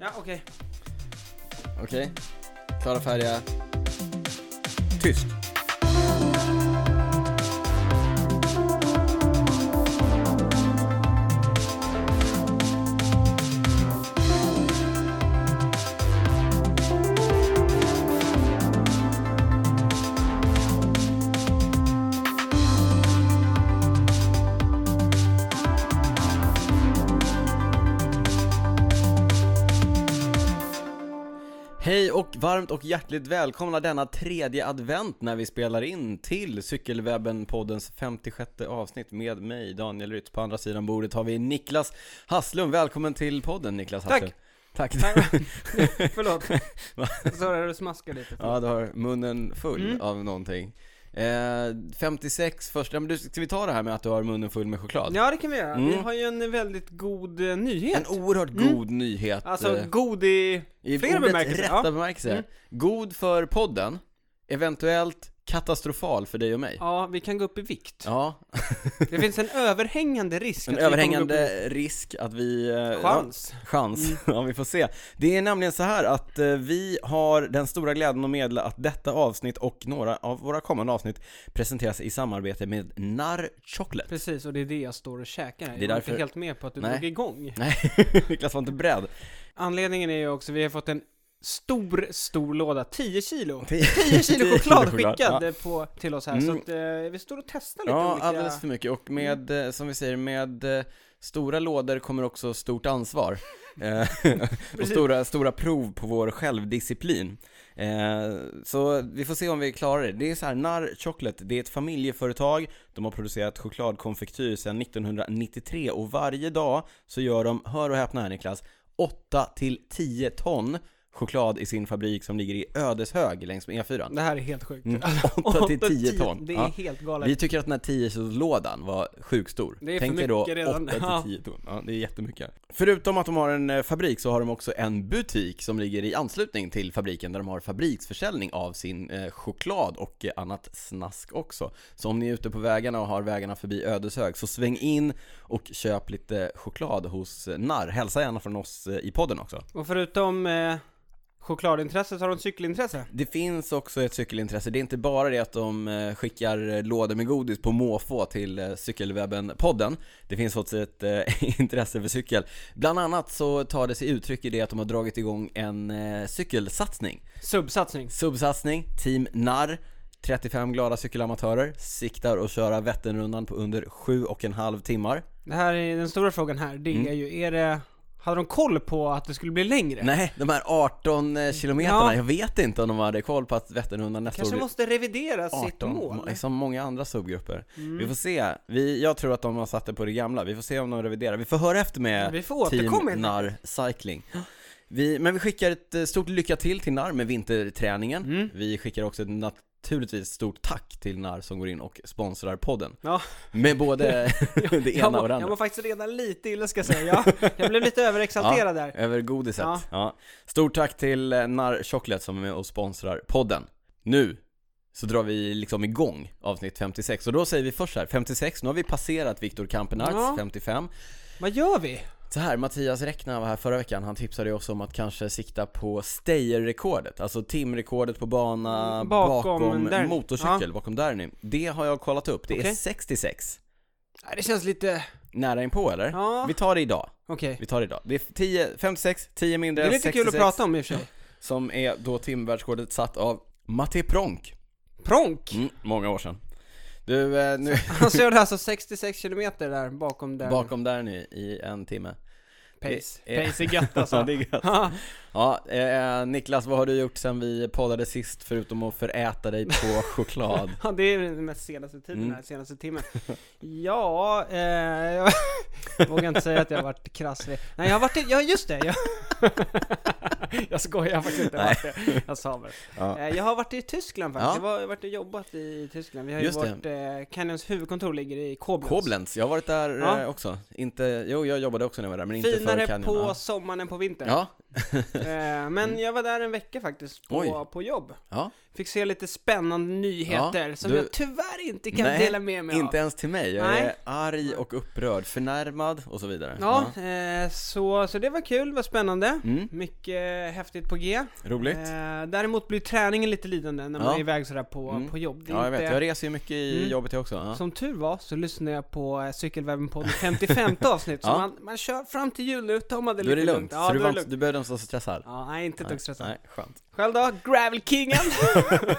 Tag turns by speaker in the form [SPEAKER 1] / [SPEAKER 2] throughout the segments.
[SPEAKER 1] Ja, okej.
[SPEAKER 2] Okej. Klara, färdiga. Tyst. Hej och varmt och hjärtligt välkomna denna tredje advent när vi spelar in till Cykelwebben-poddens 56 avsnitt med mig, Daniel Rytz. På andra sidan bordet har vi Niklas Hasslum. Välkommen till podden Niklas
[SPEAKER 1] Tack.
[SPEAKER 2] Hasslum. Tack!
[SPEAKER 1] Förlåt.
[SPEAKER 2] Va?
[SPEAKER 1] Jag sa det, du smaskade lite.
[SPEAKER 2] Ja, du har munnen full
[SPEAKER 1] Mm.
[SPEAKER 2] av någonting. Eh, 56 första, men du, ska vi ta det här med att du har munnen full med choklad?
[SPEAKER 1] Ja, det kan vi göra.
[SPEAKER 2] Mm.
[SPEAKER 1] Vi har ju en väldigt god eh, nyhet.
[SPEAKER 2] En oerhört
[SPEAKER 1] Mm.
[SPEAKER 2] god nyhet.
[SPEAKER 1] Alltså,
[SPEAKER 2] eh,
[SPEAKER 1] god i...
[SPEAKER 2] I
[SPEAKER 1] Flera
[SPEAKER 2] ordets
[SPEAKER 1] bemärkelser,
[SPEAKER 2] rätta
[SPEAKER 1] ja.
[SPEAKER 2] bemärkelse.
[SPEAKER 1] Mm.
[SPEAKER 2] God för podden, eventuellt katastrofal för dig och mig.
[SPEAKER 1] Ja, vi kan gå upp i vikt.
[SPEAKER 2] Ja,
[SPEAKER 1] Det finns en överhängande risk
[SPEAKER 2] en
[SPEAKER 1] att vi kommer gå upp
[SPEAKER 2] överhängande risk att vi... eh,
[SPEAKER 1] i- Chans. Mm.
[SPEAKER 2] Ja, chans, ja vi får se. Det är nämligen så här att eh, vi har den stora glädjen att meddela att detta avsnitt och några av våra kommande avsnitt presenteras i samarbete med Narr Chocolate.
[SPEAKER 1] Precis, och det är det jag står och käkar här.
[SPEAKER 2] Det är
[SPEAKER 1] Jag var
[SPEAKER 2] därför-
[SPEAKER 1] inte helt med på att du
[SPEAKER 2] Nej.
[SPEAKER 1] drog igång.
[SPEAKER 2] Nej, Niklas var inte beredd.
[SPEAKER 1] Anledningen är ju också, vi har fått en stor, stor låda, 10 kilo.
[SPEAKER 2] 10
[SPEAKER 1] 10 kilo choklad
[SPEAKER 2] ja.
[SPEAKER 1] skickad på, till oss här,
[SPEAKER 2] Mm.
[SPEAKER 1] så att, eh, vi står och testar lite
[SPEAKER 2] Ja,
[SPEAKER 1] olika... Mm.
[SPEAKER 2] alldeles för mycket. Och med, eh, som vi säger, med eh, stora lådor kommer också stort ansvar. Eh, och stora, stora prov på vår självdisciplin. Eh, så vi får se om vi klarar det. Det är så här, Narr Chocolate, det är ett familjeföretag. De har producerat chokladkonfektyr sedan 1993 och varje dag så gör de, hör och häpna här Niklas, 8 till 10 ton choklad i sin fabrik som ligger i Ödeshög längs med E4.
[SPEAKER 1] Det här är helt sjukt.
[SPEAKER 2] Mm, 8 till 10 ton.
[SPEAKER 1] Det är
[SPEAKER 2] Ja.
[SPEAKER 1] helt galet.
[SPEAKER 2] Vi tycker att den här 10 kilos lådan var sjukt stor.
[SPEAKER 1] Det är för
[SPEAKER 2] Tänk
[SPEAKER 1] mycket
[SPEAKER 2] dig då
[SPEAKER 1] redan.
[SPEAKER 2] 8
[SPEAKER 1] Ja.
[SPEAKER 2] till 10 ton. Ja, det är jättemycket. Förutom att de har en eh, fabrik så har de också en butik som ligger i anslutning till fabriken där de har fabriksförsäljning av sin eh, choklad och eh, annat snask också. Så om ni är ute på vägarna och har vägarna förbi Ödeshög så sväng in och köp lite choklad hos eh, Narr. Hälsa gärna från oss eh, i podden också.
[SPEAKER 1] Och förutom eh, chokladintresse så har de cykelintresse.
[SPEAKER 2] Det finns också ett cykelintresse. Det är inte bara det att de eh, skickar eh, lådor med godis på måfå till eh, Cykelwebben-podden. Det finns också ett eh, intresse för cykel. Bland annat så tar det sig uttryck i det att de har dragit igång en eh, cykelsatsning.
[SPEAKER 1] Subsatsning.
[SPEAKER 2] Subsatsning, Team Narr. 35 glada cykelamatörer siktar att köra Vätternrundan på under sju och en halv timmar.
[SPEAKER 1] Det här är den stora frågan här. Det
[SPEAKER 2] Mm.
[SPEAKER 1] är ju, är det... Hade de koll på att det skulle bli längre?
[SPEAKER 2] Nej, de här 18 eh, kilometerna,
[SPEAKER 1] Ja.
[SPEAKER 2] jag vet inte om de hade koll på att Vätternrundan nästa år
[SPEAKER 1] Kanske
[SPEAKER 2] blir-
[SPEAKER 1] måste revidera sitt
[SPEAKER 2] 18,
[SPEAKER 1] mål. Mm.
[SPEAKER 2] som liksom många andra subgrupper. Vi får se. Vi, jag tror att de har satt det på det gamla. Vi får se om de reviderar. Vi får höra efter med
[SPEAKER 1] Vi får återkomma
[SPEAKER 2] Team
[SPEAKER 1] helt
[SPEAKER 2] NAR Cycling. Vi, men vi skickar ett eh, stort lycka till till NAR med vinterträningen.
[SPEAKER 1] Mm.
[SPEAKER 2] Vi skickar också ett naturligtvis stort tack till NAR som går in och sponsrar podden.
[SPEAKER 1] Ja.
[SPEAKER 2] Med både det
[SPEAKER 1] Jag
[SPEAKER 2] ena
[SPEAKER 1] mår,
[SPEAKER 2] och det
[SPEAKER 1] jag
[SPEAKER 2] andra.
[SPEAKER 1] mår faktiskt redan lite illa ska jag säga. Jag, jag blev lite överexalterad där.
[SPEAKER 2] Över godiset. Ja.
[SPEAKER 1] Ja.
[SPEAKER 2] Stort tack till eh, NAR Chocolate som är med och sponsrar podden. Nu så drar vi liksom igång avsnitt 56 och då säger vi först här 56, nu har vi passerat Viktor Kampenarts
[SPEAKER 1] Ja.
[SPEAKER 2] 55.
[SPEAKER 1] Vad gör vi?
[SPEAKER 2] Så här, Mattias Räckna var här förra veckan, han tipsade ju oss om att kanske sikta på Steyr-rekordet, alltså timrekordet på bana
[SPEAKER 1] Mm,
[SPEAKER 2] bakom,
[SPEAKER 1] bakom Derny.
[SPEAKER 2] motorcykel, bakom Derny. Det har jag kollat upp, det är
[SPEAKER 1] Okej.
[SPEAKER 2] 66.
[SPEAKER 1] Nej, Det känns lite...
[SPEAKER 2] Nära inpå eller?
[SPEAKER 1] Ja.
[SPEAKER 2] Vi tar det idag,
[SPEAKER 1] Okej.
[SPEAKER 2] vi tar det idag. Det är 10, 56, 10
[SPEAKER 1] Det
[SPEAKER 2] mindre
[SPEAKER 1] är
[SPEAKER 2] än
[SPEAKER 1] lite
[SPEAKER 2] 66.
[SPEAKER 1] kul att prata om i och för sig.
[SPEAKER 2] Som är då timvärldsrekordet satt av Matti Pronk.
[SPEAKER 1] Pronk!
[SPEAKER 2] Mm, många år sedan. Du, eh, nu
[SPEAKER 1] Han körde alltså 66 kilometer där bakom där.
[SPEAKER 2] bakom eh, där nu i en timme.
[SPEAKER 1] Pace.
[SPEAKER 2] Det är-
[SPEAKER 1] Pace är gött
[SPEAKER 2] Ja,
[SPEAKER 1] alltså.
[SPEAKER 2] det är gött.
[SPEAKER 1] Ja,
[SPEAKER 2] Ja, eh, Niklas, vad har du gjort sen vi poddade sist förutom att föräta dig på choklad?
[SPEAKER 1] Ja, det är den mest senaste tiden
[SPEAKER 2] Mm.
[SPEAKER 1] här, senaste timmen. Ja, eh, jag vågar inte säga att jag har varit krasslig. Nej, jag har varit, i- ja just det. Jag, jag skojar, jag har faktiskt inte varit det. Jag sa bara.
[SPEAKER 2] Ja.
[SPEAKER 1] Eh, Jag har vatt i Tyskland faktiskt.
[SPEAKER 2] Ja.
[SPEAKER 1] Jag var- Jag har varit och jobbat i Tyskland. Vi har ju
[SPEAKER 2] Just det.
[SPEAKER 1] vårt, eh, Canyons huvudkontor ligger i Koblenz.
[SPEAKER 2] Koblenz, jag har varit där eh,
[SPEAKER 1] Ja.
[SPEAKER 2] också. Inte, jo jag jobbade också när jag var där, men inte för
[SPEAKER 1] Finare
[SPEAKER 2] Canyon.
[SPEAKER 1] på
[SPEAKER 2] ja.
[SPEAKER 1] sommaren än på vintern.
[SPEAKER 2] Ja, Mm.
[SPEAKER 1] Eh, Men jag var där en vecka faktiskt på,
[SPEAKER 2] Oj.
[SPEAKER 1] på jobb.
[SPEAKER 2] Ja.
[SPEAKER 1] Fick se lite spännande nyheter
[SPEAKER 2] Ja,
[SPEAKER 1] som
[SPEAKER 2] du-
[SPEAKER 1] jag tyvärr inte kan
[SPEAKER 2] Nej,
[SPEAKER 1] dela med mig
[SPEAKER 2] Inte
[SPEAKER 1] av.
[SPEAKER 2] ens till mig. Jag
[SPEAKER 1] Nej.
[SPEAKER 2] är arg och upprörd, förnärmad och så vidare.
[SPEAKER 1] Ja, eh, så, så det var kul, det var spännande.
[SPEAKER 2] Ja. Mm.
[SPEAKER 1] Mycket häftigt på G.
[SPEAKER 2] Roligt.
[SPEAKER 1] Eh, däremot blir träningen lite lidande när man
[SPEAKER 2] Ja.
[SPEAKER 1] är iväg sådär på,
[SPEAKER 2] Mm.
[SPEAKER 1] på jobb. Det är
[SPEAKER 2] Ja, jag vet.
[SPEAKER 1] inte-
[SPEAKER 2] Jag reser ju mycket i
[SPEAKER 1] Mm.
[SPEAKER 2] jobbet jag också. Ja.
[SPEAKER 1] Som tur var så lyssnade jag på eh, Cykelwebben-podden 55 avsnitt, så
[SPEAKER 2] Ja.
[SPEAKER 1] man, man kör fram till jul nu, tar man det
[SPEAKER 2] Då är
[SPEAKER 1] lite
[SPEAKER 2] det lugnt.
[SPEAKER 1] Ja,
[SPEAKER 2] så du,
[SPEAKER 1] då
[SPEAKER 2] var
[SPEAKER 1] är det
[SPEAKER 2] inte-
[SPEAKER 1] lugnt.
[SPEAKER 2] du behövde inte vara så stressad.
[SPEAKER 1] Ja, nej, inte ett dugg stressad.
[SPEAKER 2] Nej, skönt.
[SPEAKER 1] Själv då? Gravelkingen?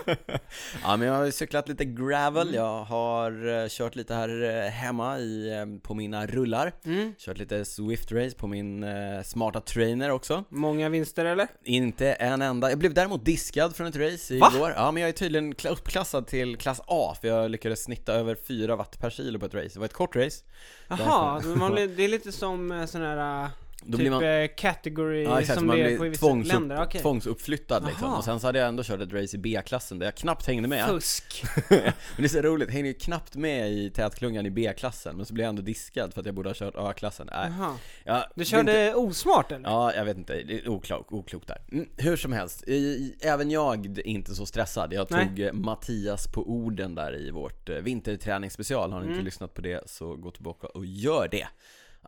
[SPEAKER 2] Ja, men jag har ju cyklat lite gravel.
[SPEAKER 1] Mm.
[SPEAKER 2] Jag har eh, kört lite här eh, hemma i, eh, på mina rullar.
[SPEAKER 1] Mm.
[SPEAKER 2] Kört lite Swift Race på min eh, smarta trainer också.
[SPEAKER 1] Många vinster eller?
[SPEAKER 2] Inte en enda. Jag blev däremot diskad från ett race
[SPEAKER 1] Va?
[SPEAKER 2] igår. Ja, men jag är tydligen kla- uppklassad till klass A för jag lyckades snitta över 4 watt per kilo på ett race. Det var ett kort race.
[SPEAKER 1] Jaha, men man, blir- det är lite som eh, sån här eh,
[SPEAKER 2] Då
[SPEAKER 1] typ
[SPEAKER 2] blir man,
[SPEAKER 1] eh, category
[SPEAKER 2] ja, exakt,
[SPEAKER 1] som
[SPEAKER 2] man
[SPEAKER 1] det är på i
[SPEAKER 2] blir
[SPEAKER 1] vissa
[SPEAKER 2] tvångsupp,
[SPEAKER 1] länder. Okej.
[SPEAKER 2] tvångsuppflyttad liksom.
[SPEAKER 1] Aha.
[SPEAKER 2] Och sen så hade jag ändå kört ett race i B-klassen där jag knappt hängde med.
[SPEAKER 1] Fusk.
[SPEAKER 2] Men det är så roligt, hänger ju knappt med i tätklungan i B-klassen men så blir jag ändå diskad för att jag borde ha kört A-klassen. Nej.
[SPEAKER 1] Jaha.
[SPEAKER 2] Ja, det
[SPEAKER 1] Mm. Du
[SPEAKER 2] är
[SPEAKER 1] körde
[SPEAKER 2] inte-
[SPEAKER 1] osmart eller?
[SPEAKER 2] Ja, jag vet inte. Det är oklokt oklok där. Mm, hur som helst, i- i- även jag är inte så stressad. Jag
[SPEAKER 1] Nej.
[SPEAKER 2] tog eh, Mattias på orden där i vårt eh, vinterträningsspecial. Har ni
[SPEAKER 1] Mm.
[SPEAKER 2] inte lyssnat på det så gå tillbaka och gör det.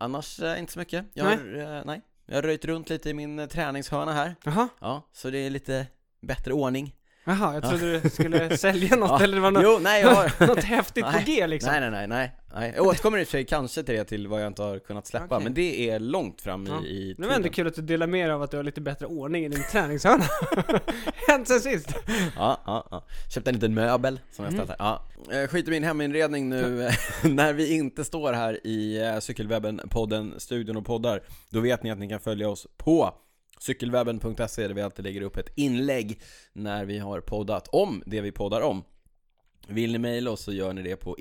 [SPEAKER 2] Annars eh, inte så mycket. Jag
[SPEAKER 1] Nej.
[SPEAKER 2] har, eh, nej. Jag har röjt runt lite i min eh, träningshörna här.
[SPEAKER 1] Jaha,
[SPEAKER 2] Ja, så det är lite bättre ordning.
[SPEAKER 1] Jaha jag trodde du skulle sälja något eller det var något,
[SPEAKER 2] Jo, nej jag har...
[SPEAKER 1] något häftigt på
[SPEAKER 2] Nej.
[SPEAKER 1] G liksom.
[SPEAKER 2] Nej, nej, nej, nej, nej. Jag återkommer i och för sig kanske till det till vad jag inte har kunnat släppa,
[SPEAKER 1] Okej.
[SPEAKER 2] men det är långt fram i,
[SPEAKER 1] Ja.
[SPEAKER 2] i
[SPEAKER 1] Det var ändå
[SPEAKER 2] tiden.
[SPEAKER 1] kul att du delar med dig av att du har lite bättre ordning i din träningshörna. Hänt sen sist.
[SPEAKER 2] Ja, ja, ja. Köpte en liten möbel som jag ställt här. Ja. Eh, Skit i min heminredning nu. När vi inte står här i eh, Cykelwebben-podden, studion och poddar, då vet ni att ni kan följa oss på cykelwebben.se där vi alltid lägger upp ett inlägg när vi har poddat om det vi poddar om. Vill ni mejla oss så gör ni det på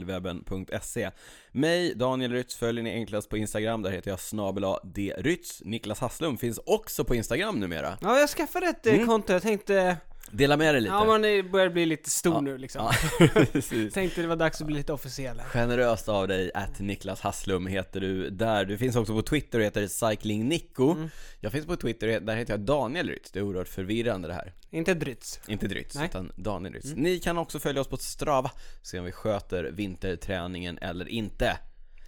[SPEAKER 2] info.cykelwebben.se Mig, Daniel Rytz, följer ni enklast på Instagram, där heter jag snabel-a D. Rytz. Niklas Hasslum finns också på Instagram numera.
[SPEAKER 1] Ja, jag skaffade ett mm. konto. Jag tänkte,
[SPEAKER 2] Dela med dig lite.
[SPEAKER 1] ja man är- börjar bli lite stor nu liksom.
[SPEAKER 2] Ja, precis.
[SPEAKER 1] Tänkte det var dags att bli lite officiell. här.
[SPEAKER 2] Generöst av dig, att Niklas Hasslum heter du där. Du finns också på Twitter och heter Cycling Nico.
[SPEAKER 1] Mm.
[SPEAKER 2] Jag finns på Twitter, och he- där heter jag Daniel Rytz. Det är oerhört förvirrande det här.
[SPEAKER 1] Inte Drytz.
[SPEAKER 2] Inte Drytz,
[SPEAKER 1] Nej. Mm.
[SPEAKER 2] utan Daniel Rytz. Ni kan också följa oss på Strava, se om vi sköter vinterträningen eller inte.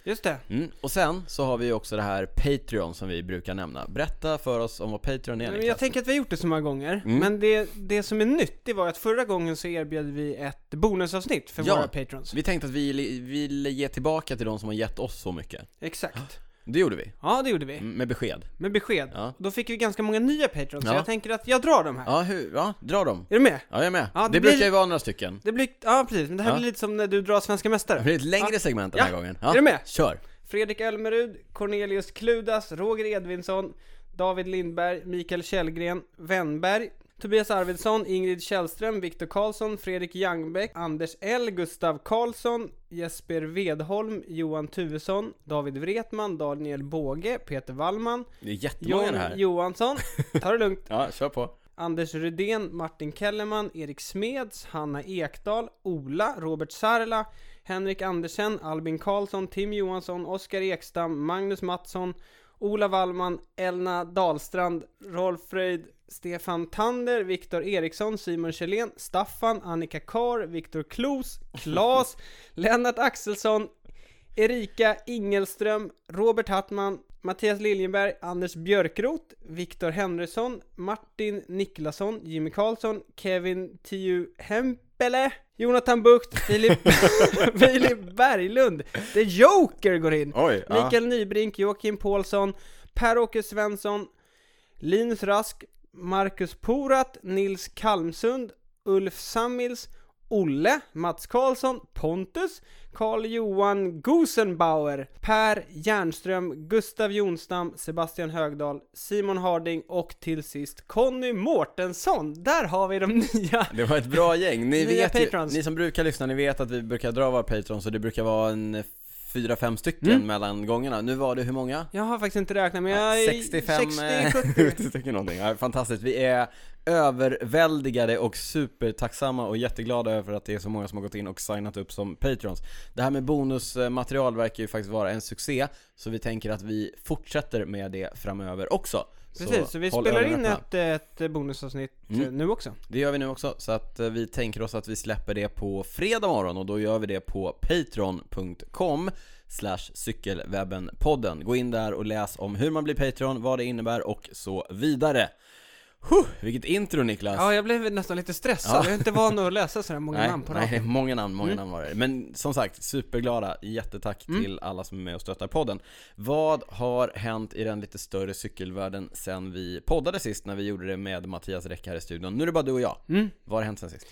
[SPEAKER 1] Just det.
[SPEAKER 2] Mm. Och sen så har vi ju också det här Patreon som vi brukar nämna. Berätta för oss om vad Patreon är
[SPEAKER 1] Men jag
[SPEAKER 2] Niklas.
[SPEAKER 1] tänker att vi har gjort det så många gånger, men det, det som är nytt det var att förra gången så erbjöd vi ett bonusavsnitt för
[SPEAKER 2] Ja.
[SPEAKER 1] våra patrons.
[SPEAKER 2] Vi tänkte att vi li- ville ge tillbaka till de som har gett oss så mycket.
[SPEAKER 1] Exakt.
[SPEAKER 2] Det gjorde vi,
[SPEAKER 1] Ja, det gjorde vi.
[SPEAKER 2] Mm, med besked.
[SPEAKER 1] Med besked.
[SPEAKER 2] Ja.
[SPEAKER 1] Då fick vi ganska många nya patrons, så
[SPEAKER 2] Ja.
[SPEAKER 1] jag tänker att jag drar de här.
[SPEAKER 2] Ja, hur, ja dra dem.
[SPEAKER 1] Är du med?
[SPEAKER 2] Ja, jag är med.
[SPEAKER 1] Ja,
[SPEAKER 2] det
[SPEAKER 1] det
[SPEAKER 2] brukar
[SPEAKER 1] blir-
[SPEAKER 2] ju vara några stycken.
[SPEAKER 1] Det blir, ja precis, men det här
[SPEAKER 2] Ja.
[SPEAKER 1] blir lite som när du drar Svenska
[SPEAKER 2] Det
[SPEAKER 1] Mästare.
[SPEAKER 2] blir ett längre segment den
[SPEAKER 1] Ja.
[SPEAKER 2] här gången. Ja.
[SPEAKER 1] Är du med?
[SPEAKER 2] Kör.
[SPEAKER 1] Fredrik Elmerud, Cornelius Kludas, Roger Edvinsson, David Lindberg, Mikael Källgren, Wennberg, Tobias Arvidsson, Ingrid Källström, Viktor Karlsson, Fredrik Jangbäck, Anders L, Gustav Karlsson, Jesper Vedholm, Johan Tuvesson, David Wretman, Daniel Båge, Peter Wallman,
[SPEAKER 2] Det är jättemånga
[SPEAKER 1] John
[SPEAKER 2] det här.
[SPEAKER 1] Johansson, ta det lugnt,
[SPEAKER 2] Ja, kör på.
[SPEAKER 1] Anders Rydén, Martin Kellerman, Erik Smeds, Hanna Ekdal, Ola, Robert Sarla, Henrik Andersen, Albin Karlsson, Tim Johansson, Oskar Ekstam, Magnus Mattsson, Ola Wallman, Elna Dahlstrand, Rolf Fröjd, Stefan Tander, Viktor Eriksson, Simon Kjellén, Staffan, Annika Kar, Viktor Klos, Klas, Lennart Axelsson, Erika Ingelström, Robert Hattman, Mattias Liljenberg, Anders Björkroth, Viktor Henrysson, Martin Niklasson, Jimmy Karlsson, Kevin Tiu Hempele, Jonathan Bucht, Filip, Filip Berglund, The Joker går in!
[SPEAKER 2] Oj.
[SPEAKER 1] Mikael Nybrink, Joakim Paulsson, Per-Åke Svensson, Linus Rask, Marcus Porat, Nils Kalmsund, Ulf Sammils, Olle, Mats Karlsson, Pontus, Carl-Johan Gosenbauer, Per Jernström, Gustav Jonstam, Sebastian Högdahl, Simon Harding och till sist Conny Mårtensson. Där har vi de nya!
[SPEAKER 2] Det var ett bra gäng. Ni,
[SPEAKER 1] Nya
[SPEAKER 2] vet ju,
[SPEAKER 1] patrons.
[SPEAKER 2] ni som brukar lyssna, ni vet att vi brukar dra våra patrons och det brukar vara en fyra, fem stycken
[SPEAKER 1] Mm.
[SPEAKER 2] mellan gångerna. Nu var det hur många?
[SPEAKER 1] Jag har faktiskt inte räknat men jag är
[SPEAKER 2] 65,
[SPEAKER 1] 60, 70.
[SPEAKER 2] 70 eh, stycken någonting. Ja, fantastiskt. Vi är överväldigade och supertacksamma och jätteglada över att det är så många som har gått in och signat upp som patrons. Det här med bonusmaterial verkar ju faktiskt vara en succé, så vi tänker att vi fortsätter med det framöver också.
[SPEAKER 1] Precis, så, vi
[SPEAKER 2] håll
[SPEAKER 1] spelar
[SPEAKER 2] ögonen
[SPEAKER 1] in
[SPEAKER 2] öppna.
[SPEAKER 1] ett, ett bonusavsnitt
[SPEAKER 2] Mm.
[SPEAKER 1] eh, nu också.
[SPEAKER 2] Det gör vi nu också, så att eh, vi tänker oss att vi släpper det på fredag morgon och då gör vi det på patreon.com slash cykelwebbenpodden. Gå in där och läs om hur man blir Patreon, vad det innebär och så vidare. Huh, vilket intro Niklas!
[SPEAKER 1] Ja, jag blev nästan lite stressad.
[SPEAKER 2] Ja.
[SPEAKER 1] Jag är inte van att läsa sådär många namn på
[SPEAKER 2] nej,
[SPEAKER 1] raken.
[SPEAKER 2] många namn, många
[SPEAKER 1] Mm.
[SPEAKER 2] namn var det. Men som sagt, superglada, jättetack
[SPEAKER 1] Mm.
[SPEAKER 2] till alla som är med och stöttar podden. Vad har hänt i den lite större cykelvärlden sen vi poddade sist när vi gjorde det med Mattias Räck här i studion? Nu är det bara du och jag.
[SPEAKER 1] Mm.
[SPEAKER 2] Vad har hänt sen sist?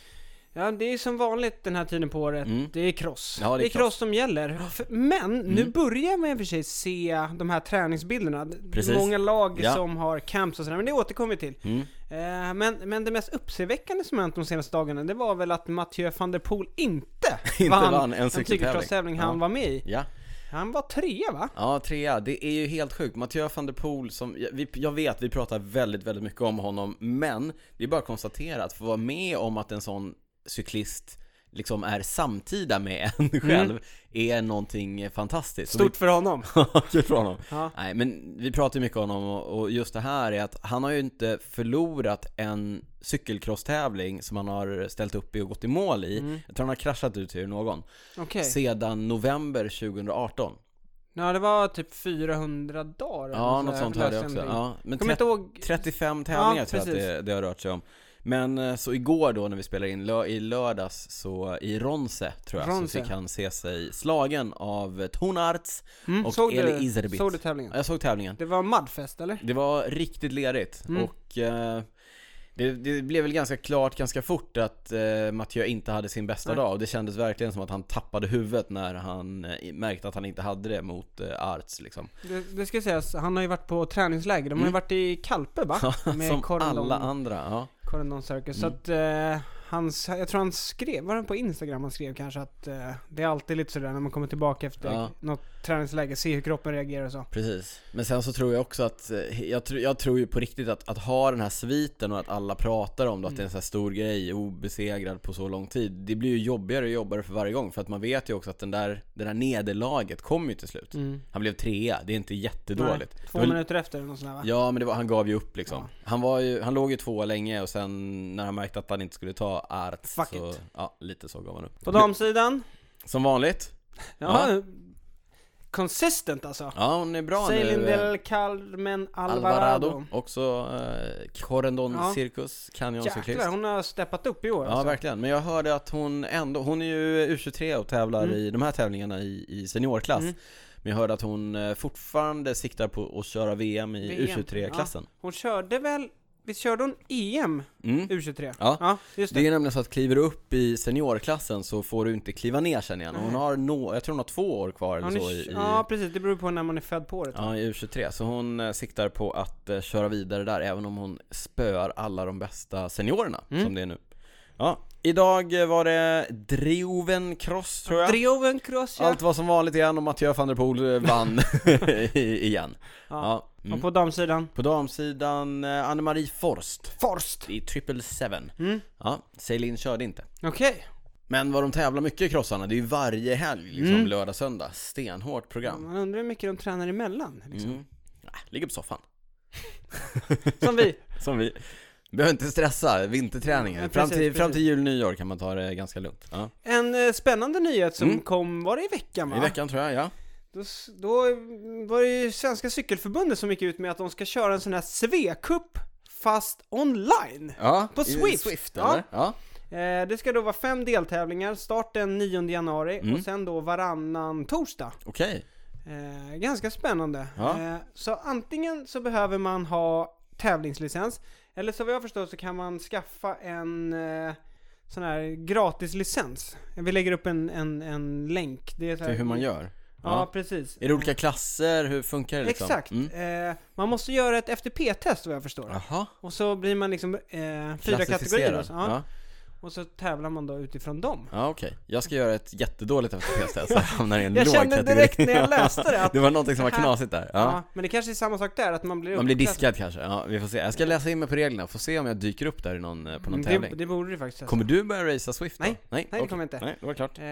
[SPEAKER 1] Ja, det är som vanligt den här tiden på året.
[SPEAKER 2] Mm.
[SPEAKER 1] Det är cross.
[SPEAKER 2] Ja, det är
[SPEAKER 1] cross.
[SPEAKER 2] cross Mm.
[SPEAKER 1] som gäller. F- Men nu börjar man i och för sig se de här träningsbilderna. D-
[SPEAKER 2] Precis.
[SPEAKER 1] Många lag
[SPEAKER 2] Ja.
[SPEAKER 1] som har camps och sådär, men det återkommer vi till.
[SPEAKER 2] Mm.
[SPEAKER 1] Eh, men, men det mest uppseendeväckande som hänt de senaste dagarna, det var väl att Mathieu van der Poel inte,
[SPEAKER 2] Inte vann en cykeltävling.
[SPEAKER 1] cykelcrosstävling han
[SPEAKER 2] Ja.
[SPEAKER 1] var med i.
[SPEAKER 2] Ja.
[SPEAKER 1] Han var trea va?
[SPEAKER 2] Ja, trea. Det är ju helt sjukt. Mathieu van der Poel som, jag, vi, jag vet vi pratar väldigt, väldigt mycket om honom, men det är bara att konstatera att få vara med om att en sån cyklist liksom är samtida med en själv är någonting fantastiskt. Så
[SPEAKER 1] Mm. Stort för honom.
[SPEAKER 2] vi- Kul för honom.
[SPEAKER 1] Ja.
[SPEAKER 2] Nej, men vi pratar ju mycket om honom och, och just det här är att han har ju inte förlorat en cykelcrosstävling som han har ställt upp i och gått i mål i. Jag tror han har kraschat ut ur någon.
[SPEAKER 1] Mm. Okej.
[SPEAKER 2] Sedan november 2018.
[SPEAKER 1] Ja, det var typ 400 dagar. eller
[SPEAKER 2] Ja,
[SPEAKER 1] så
[SPEAKER 2] något
[SPEAKER 1] här.
[SPEAKER 2] sånt hörde jag
[SPEAKER 1] läste
[SPEAKER 2] också.
[SPEAKER 1] en bild.
[SPEAKER 2] Ja, men
[SPEAKER 1] Kommer inte
[SPEAKER 2] 30,
[SPEAKER 1] ihåg.
[SPEAKER 2] 35 tävlingar
[SPEAKER 1] Ja,
[SPEAKER 2] tror jag
[SPEAKER 1] precis.
[SPEAKER 2] att det, det har rört sig om. Men eh, så igår då när vi spelade in, lö, i lördags så i Ronse tror jag,
[SPEAKER 1] Ronse.
[SPEAKER 2] så fick han se sig slagen av Tonarts.
[SPEAKER 1] Mm,
[SPEAKER 2] och
[SPEAKER 1] såg
[SPEAKER 2] Eli
[SPEAKER 1] du,
[SPEAKER 2] Izerbit.
[SPEAKER 1] Såg du tävlingen?
[SPEAKER 2] Ja, Jag såg tävlingen.
[SPEAKER 1] Det var Mudfest eller?
[SPEAKER 2] Det var riktigt lerigt
[SPEAKER 1] Mm.
[SPEAKER 2] och eh, det, det blev väl ganska klart ganska fort att eh, Mathieu inte hade sin bästa
[SPEAKER 1] Nej.
[SPEAKER 2] dag och det kändes verkligen som att han tappade huvudet när han eh, märkte att han inte hade det mot eh, Arts liksom.
[SPEAKER 1] Det, det ska sägas, han har ju varit på träningsläger. De har ju
[SPEAKER 2] Mm.
[SPEAKER 1] varit i Kalpe va?
[SPEAKER 2] som
[SPEAKER 1] Corendon-
[SPEAKER 2] alla Mm. andra. Ja.
[SPEAKER 1] Corendon Circus. Så att eh, hans, jag tror han skrev, var det på Instagram han skrev kanske att eh, det är alltid lite sådär när man kommer tillbaka efter
[SPEAKER 2] Ja.
[SPEAKER 1] något träningsläger, se hur kroppen reagerar och så.
[SPEAKER 2] Precis, men sen så tror jag också att, eh, jag, tr- jag tror ju på riktigt att, att ha den här sviten och att alla pratar om det, att
[SPEAKER 1] Mm.
[SPEAKER 2] det är en sån här stor grej, obesegrad på så lång tid Det blir ju jobbigare och jobbigare för varje gång för att man vet ju också att den där, det där nederlaget kom ju till slut Han blev trea, Mm. det är inte jättedåligt
[SPEAKER 1] Mm. Nej,
[SPEAKER 2] Det
[SPEAKER 1] Två
[SPEAKER 2] var-
[SPEAKER 1] minuter efter eller något sånt där va?
[SPEAKER 2] Ja men det var, han gav ju upp liksom
[SPEAKER 1] Ja.
[SPEAKER 2] han, var ju, han låg ju tvåa länge och sen när han märkte att han inte skulle ta Arts
[SPEAKER 1] Fuck
[SPEAKER 2] så,
[SPEAKER 1] it.
[SPEAKER 2] ja lite så gav han upp
[SPEAKER 1] På damsidan,
[SPEAKER 2] Som vanligt,
[SPEAKER 1] ja. Consistent alltså.
[SPEAKER 2] ja hon är bra
[SPEAKER 1] Celine
[SPEAKER 2] nu eh,
[SPEAKER 1] del Carmen Alvarado.
[SPEAKER 2] Alvarado, också eh, Corendon
[SPEAKER 1] Ja.
[SPEAKER 2] Circus, canyoncyklist
[SPEAKER 1] Jäklar, hon har steppat upp i år
[SPEAKER 2] Ja
[SPEAKER 1] alltså.
[SPEAKER 2] verkligen, men jag hörde att hon ändå, hon är ju U23 och tävlar
[SPEAKER 1] Mm.
[SPEAKER 2] i de här tävlingarna i, i seniorklass
[SPEAKER 1] Mm.
[SPEAKER 2] Men jag hörde att hon eh, fortfarande siktar på att köra VM i
[SPEAKER 1] VM,
[SPEAKER 2] U23-klassen
[SPEAKER 1] Hon körde väl, visst körde hon E EM
[SPEAKER 2] mm.
[SPEAKER 1] U23?
[SPEAKER 2] Ja.
[SPEAKER 1] just det.
[SPEAKER 2] Det är nämligen så att kliver du upp i seniorklassen så får du inte kliva ner sen igen Hon
[SPEAKER 1] Nej.
[SPEAKER 2] har, nå jag tror hon har två år kvar eller
[SPEAKER 1] Hon är,
[SPEAKER 2] så i, i,
[SPEAKER 1] Ja precis, det beror på när man är född på året.
[SPEAKER 2] ja, i U23 Så hon eh, siktar på att eh, köra vidare där även om hon spöar alla de bästa seniorerna
[SPEAKER 1] Mm.
[SPEAKER 2] som det är nu Ja, idag eh, var det Drioven Cross tror jag
[SPEAKER 1] Drioven Cross ja.
[SPEAKER 2] Allt var som vanligt igen och Mathieu van der Poel eh, vann i- igen.
[SPEAKER 1] ja.
[SPEAKER 2] Ja. Mm.
[SPEAKER 1] Och på damsidan,
[SPEAKER 2] På damsidan, eh, Anne-Marie Forst
[SPEAKER 1] Forst!
[SPEAKER 2] i triple seven.
[SPEAKER 1] Mm.
[SPEAKER 2] Ja, Celine körde inte.
[SPEAKER 1] Okej.
[SPEAKER 2] Men vad de tävlar mycket i krossarna, det är ju varje helg liksom,
[SPEAKER 1] Mm.
[SPEAKER 2] lördag, söndag. Stenhårt program.
[SPEAKER 1] Man undrar hur mycket de tränar emellan liksom.
[SPEAKER 2] Mm. Ja, ligger på soffan. Mm.
[SPEAKER 1] Som vi.
[SPEAKER 2] Som vi. Behöver inte stressa, vinterträningen.
[SPEAKER 1] Ja, precis,
[SPEAKER 2] fram, till, fram
[SPEAKER 1] precis.
[SPEAKER 2] till jul, nyår kan man ta det ganska lugnt. Ja.
[SPEAKER 1] En eh, spännande nyhet som
[SPEAKER 2] Mm.
[SPEAKER 1] kom, var det i veckan va?
[SPEAKER 2] I veckan tror jag, ja.
[SPEAKER 1] Då, s- då mm, var det ju Svenska Cykelförbundet som gick ut med att de ska köra en sån här Svea-cup fast online.
[SPEAKER 2] ja.
[SPEAKER 1] På
[SPEAKER 2] i
[SPEAKER 1] Swift,
[SPEAKER 2] Swift
[SPEAKER 1] ja.
[SPEAKER 2] eller? Ja.
[SPEAKER 1] Eh, det ska då vara fem deltävlingar, start den 9 januari
[SPEAKER 2] Mm.
[SPEAKER 1] och sen då varannan torsdag.
[SPEAKER 2] Okej.
[SPEAKER 1] Eh, ganska spännande.
[SPEAKER 2] Ja.
[SPEAKER 1] Eh, så antingen så behöver man ha tävlingslicens, eller så vad jag förstår så kan man skaffa en eh, sån här gratislicens. Vi lägger upp en, en, en länk. Det är så här,
[SPEAKER 2] Till hur man gör.
[SPEAKER 1] Eh, Ja, precis.
[SPEAKER 2] Är det olika klasser? Hur funkar det liksom?
[SPEAKER 1] Exakt.
[SPEAKER 2] Mm.
[SPEAKER 1] Eh, man måste göra ett FTP-test vad jag förstår.
[SPEAKER 2] Jaha.
[SPEAKER 1] Och så blir man liksom eh, fyra kategorier.
[SPEAKER 2] Klassificerar.
[SPEAKER 1] Alltså. Ja.
[SPEAKER 2] Ja,
[SPEAKER 1] Och så tävlar man då utifrån dem.
[SPEAKER 2] ja okej. Jag ska göra ett jättedåligt FTP-test så jag hamnar i en
[SPEAKER 1] Jag
[SPEAKER 2] låg
[SPEAKER 1] kände
[SPEAKER 2] kategori.
[SPEAKER 1] direkt när jag läste det att-
[SPEAKER 2] det var någonting som var knasigt där. Ja.
[SPEAKER 1] Ja, men det kanske är samma sak där, att man blir
[SPEAKER 2] Man blir
[SPEAKER 1] uppklassad.
[SPEAKER 2] diskad kanske. Ja, vi får se. Jag ska läsa in mig på reglerna, får se om jag dyker upp där i någon, eh, på någon
[SPEAKER 1] Mm,
[SPEAKER 2] tävling.
[SPEAKER 1] Det, det borde det faktiskt. alltså.
[SPEAKER 2] Kommer du börja racea Swift då?
[SPEAKER 1] Nej.
[SPEAKER 2] Nej,
[SPEAKER 1] Nej, det
[SPEAKER 2] Okej.
[SPEAKER 1] kommer jag inte.
[SPEAKER 2] Nej, det var klart.
[SPEAKER 1] Eh,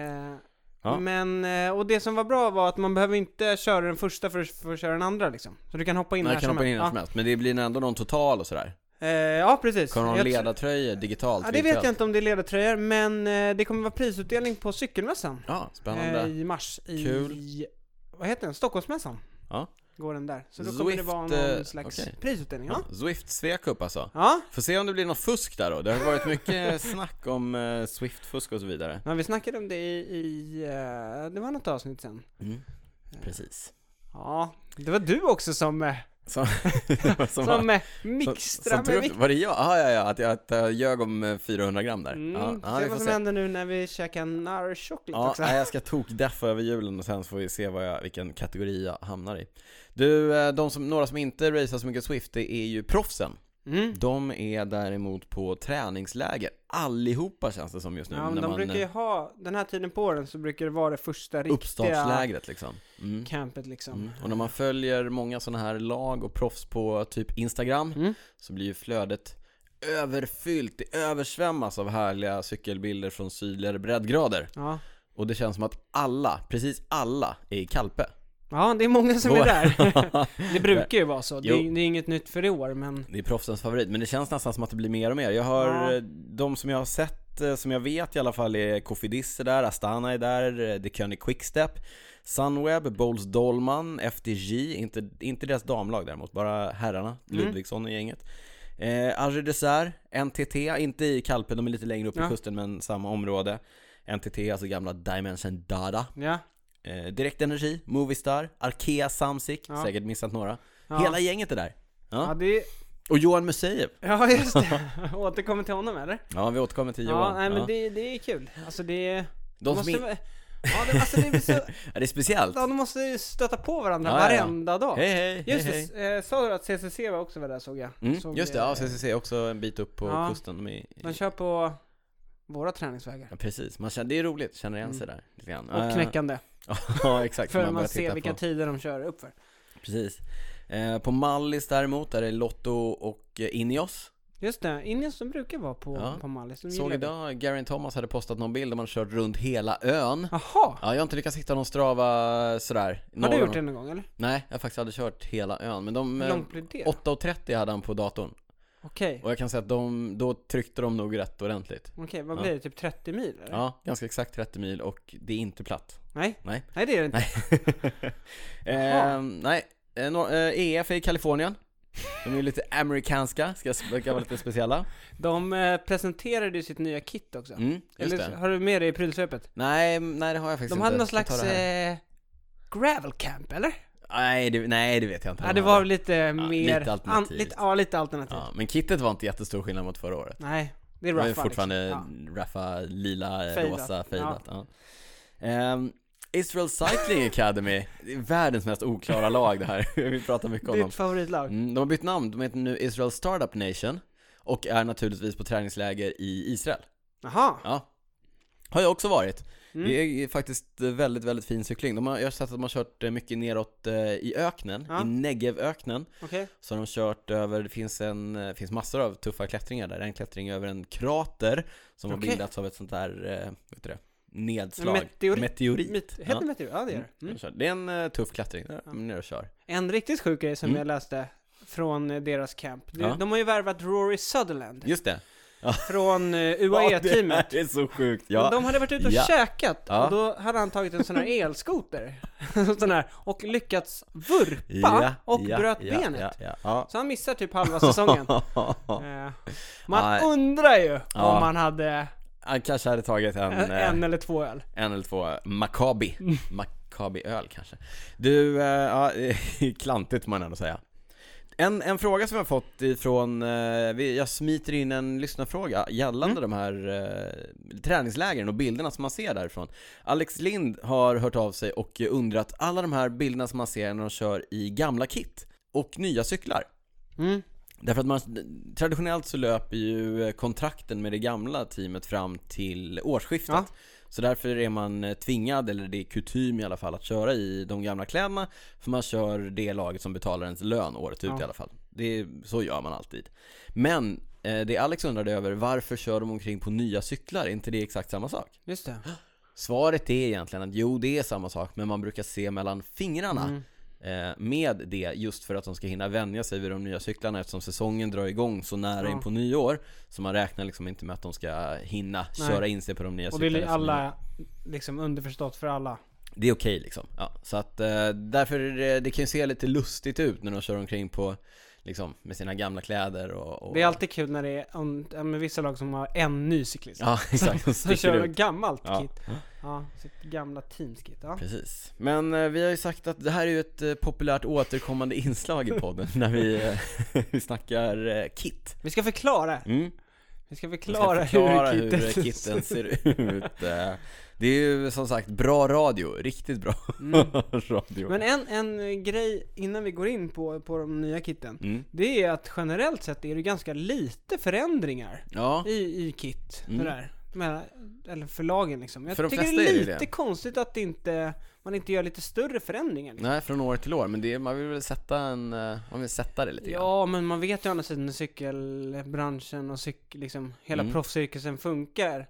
[SPEAKER 2] Ja.
[SPEAKER 1] Men, eh, och det som var bra var att man behöver inte köra den första för, för att köra den andra liksom. Så du kan hoppa in
[SPEAKER 2] Man
[SPEAKER 1] när
[SPEAKER 2] kan
[SPEAKER 1] som
[SPEAKER 2] hoppa in när
[SPEAKER 1] helst.
[SPEAKER 2] som helst, men det blir ändå någon total och sådär.
[SPEAKER 1] Ja, eh, ja precis.
[SPEAKER 2] Kommer de
[SPEAKER 1] Jag
[SPEAKER 2] ha
[SPEAKER 1] tr-
[SPEAKER 2] ledartröjor digitalt?
[SPEAKER 1] Ja, det vet
[SPEAKER 2] virtuellt?
[SPEAKER 1] jag inte om det är ledartröjor, men eh, det kommer vara prisutdelning på cykelmässan.
[SPEAKER 2] Ja, spännande.
[SPEAKER 1] eh, I mars i...
[SPEAKER 2] Kul.
[SPEAKER 1] Vad heter den? Stockholmsmässan?
[SPEAKER 2] Ja.
[SPEAKER 1] Går den där. Så då
[SPEAKER 2] Zwift,
[SPEAKER 1] kommer det vara
[SPEAKER 2] eh,
[SPEAKER 1] någon slags
[SPEAKER 2] okej.
[SPEAKER 1] prisutdelning, ja.
[SPEAKER 2] Ja. Swift svekup alltså.
[SPEAKER 1] Ja,
[SPEAKER 2] Får se om det blir något fusk där då. Det har varit mycket snack om eh, Swift-fusk och så vidare.
[SPEAKER 1] men vi snackade om det i... i eh, det var något avsnitt sen.
[SPEAKER 2] Precis.
[SPEAKER 1] Ja, det var du också som, eh,
[SPEAKER 2] Som, som,
[SPEAKER 1] som
[SPEAKER 2] som,
[SPEAKER 1] eh, mixtrade
[SPEAKER 2] som
[SPEAKER 1] med
[SPEAKER 2] tog upp,
[SPEAKER 1] vikten.
[SPEAKER 2] var det jag? Ah, ja, ja, att jag, att jag ljög om eh, 400 gram där.
[SPEAKER 1] Mm,
[SPEAKER 2] ja, ja,
[SPEAKER 1] se
[SPEAKER 2] vi får
[SPEAKER 1] vad som
[SPEAKER 2] se.
[SPEAKER 1] händer nu när vi käkar Nar Chocolate
[SPEAKER 2] Ja,
[SPEAKER 1] också.
[SPEAKER 2] nej, jag ska tokdeffa över julen och sen får vi se vad jag, vilken kategori jag hamnar i. Du, eh, de som, några som inte racear så mycket Swift, det är ju proffsen.
[SPEAKER 1] Mm.
[SPEAKER 2] De är däremot på träningsläger, allihopa känns det som just nu.
[SPEAKER 1] Ja, men
[SPEAKER 2] när
[SPEAKER 1] de
[SPEAKER 2] man,
[SPEAKER 1] brukar ju
[SPEAKER 2] eh,
[SPEAKER 1] ha, den här tiden på åren så brukar det vara det första riktiga
[SPEAKER 2] Uppstartslägret liksom. Mm.
[SPEAKER 1] campet liksom.
[SPEAKER 2] Mm. Och när man följer många sådana här lag och proffs på typ Instagram
[SPEAKER 1] Mm.
[SPEAKER 2] så blir ju flödet överfyllt, det översvämmas av härliga cykelbilder från sydligare breddgrader.
[SPEAKER 1] Ja.
[SPEAKER 2] Och det känns som att alla, precis alla, är i Kalpe.
[SPEAKER 1] ja, det är många som är
[SPEAKER 2] Vår-
[SPEAKER 1] där. det brukar ju vara så. Det är,
[SPEAKER 2] Jo.
[SPEAKER 1] det är inget nytt för i år, men
[SPEAKER 2] Det är proffsens favorit, men det känns nästan som att det blir mer och mer. Jag har,
[SPEAKER 1] Ja.
[SPEAKER 2] eh, de som jag har sett, eh, som jag vet i alla fall är Kofidis är där, Astana är där, eh, The König Quickstep, Sunweb, Bowles Dolman, FDJ, inte, inte deras damlag däremot, bara herrarna,
[SPEAKER 1] Mm.
[SPEAKER 2] Ludvigsson och gänget. Eh, Arger Dessert, NTT, inte i Kalpe, de är lite längre upp i
[SPEAKER 1] Ja.
[SPEAKER 2] kusten men samma område. NTT, alltså gamla Dimension Dada.
[SPEAKER 1] ja.
[SPEAKER 2] Eh, Direkt Energi, Movistar, Arkea Samsic,
[SPEAKER 1] Ja.
[SPEAKER 2] säkert missat några.
[SPEAKER 1] Ja.
[SPEAKER 2] Hela gänget är där.
[SPEAKER 1] Ja,
[SPEAKER 2] Ja.
[SPEAKER 1] det är,
[SPEAKER 2] Och Johan Museev.
[SPEAKER 1] ja just det. Återkommer till honom eller?
[SPEAKER 2] Ja, vi återkommer till
[SPEAKER 1] Ja,
[SPEAKER 2] Johan.
[SPEAKER 1] nej men
[SPEAKER 2] ja.
[SPEAKER 1] Det, det är kul. Alltså det
[SPEAKER 2] De som
[SPEAKER 1] måste
[SPEAKER 2] in...
[SPEAKER 1] vara- Ja, det, alltså det är så...
[SPEAKER 2] ja, det är speciellt.
[SPEAKER 1] Ja, de måste ju stöta på varandra
[SPEAKER 2] Ja, ja, ja.
[SPEAKER 1] varenda dag.
[SPEAKER 2] Hej hej,
[SPEAKER 1] Just
[SPEAKER 2] hej, hej.
[SPEAKER 1] det, eh, sa du att CCC var också var där såg jag?
[SPEAKER 2] Mm,
[SPEAKER 1] såg,
[SPEAKER 2] just det,
[SPEAKER 1] eh,
[SPEAKER 2] ja, CCC är också en bit upp på
[SPEAKER 1] Ja.
[SPEAKER 2] kusten. De är...
[SPEAKER 1] De kör på våra träningsvägar.
[SPEAKER 2] ja, precis, man känner, det är roligt, känner igen sig där lite grann.
[SPEAKER 1] Mm. Och
[SPEAKER 2] Eh,
[SPEAKER 1] knäckande.
[SPEAKER 2] ja, exakt.
[SPEAKER 1] För
[SPEAKER 2] man
[SPEAKER 1] man,
[SPEAKER 2] börjar titta
[SPEAKER 1] ser vilka
[SPEAKER 2] på.
[SPEAKER 1] tider de kör upp för.
[SPEAKER 2] Precis. Eh, på Mallis däremot, där är Lotto och eh, Ineos.
[SPEAKER 1] Just det, Indiens som brukar vara på,
[SPEAKER 2] Ja.
[SPEAKER 1] på Mallis. de
[SPEAKER 2] Såg
[SPEAKER 1] gillar det.
[SPEAKER 2] idag, Garin Thomas hade postat någon bild där man kört runt hela ön.
[SPEAKER 1] Jaha!
[SPEAKER 2] Ja, jag har inte lyckats hitta någon strava eh, sådär.
[SPEAKER 1] Har
[SPEAKER 2] Någon-
[SPEAKER 1] du gjort det någon gång eller?
[SPEAKER 2] Nej, jag har faktiskt aldrig kört hela ön. Men de...
[SPEAKER 1] Hur
[SPEAKER 2] eh,
[SPEAKER 1] långt blir det?
[SPEAKER 2] 8.30 hade han på datorn.
[SPEAKER 1] Okej,
[SPEAKER 2] Och jag kan säga att de, då tryckte de nog rätt ordentligt.
[SPEAKER 1] okej, vad
[SPEAKER 2] Ja.
[SPEAKER 1] blir det? Typ 30 mil eller?
[SPEAKER 2] Ja, ganska exakt 30 mil och det är inte platt.
[SPEAKER 1] Nej?
[SPEAKER 2] Nej.
[SPEAKER 1] Nej det är det inte.
[SPEAKER 2] Nej. eh, nej, eh, nor- eh, EF är i Kalifornien. De är ju lite amerikanska, ska ska vara lite speciella.
[SPEAKER 1] De eh, presenterade ju sitt nya kit också.
[SPEAKER 2] Mm, just
[SPEAKER 1] eller
[SPEAKER 2] det.
[SPEAKER 1] har du med det i prylsvepet?
[SPEAKER 2] Nej, nej det har jag faktiskt
[SPEAKER 1] De
[SPEAKER 2] inte.
[SPEAKER 1] hade någon
[SPEAKER 2] Ska jag ta
[SPEAKER 1] slags
[SPEAKER 2] det här?
[SPEAKER 1] eh, gravel camp eller?
[SPEAKER 2] nej, det, nej, det vet jag inte.
[SPEAKER 1] Ja,
[SPEAKER 2] De
[SPEAKER 1] det
[SPEAKER 2] hade.
[SPEAKER 1] var lite mer...
[SPEAKER 2] lite
[SPEAKER 1] an-
[SPEAKER 2] alternativt.
[SPEAKER 1] lite, ja, lite alternativ.
[SPEAKER 2] ja, men kittet var inte jättestor skillnad mot förra året.
[SPEAKER 1] Nej, det är
[SPEAKER 2] Det var ju
[SPEAKER 1] raffa,
[SPEAKER 2] fortfarande
[SPEAKER 1] liksom.
[SPEAKER 2] raffa, lila,
[SPEAKER 1] Fejdat.
[SPEAKER 2] rosa, fejdat. Ja. Ehm, Israel Cycling Academy, det är världens mest oklara lag det här. Vi pratar mycket
[SPEAKER 1] ja.
[SPEAKER 2] om dem.
[SPEAKER 1] Ditt favoritlag?
[SPEAKER 2] Mm, de har bytt namn, de heter nu Israel Startup Nation och är naturligtvis på träningsläger i Israel.
[SPEAKER 1] Jaha,
[SPEAKER 2] Ja. Har jag också varit.
[SPEAKER 1] Mm.
[SPEAKER 2] Det är faktiskt väldigt, väldigt fin cykling. De har, jag har sett att de har kört eh, mycket neråt eh, i öknen,
[SPEAKER 1] Ja.
[SPEAKER 2] i Negevöknen.
[SPEAKER 1] okej.
[SPEAKER 2] Så har de kört över, det finns, en, eh, finns massor av tuffa klättringar där. En klättring över en krater som
[SPEAKER 1] Okej.
[SPEAKER 2] har bildats av ett sånt där, eh, vad heter det, nedslag.
[SPEAKER 1] En meteorit.
[SPEAKER 2] Meteorit.
[SPEAKER 1] Mitt, heter
[SPEAKER 2] Ja.
[SPEAKER 1] det meteor? Ja, det gör det.
[SPEAKER 2] Mm.
[SPEAKER 1] Mm.
[SPEAKER 2] Det är en eh, tuff klättring, där är de ner och kör.
[SPEAKER 1] En riktigt sjuk grej som
[SPEAKER 2] Mm.
[SPEAKER 1] jag läste från eh, deras camp. De,
[SPEAKER 2] Ja.
[SPEAKER 1] de har ju värvat Rory Sutherland
[SPEAKER 2] Just det.
[SPEAKER 1] från eh,
[SPEAKER 2] Ja, det
[SPEAKER 1] UAE-teamet.
[SPEAKER 2] här är så sjukt. Ja.
[SPEAKER 1] De hade varit ute och
[SPEAKER 2] Ja.
[SPEAKER 1] käkat
[SPEAKER 2] Ja.
[SPEAKER 1] och då hade han tagit en sån här elskoter sån här, och lyckats vurpa
[SPEAKER 2] Ja,
[SPEAKER 1] och
[SPEAKER 2] ja,
[SPEAKER 1] bröt
[SPEAKER 2] ja,
[SPEAKER 1] benet.
[SPEAKER 2] Ja, ja, ja.
[SPEAKER 1] Så han missar typ halva säsongen. Eh, Man
[SPEAKER 2] Nej.
[SPEAKER 1] undrar ju
[SPEAKER 2] Ja. eh,
[SPEAKER 1] om han hade
[SPEAKER 2] Han kanske hade tagit
[SPEAKER 1] en,
[SPEAKER 2] en,
[SPEAKER 1] en
[SPEAKER 2] en,
[SPEAKER 1] Mm. eller två öl.
[SPEAKER 2] en eller två eh, Maccabi. Maccabi-öl kanske. Du, eh, ja, klantigt får man ändå säga. En, en fråga som jag fått ifrån, eh, vi- jag smiter in en lyssnarfråga
[SPEAKER 1] Mm.
[SPEAKER 2] gällande de här eh, träningslägren och bilderna som man ser därifrån. Alex Lind har hört av sig och undrat, alla de här bilderna som man ser när de kör i gamla kit och nya cyklar.
[SPEAKER 1] Mm.
[SPEAKER 2] Därför att man, traditionellt så löper ju kontrakten med det gamla teamet fram till årsskiftet.
[SPEAKER 1] Ja.
[SPEAKER 2] Så därför är man tvingad, eller det är kutym i alla fall, att köra i de gamla kläderna. För man kör det laget som betalar ens lön året ut
[SPEAKER 1] Ja.
[SPEAKER 2] i alla fall. Det, är- så gör man alltid. Men eh, det Alex undrade över, varför kör de omkring på nya cyklar? Är inte det exakt samma sak?
[SPEAKER 1] Just det.
[SPEAKER 2] Svaret är egentligen att jo, det är samma sak, men man brukar se mellan fingrarna
[SPEAKER 1] Mm.
[SPEAKER 2] eh, med det just för att de ska hinna vänja sig vid de nya cyklarna eftersom säsongen drar igång så nära
[SPEAKER 1] Ja.
[SPEAKER 2] in på nyår. Så man räknar liksom inte med att de ska hinna
[SPEAKER 1] Nej.
[SPEAKER 2] köra in sig på de nya
[SPEAKER 1] Och det
[SPEAKER 2] cyklarna.
[SPEAKER 1] är
[SPEAKER 2] som är-
[SPEAKER 1] alla, liksom underförstått för alla.
[SPEAKER 2] Det är okej liksom. Ja, så att eh, därför är det, det kan ju se lite lustigt ut när de kör omkring på liksom med sina gamla kläder och, och
[SPEAKER 1] Det är alltid kul när det är om, ja, men vissa lag som har en ny cyklist.
[SPEAKER 2] Ja, exakt. De
[SPEAKER 1] Så
[SPEAKER 2] sticker
[SPEAKER 1] kör de
[SPEAKER 2] ut.
[SPEAKER 1] gammalt
[SPEAKER 2] Ja.
[SPEAKER 1] kit. Ja, sitt gamla teamskit. Ja.
[SPEAKER 2] Precis. Men eh, vi har ju sagt att det här är ju ett eh, populärt återkommande inslag i podden när vi, eh, vi snackar eh, kit.
[SPEAKER 1] Vi ska förklara.
[SPEAKER 2] Mm.
[SPEAKER 1] Vi ska
[SPEAKER 2] Vi ska
[SPEAKER 1] förklara,
[SPEAKER 2] förklara
[SPEAKER 1] hur
[SPEAKER 2] hur
[SPEAKER 1] kitten
[SPEAKER 2] kitten ser ut. Eh, Det är ju som sagt bra radio, riktigt bra
[SPEAKER 1] Mm.
[SPEAKER 2] radio.
[SPEAKER 1] Men en, en eh, grej innan vi går in på, på de nya kitten.
[SPEAKER 2] Mm.
[SPEAKER 1] Det är att generellt sett är det ganska lite förändringar
[SPEAKER 2] Ja,
[SPEAKER 1] i, i kit.
[SPEAKER 2] Mm.
[SPEAKER 1] Sådär. Men, eller förlagen liksom. Jag
[SPEAKER 2] För de
[SPEAKER 1] tycker
[SPEAKER 2] flesta
[SPEAKER 1] det
[SPEAKER 2] är
[SPEAKER 1] är
[SPEAKER 2] det ju
[SPEAKER 1] lite
[SPEAKER 2] det.
[SPEAKER 1] konstigt att det inte, man inte gör lite större förändringar. Liksom.
[SPEAKER 2] nej från år till år, men det, är- man vill väl sätta en, eh, man vill sätta det lite grann.
[SPEAKER 1] Ja, men man vet ju å andra sidan hur cykelbranschen och cyk, liksom, hela
[SPEAKER 2] Mm.
[SPEAKER 1] proffscirkusen funkar.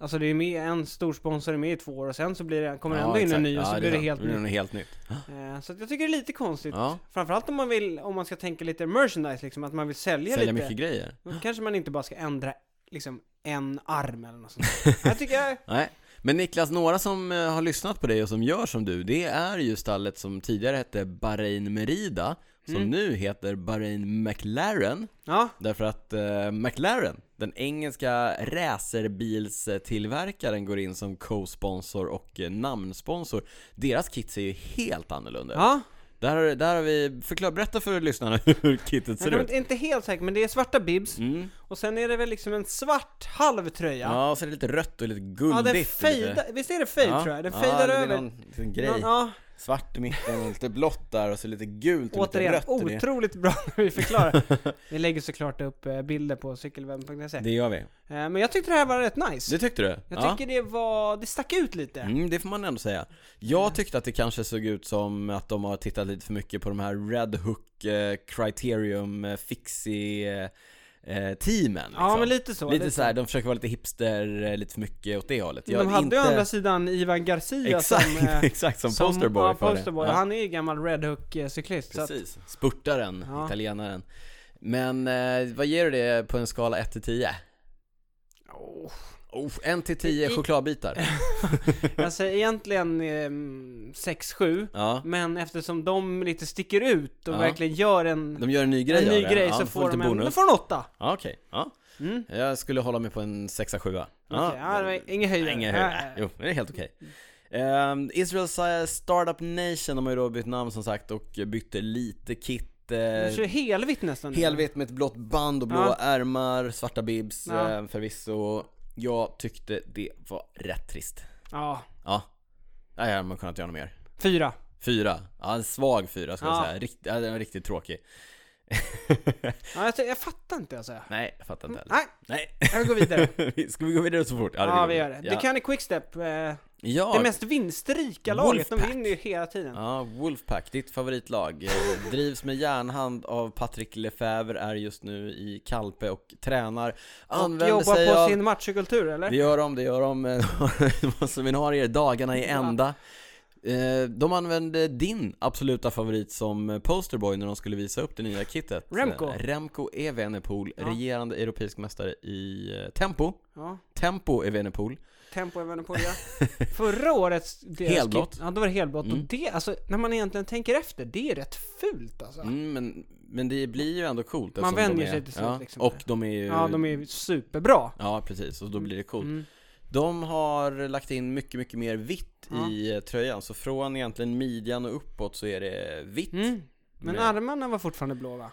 [SPEAKER 1] Alltså det är med en stor sponsor är med i två år och sen så blir det, kommer det
[SPEAKER 2] Ja,
[SPEAKER 1] ändå in
[SPEAKER 2] exakt.
[SPEAKER 1] en ny och
[SPEAKER 2] Ja,
[SPEAKER 1] så
[SPEAKER 2] det
[SPEAKER 1] blir
[SPEAKER 2] är
[SPEAKER 1] det
[SPEAKER 2] sant.
[SPEAKER 1] helt
[SPEAKER 2] Då blir det
[SPEAKER 1] nytt.
[SPEAKER 2] något helt nytt.
[SPEAKER 1] Eh, Så att jag tycker det är lite konstigt.
[SPEAKER 2] Ja,
[SPEAKER 1] Framförallt om man vill, om man ska tänka lite merchandise liksom, att man vill sälja,
[SPEAKER 2] sälja
[SPEAKER 1] lite.
[SPEAKER 2] mycket grejer.
[SPEAKER 1] Då kanske man inte bara ska ändra liksom en arm eller något sånt. där. jag tycker jag,
[SPEAKER 2] Nej, men Niklas, några som eh, har lyssnat på dig och som gör som du, det är ju stallet som tidigare hette Bahrain Merida, som
[SPEAKER 1] Mm.
[SPEAKER 2] nu heter Bahrain McLaren,
[SPEAKER 1] ja,
[SPEAKER 2] därför att eh, McLaren, den engelska racerbilstillverkaren, går in som co-sponsor och eh, namnsponsor. Deras kit ser ju helt annorlunda ut.
[SPEAKER 1] ja.
[SPEAKER 2] Där, har- där har vi, förklara, berätta för lyssnarna hur kittet
[SPEAKER 1] Jag
[SPEAKER 2] ser
[SPEAKER 1] är
[SPEAKER 2] ut.
[SPEAKER 1] inte- inte helt säker, men det är svarta bibs.
[SPEAKER 2] Mm.
[SPEAKER 1] Och sen är det väl liksom en svart halvtröja.
[SPEAKER 2] Ja, och så är det lite rött och lite
[SPEAKER 1] Ja,
[SPEAKER 2] guldigt.
[SPEAKER 1] den fejdar, visst är det fejd tror jag? Den fejdar
[SPEAKER 2] det är
[SPEAKER 1] över.
[SPEAKER 2] Någon, liten grej.
[SPEAKER 1] Någon- ja,
[SPEAKER 2] Svart i mitten och lite blått där och så lite gult och lite
[SPEAKER 1] återigen,
[SPEAKER 2] rött i det.
[SPEAKER 1] otroligt bra när vi förklarar. vi lägger såklart upp eh, bilder på cykelwebben.se. Eh,
[SPEAKER 2] Det gör vi.
[SPEAKER 1] Men jag tyckte det här var rätt nice.
[SPEAKER 2] Det tyckte du?
[SPEAKER 1] jag tycker det var, det stack ut lite.
[SPEAKER 2] Mm, det får man ändå säga. Jag tyckte att det kanske såg ut som att de har tittat lite för mycket på de här Red Hook eh, Criterium eh, Fixie eh, teamen.
[SPEAKER 1] Ja, men lite så.
[SPEAKER 2] Lite såhär, de försöker vara lite hipster, eh, lite för mycket åt det hållet.
[SPEAKER 1] de hade ju å andra sidan Ivan Garcia
[SPEAKER 2] Exakt,
[SPEAKER 1] som... eh,
[SPEAKER 2] exakt som, posterboy
[SPEAKER 1] ja,
[SPEAKER 2] för
[SPEAKER 1] posterboy.
[SPEAKER 2] det. Ja.
[SPEAKER 1] Han är ju gammal Red Hook-cyklist. Så att,
[SPEAKER 2] Precis, spurtaren,
[SPEAKER 1] Ja.
[SPEAKER 2] italienaren. Men eh, vad ger du det på en skala 1 till 10?
[SPEAKER 1] Åh.
[SPEAKER 2] Oh, 1 till 10
[SPEAKER 1] I-
[SPEAKER 2] chokladbitar.
[SPEAKER 1] jag säger Alltså, egentligen ehm, 6-7.
[SPEAKER 2] Ja,
[SPEAKER 1] Men eftersom de lite sticker ut och
[SPEAKER 2] Ja.
[SPEAKER 1] verkligen gör en,
[SPEAKER 2] de gör en ny grej
[SPEAKER 1] en
[SPEAKER 2] av
[SPEAKER 1] ny
[SPEAKER 2] det.
[SPEAKER 1] grej
[SPEAKER 2] ja,
[SPEAKER 1] så
[SPEAKER 2] de
[SPEAKER 1] får de
[SPEAKER 2] lite
[SPEAKER 1] en,
[SPEAKER 2] bonus.
[SPEAKER 1] de får en åtta.
[SPEAKER 2] Ja, okej. Ja.
[SPEAKER 1] Mm.
[SPEAKER 2] Jag skulle hålla mig på en 6-7.
[SPEAKER 1] Ja. ja, det var Äh, ingen höjdare.
[SPEAKER 2] Ingen
[SPEAKER 1] Ja,
[SPEAKER 2] höjd.
[SPEAKER 1] ja, ja.
[SPEAKER 2] Jo, men det är helt okej. Ehm, Israels eh, Startup Nation, de har ju då bytt namn som sagt och bytte lite kit. eh,
[SPEAKER 1] De kör helvitt nästan.
[SPEAKER 2] Helvitt med ett blått band och blåa
[SPEAKER 1] Ja.
[SPEAKER 2] ärmar, svarta bibs
[SPEAKER 1] Ja.
[SPEAKER 2] eh, förvisso. Jag tyckte det var rätt trist.
[SPEAKER 1] Ja,
[SPEAKER 2] Ja. Nej, jag hade kunnat göra något mer.
[SPEAKER 1] fyra.
[SPEAKER 2] Fyra. Ja, en svag fyra skulle jag
[SPEAKER 1] Ja.
[SPEAKER 2] säga. Rikt, ja, den var riktigt tråkig.
[SPEAKER 1] Ja, jag, jag fattar inte alltså.
[SPEAKER 2] Nej, jag fattar inte heller.
[SPEAKER 1] Nej,
[SPEAKER 2] Nej.
[SPEAKER 1] jag går vidare.
[SPEAKER 2] Ska vi gå vidare så fort?
[SPEAKER 1] Ja, vi gör det.
[SPEAKER 2] Ja.
[SPEAKER 1] Det kan i Quickstep. Eh,
[SPEAKER 2] ja.
[SPEAKER 1] det mest vinstrika laget. De
[SPEAKER 2] Wolfpack.
[SPEAKER 1] vinner ju hela tiden.
[SPEAKER 2] Ja, Wolfpack, ditt favoritlag. eh, Drivs med järnhand av Patrik Lefebvre, är just nu i Kalpe och tränar.
[SPEAKER 1] Och
[SPEAKER 2] Använder
[SPEAKER 1] jobbar
[SPEAKER 2] sig
[SPEAKER 1] på
[SPEAKER 2] av...
[SPEAKER 1] sin matchkultur eller?
[SPEAKER 2] Det gör de, det gör de. Eh, De har seminarier dagarna i ända. Eh, De använde din absoluta favorit som posterboy när de skulle visa upp det nya kittet.
[SPEAKER 1] Remco.
[SPEAKER 2] Eh, Remco Evenepoel,
[SPEAKER 1] Ja.
[SPEAKER 2] regerande europeisk mästare i eh, tempo.
[SPEAKER 1] Ja.
[SPEAKER 2] Tempo Evenepoel.
[SPEAKER 1] Tempo även på ja. Förra årets deras
[SPEAKER 2] Helblått.
[SPEAKER 1] kit- Ja, då var det helblått.
[SPEAKER 2] Mm.
[SPEAKER 1] Och det, alltså när man egentligen tänker efter, det är rätt fult alltså.
[SPEAKER 2] Mm, men, men det blir ju ändå coolt.
[SPEAKER 1] Man
[SPEAKER 2] eftersom
[SPEAKER 1] vänjer
[SPEAKER 2] de är,
[SPEAKER 1] sig till sånt,
[SPEAKER 2] ja,
[SPEAKER 1] liksom.
[SPEAKER 2] Och de är ju...
[SPEAKER 1] Ja, de är ju superbra.
[SPEAKER 2] Ja, precis. Och då blir det coolt.
[SPEAKER 1] Mm.
[SPEAKER 2] De har lagt in mycket, mycket mer vitt
[SPEAKER 1] Ja.
[SPEAKER 2] i eh, tröjan. Så från egentligen midjan och uppåt så är det vitt.
[SPEAKER 1] Mm. Men
[SPEAKER 2] Med-
[SPEAKER 1] armarna var fortfarande blå va?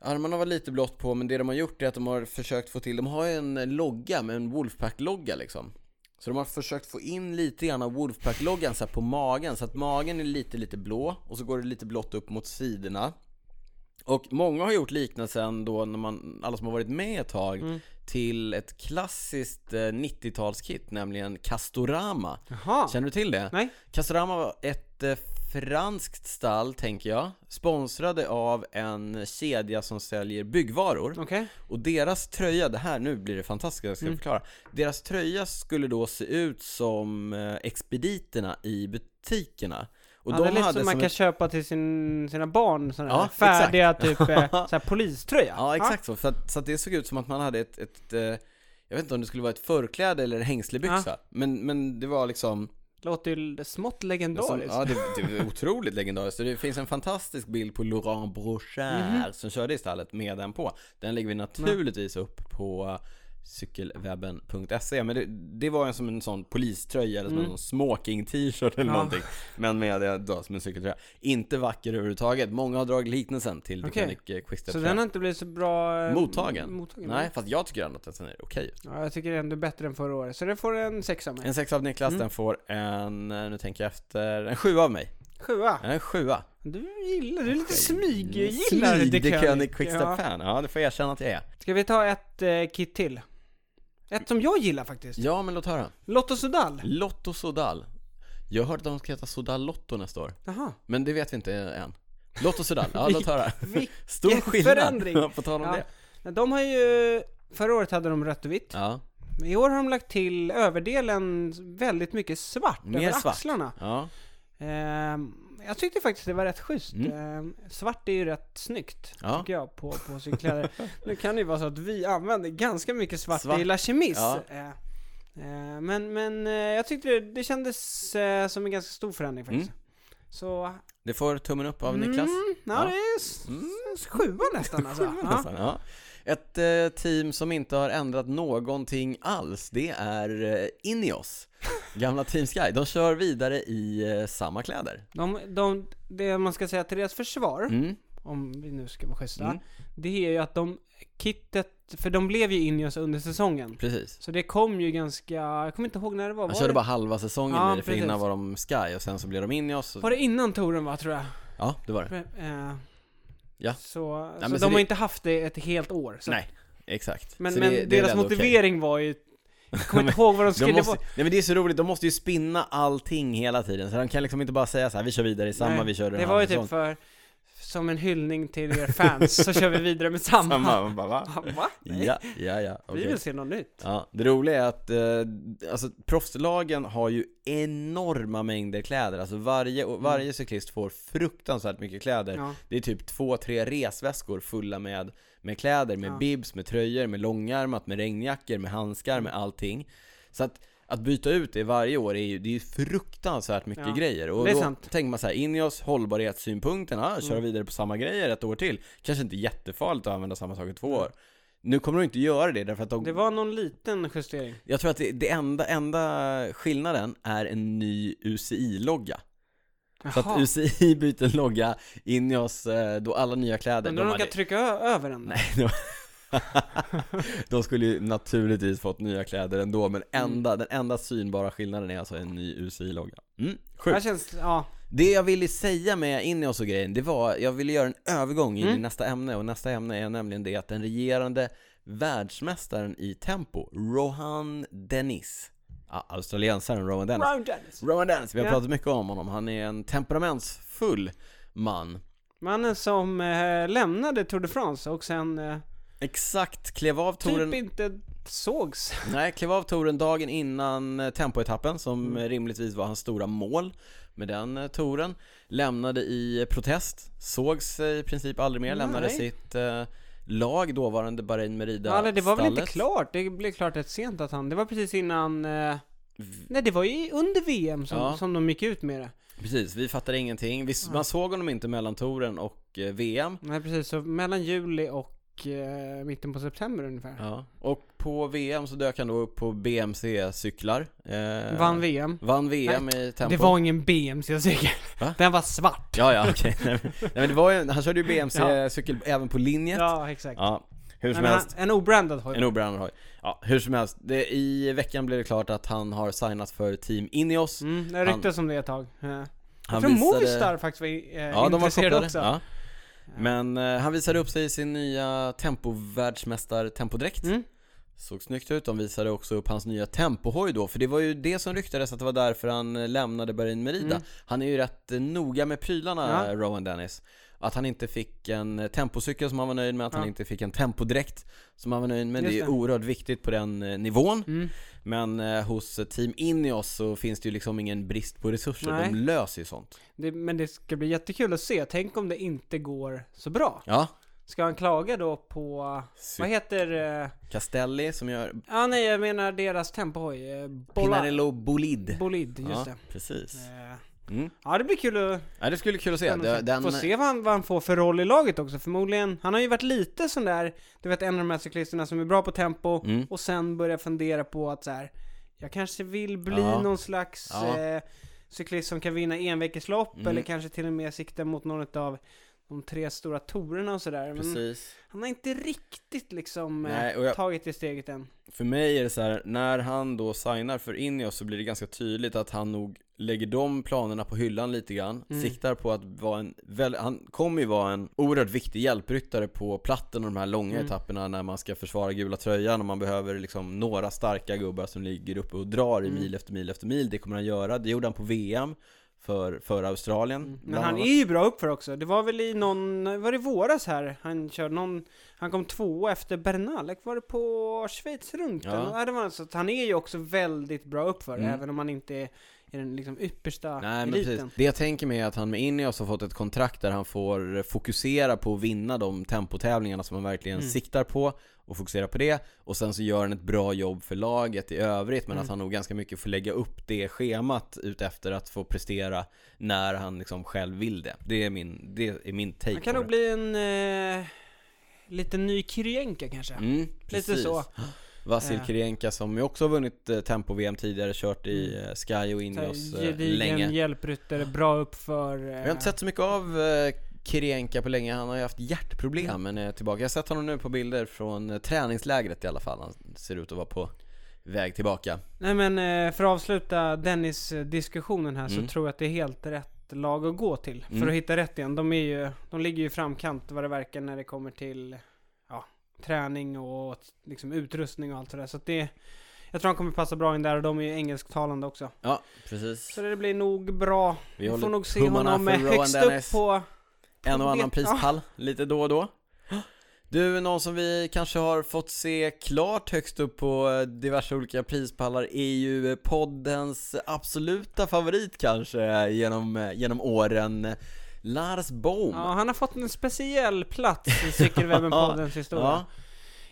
[SPEAKER 2] Armarna var lite blått på, men det de har gjort är att de har försökt få till, de har ju en logga med en Wolfpack-logga liksom. Så de har försökt få in lite grann av Wolfpack-loggan så här på magen, så att magen är lite, lite blå och så går det lite blått upp mot sidorna. Och många har gjort liknelsen då, när man, alla som har varit med ett tag,
[SPEAKER 1] Mm.
[SPEAKER 2] till ett klassiskt eh, 90-talskit, nämligen Castorama.
[SPEAKER 1] Jaha.
[SPEAKER 2] Känner du till det?
[SPEAKER 1] Nej.
[SPEAKER 2] Castorama var ett eh, franskt stall, tänker jag, sponsrade av en kedja som säljer byggvaror.
[SPEAKER 1] Okej.
[SPEAKER 2] Och deras tröja, det här, nu blir det fantastiskt, jag
[SPEAKER 1] Mm.
[SPEAKER 2] ska förklara. Deras tröja skulle då se ut som eh, expediterna i butikerna. Och
[SPEAKER 1] ja, det är lite som man
[SPEAKER 2] som
[SPEAKER 1] kan
[SPEAKER 2] ett-
[SPEAKER 1] köpa till sin, sina barn, sådana
[SPEAKER 2] Ja,
[SPEAKER 1] här färdiga typ eh, så här poliströja.
[SPEAKER 2] Ja, exakt så. För att, så att det såg ut som att man hade ett, ett eh, jag vet inte om det skulle vara ett förkläde eller en hängslebyxa. Men, men det var liksom,
[SPEAKER 1] Låter ju smått
[SPEAKER 2] som,
[SPEAKER 1] legendariskt.
[SPEAKER 2] ja det, det var otroligt legendariskt. Och Det finns en fantastisk bild på Laurent Brochard
[SPEAKER 1] Mhm.
[SPEAKER 2] som körde i stallet med den på. Den lägger vi naturligtvis upp på cykelwebben.se Men det, det var en som en sån poliströja eller som en sån smoking t-shirt eller
[SPEAKER 1] Mm. Ja.
[SPEAKER 2] någonting Men med det då, som en cykeltröja Inte vacker överhuvudtaget, många har dragit liknelsen till
[SPEAKER 1] Okej.
[SPEAKER 2] Titanic okay. Quickstep
[SPEAKER 1] så den har inte blivit så bra eh,
[SPEAKER 2] Mottagen.
[SPEAKER 1] mottagen.
[SPEAKER 2] Nej, fast jag tycker ändå att den är okej ut.
[SPEAKER 1] Ja, jag tycker det är ändå bättre än förra året. Så det får en sexa med.
[SPEAKER 2] En sexa av Niklas,
[SPEAKER 1] Mm.
[SPEAKER 2] den får en, eh, nu tänker jag efter, en sjua av mig.
[SPEAKER 1] Sjua.
[SPEAKER 2] En sjua.
[SPEAKER 1] Du gillar, du är lite smyggillare
[SPEAKER 2] Smyg, det kan i
[SPEAKER 1] Ja.
[SPEAKER 2] Quickstep-fan. Ja. det får jag erkänna att jag är.
[SPEAKER 1] Ska vi ta ett eh, kit till? Ett som jag gillar faktiskt.
[SPEAKER 2] Ja, men låt höra.
[SPEAKER 1] Lotto Sudal.
[SPEAKER 2] Lotto Sodal. Jag har hört att de ska heta Sodal Lotto nästa år.
[SPEAKER 1] Jaha.
[SPEAKER 2] Men det vet vi inte än. Lotto Sodal, ja låt höra.
[SPEAKER 1] Vilken
[SPEAKER 2] Stor skillnad.
[SPEAKER 1] förändring.
[SPEAKER 2] På tal om
[SPEAKER 1] Ja.
[SPEAKER 2] det.
[SPEAKER 1] Men De har ju... Förra året hade de rött och vitt.
[SPEAKER 2] Ja.
[SPEAKER 1] Men I år har de lagt till överdelen väldigt mycket svart
[SPEAKER 2] Mer
[SPEAKER 1] över
[SPEAKER 2] svart.
[SPEAKER 1] axlarna.
[SPEAKER 2] ja.
[SPEAKER 1] Ehm, jag tyckte faktiskt det var rätt schysst.
[SPEAKER 2] Mm.
[SPEAKER 1] Ehm, svart är ju rätt snyggt,
[SPEAKER 2] Ja.
[SPEAKER 1] tycker jag, på, på cykelkläder. nu kan det ju vara så att vi använder ganska mycket svart,
[SPEAKER 2] Svart.
[SPEAKER 1] i La Chemise.
[SPEAKER 2] Ja.
[SPEAKER 1] Ehm, ehm, men men eh, jag tyckte det, det kändes eh, som en ganska stor förändring faktiskt.
[SPEAKER 2] Mm.
[SPEAKER 1] Så...
[SPEAKER 2] Det får tummen upp av Niklas.
[SPEAKER 1] Mm, ja,
[SPEAKER 2] Ja. Mm.
[SPEAKER 1] det är s- s- sjua nästan alltså. Ja.
[SPEAKER 2] Nästan, ja. Ett eh, team som inte har ändrat någonting alls, det är eh, Ineos. Gamla Team Sky. De kör vidare i eh, samma kläder.
[SPEAKER 1] De, de, det man ska säga till deras försvar,
[SPEAKER 2] Mm.
[SPEAKER 1] om vi nu ska vara schyssta,
[SPEAKER 2] Mm.
[SPEAKER 1] det är ju att de, kittet, för de blev ju in i oss under säsongen.
[SPEAKER 2] Precis.
[SPEAKER 1] Så det kom ju ganska, jag kommer inte ihåg när det var.
[SPEAKER 2] De
[SPEAKER 1] Var
[SPEAKER 2] körde
[SPEAKER 1] det,
[SPEAKER 2] bara halva säsongen
[SPEAKER 1] Ja,
[SPEAKER 2] i det, för
[SPEAKER 1] precis.
[SPEAKER 2] innan var de Sky och sen så blev de Ineos.
[SPEAKER 1] var det innan touren va, tror jag?
[SPEAKER 2] Ja, det var det.
[SPEAKER 1] Eh,
[SPEAKER 2] Ja.
[SPEAKER 1] Så,
[SPEAKER 2] men
[SPEAKER 1] så, de
[SPEAKER 2] så
[SPEAKER 1] har
[SPEAKER 2] det-
[SPEAKER 1] inte haft det ett helt år. Så.
[SPEAKER 2] Nej, exakt.
[SPEAKER 1] Men,
[SPEAKER 2] Så
[SPEAKER 1] men
[SPEAKER 2] det- det är
[SPEAKER 1] deras
[SPEAKER 2] ändå okej.
[SPEAKER 1] motivering var ju, jag kommer inte ihåg vad de skrev.
[SPEAKER 2] De
[SPEAKER 1] det
[SPEAKER 2] måste,
[SPEAKER 1] var-
[SPEAKER 2] nej men det är så roligt, de måste ju spinna allting hela tiden, så de kan liksom inte bara säga så här, vi kör vidare i samma,
[SPEAKER 1] nej,
[SPEAKER 2] vi kör en
[SPEAKER 1] Det
[SPEAKER 2] halv
[SPEAKER 1] var ju
[SPEAKER 2] säsong."
[SPEAKER 1] typ för, som en hyllning till er fans, så kör vi vidare med samma.
[SPEAKER 2] samma, man bara, va?
[SPEAKER 1] Va? Nej,
[SPEAKER 2] Ja, ja, ja.
[SPEAKER 1] Vi
[SPEAKER 2] okej.
[SPEAKER 1] vill se något nytt.
[SPEAKER 2] Ja, det roliga är att eh, alltså, proffslagen har ju enorma mängder kläder. Alltså varje, och varje cyklist får fruktansvärt mycket kläder.
[SPEAKER 1] Ja.
[SPEAKER 2] Det är typ två, tre resväskor fulla med, med kläder, med
[SPEAKER 1] Ja.
[SPEAKER 2] bibs, med tröjor, med långärmat, med regnjackor, med handskar,
[SPEAKER 1] Mm.
[SPEAKER 2] med allting. Så att, att byta ut det varje år är ju, det är ju fruktansvärt mycket
[SPEAKER 1] Ja,
[SPEAKER 2] grejer. Och
[SPEAKER 1] det är
[SPEAKER 2] då
[SPEAKER 1] sant. Mm.
[SPEAKER 2] tänker man så här, in i oss hållbarhetssynpunkterna, köra vidare på samma grejer ett år till. Kanske inte jättefarligt att använda samma sak i två år. Nu kommer de inte göra det därför att de
[SPEAKER 1] Mm. Det var någon liten justering.
[SPEAKER 2] jag tror att det, det enda, enda skillnaden är en ny UCI-logga. Så att
[SPEAKER 1] Jaha.
[SPEAKER 2] UCI byter logga in i oss eh, då alla nya kläder.
[SPEAKER 1] Undrar om de kan trycka ö- över den?
[SPEAKER 2] Nej, de... de skulle ju naturligtvis fått nya kläder ändå, men enda, den enda synbara skillnaden är alltså en ny UCI-logga. Mm,
[SPEAKER 1] Det här
[SPEAKER 2] sjukt.
[SPEAKER 1] känns, ja.
[SPEAKER 2] Det jag ville säga med in i oss och grejen, det var, jag ville göra en övergång in i
[SPEAKER 1] Mm.
[SPEAKER 2] nästa ämne, och nästa ämne är nämligen det att den regerande världsmästaren i tempo, Rohan Dennis, ja, australiensaren Rohan Dennis,
[SPEAKER 1] Brown Dennis.
[SPEAKER 2] Rowan Dennis, vi har
[SPEAKER 1] Ja.
[SPEAKER 2] pratat mycket om honom. Han är en temperamentsfull man.
[SPEAKER 1] Mannen som eh, lämnade Tour de France och sen eh,
[SPEAKER 2] Exakt, klev av touren,
[SPEAKER 1] typ inte sågs.
[SPEAKER 2] nej, klev av touren dagen innan eh, tempoetappen som
[SPEAKER 1] Mm.
[SPEAKER 2] eh, rimligtvis var hans stora mål med den eh, touren. Lämnade i eh, protest, sågs eh, i princip aldrig mer, lämnade
[SPEAKER 1] Nej.
[SPEAKER 2] sitt eh, lag, dåvarande Bahrain Merida
[SPEAKER 1] Ja, eller det var väl inte
[SPEAKER 2] stallet.
[SPEAKER 1] klart? Det blev klart rätt sent att han, det var precis innan eh, Nej det var ju under VM som,
[SPEAKER 2] Ja.
[SPEAKER 1] som de gick ut med det.
[SPEAKER 2] Precis, vi fattade ingenting. Vi, Man såg honom inte mellan touren och eh, VM.
[SPEAKER 1] Nej precis, så mellan juli och eh, mitten på september ungefär.
[SPEAKER 2] Ja. Och på VM så dök han då upp på BMC-cyklar. Eh,
[SPEAKER 1] Vann VM.
[SPEAKER 2] Vann VM i tempo.
[SPEAKER 1] Det var ingen BMC-cykel.
[SPEAKER 2] Va?
[SPEAKER 1] Den var svart.
[SPEAKER 2] Ja, ja, okej. Nej, men- Nej, men det var ju, han körde ju
[SPEAKER 1] Ja.
[SPEAKER 2] BMC-cykel även på linjet. Ja.
[SPEAKER 1] Ja, exakt.
[SPEAKER 2] Hur som
[SPEAKER 1] Men han,
[SPEAKER 2] helst.
[SPEAKER 1] en obrandad hoj.
[SPEAKER 2] En obrandad hoj. Ja, hur som helst. Det, I veckan blev det klart att han har signat för Team Ineos.
[SPEAKER 1] Mm, det ryktas om det ett tag. Ja.
[SPEAKER 2] Han
[SPEAKER 1] jag tror Movistar faktiskt var eh,
[SPEAKER 2] Ja, de var
[SPEAKER 1] intresserade
[SPEAKER 2] kopplade.
[SPEAKER 1] också.
[SPEAKER 2] Ja. Men eh, han visade upp sig i sin nya tempovärldsmästar-tempodräkt.
[SPEAKER 1] Mm.
[SPEAKER 2] Såg snyggt ut, de visade också upp hans nya tempohoj då, för det var ju det som ryktades att det var därför han eh, lämnade Bahrain Merida.
[SPEAKER 1] Mm.
[SPEAKER 2] Han är ju rätt eh, noga med prylarna,
[SPEAKER 1] Ja.
[SPEAKER 2] Rowan Dennis. Att han inte fick en eh, tempocykel som han var nöjd med, att
[SPEAKER 1] Ja.
[SPEAKER 2] han inte fick en tempodräkt som han var nöjd med.
[SPEAKER 1] Just
[SPEAKER 2] det är
[SPEAKER 1] det.
[SPEAKER 2] ju oerhört viktigt på den eh, nivån.
[SPEAKER 1] Mm.
[SPEAKER 2] Men eh, hos eh, Team Ineos så finns det ju liksom ingen brist på resurser,
[SPEAKER 1] Nej.
[SPEAKER 2] de löser ju sånt.
[SPEAKER 1] Det, men det ska bli jättekul att se. Tänk om det inte går så bra.
[SPEAKER 2] Ja,
[SPEAKER 1] Ska han klaga då på... Vad heter... eh,
[SPEAKER 2] Castelli som gör
[SPEAKER 1] ah, nej, jag menar deras tempohoj. eh, Bola,
[SPEAKER 2] Pinarello Bolid.
[SPEAKER 1] bolid,
[SPEAKER 2] ja,
[SPEAKER 1] just det.
[SPEAKER 2] precis.
[SPEAKER 1] Eh,
[SPEAKER 2] Mm.
[SPEAKER 1] Ja, det blir kul att
[SPEAKER 2] Ja, det skulle bli kul att se.
[SPEAKER 1] spännande
[SPEAKER 2] Den,
[SPEAKER 1] att se. Få se vad han, vad han får för roll i laget också. Förmodligen, han har ju varit lite sån där, du vet en av de här cyklisterna som är bra på tempo
[SPEAKER 2] Mm.
[SPEAKER 1] och sen börjar fundera på att så här, jag kanske vill bli
[SPEAKER 2] Ja.
[SPEAKER 1] någon slags
[SPEAKER 2] Ja.
[SPEAKER 1] eh, cyklist som kan vinna enveckeslopp
[SPEAKER 2] Mm.
[SPEAKER 1] eller kanske till och med sikta mot någon av de tre stora torerna och sådär. Men
[SPEAKER 2] Precis.
[SPEAKER 1] han har inte riktigt liksom eh,
[SPEAKER 2] Nej, och jag-
[SPEAKER 1] tagit det steget än.
[SPEAKER 2] För mig är det så här, när han då signar för Ineos så blir det ganska tydligt att han nog lägger de planerna på hyllan lite grann.
[SPEAKER 1] Mm.
[SPEAKER 2] Siktar på att vara en, väl, han kommer ju vara en oerhört viktig hjälpryttare på platten och de här långa
[SPEAKER 1] Mm.
[SPEAKER 2] etapperna när man ska försvara gula tröjan och man behöver liksom några starka gubbar som ligger uppe och drar i
[SPEAKER 1] Mm.
[SPEAKER 2] mil efter mil efter mil. Det kommer han göra. Det gjorde han på VM för, för Australien.
[SPEAKER 1] Mm. Men
[SPEAKER 2] bland
[SPEAKER 1] han
[SPEAKER 2] annat.
[SPEAKER 1] är ju bra uppför också. Det var väl i någon, var det i våras här? Han körde någon, han kom två efter Bernalek, var det på Schweiz runt?
[SPEAKER 2] Ja.
[SPEAKER 1] Ja. det var så att han är ju också väldigt bra uppför,
[SPEAKER 2] Mm.
[SPEAKER 1] även om han inte är i den liksom yppersta
[SPEAKER 2] Nej men
[SPEAKER 1] eliten.
[SPEAKER 2] precis. Det jag tänker mig är att han med Ineos har fått ett kontrakt där han får fokusera på att vinna de tempotävlingarna som han verkligen
[SPEAKER 1] Mm.
[SPEAKER 2] siktar på och fokusera på det och sen så gör han ett bra jobb för laget i övrigt men
[SPEAKER 1] Mm.
[SPEAKER 2] att han nog ganska mycket får lägga upp det schemat utefter att få prestera när han liksom själv vill det. Det är min, det är min take
[SPEAKER 1] Han kan
[SPEAKER 2] på
[SPEAKER 1] nog
[SPEAKER 2] det.
[SPEAKER 1] bli en eh, liten ny Kirienka kanske.
[SPEAKER 2] Mm,
[SPEAKER 1] Lite
[SPEAKER 2] precis.
[SPEAKER 1] så.
[SPEAKER 2] Vasil
[SPEAKER 1] Eh.
[SPEAKER 2] Kirienka som ju också har vunnit eh, tempo-VM tidigare, kört i eh, Sky och
[SPEAKER 1] Så här,
[SPEAKER 2] Ineos eh, länge.
[SPEAKER 1] Mm. Gedigen hjälpryttare, bra uppför.
[SPEAKER 2] Vi har inte sett så mycket av eh, Kirienka på länge, han har ju haft hjärtproblem men är tillbaka. Jag har sett honom nu på bilder från eh, träningslägret i alla fall. Han ser ut att vara på väg tillbaka.
[SPEAKER 1] Nej men eh, för att avsluta Dennis-diskussionen här
[SPEAKER 2] Mm.
[SPEAKER 1] så tror jag att det är helt rätt lag att gå till.
[SPEAKER 2] Mm.
[SPEAKER 1] För att hitta rätt igen. De, är ju, de ligger ju i framkant vad det verkar när det kommer till ja, träning och t- liksom, utrustning och allt sådär. Så att det, jag tror han kommer passa bra in där och de är ju engelsktalande också.
[SPEAKER 2] Ja, precis.
[SPEAKER 1] Så det blir nog bra.
[SPEAKER 2] Vi
[SPEAKER 1] Vi får
[SPEAKER 2] håller
[SPEAKER 1] nog se
[SPEAKER 2] tummarna
[SPEAKER 1] honom
[SPEAKER 2] för
[SPEAKER 1] eh,
[SPEAKER 2] Rowan
[SPEAKER 1] högst
[SPEAKER 2] Dennis.
[SPEAKER 1] upp på...
[SPEAKER 2] en och annan
[SPEAKER 1] Ja.
[SPEAKER 2] prispall lite då och då. Du, någon som vi kanske har fått se klart högst upp på eh, diverse olika prispallar är ju eh, poddens absoluta favorit kanske eh, genom, eh, genom åren. eh, Lars Bohm.
[SPEAKER 1] Ja, han har fått en speciell plats i Cykelwebben-poddens historia.
[SPEAKER 2] Ja,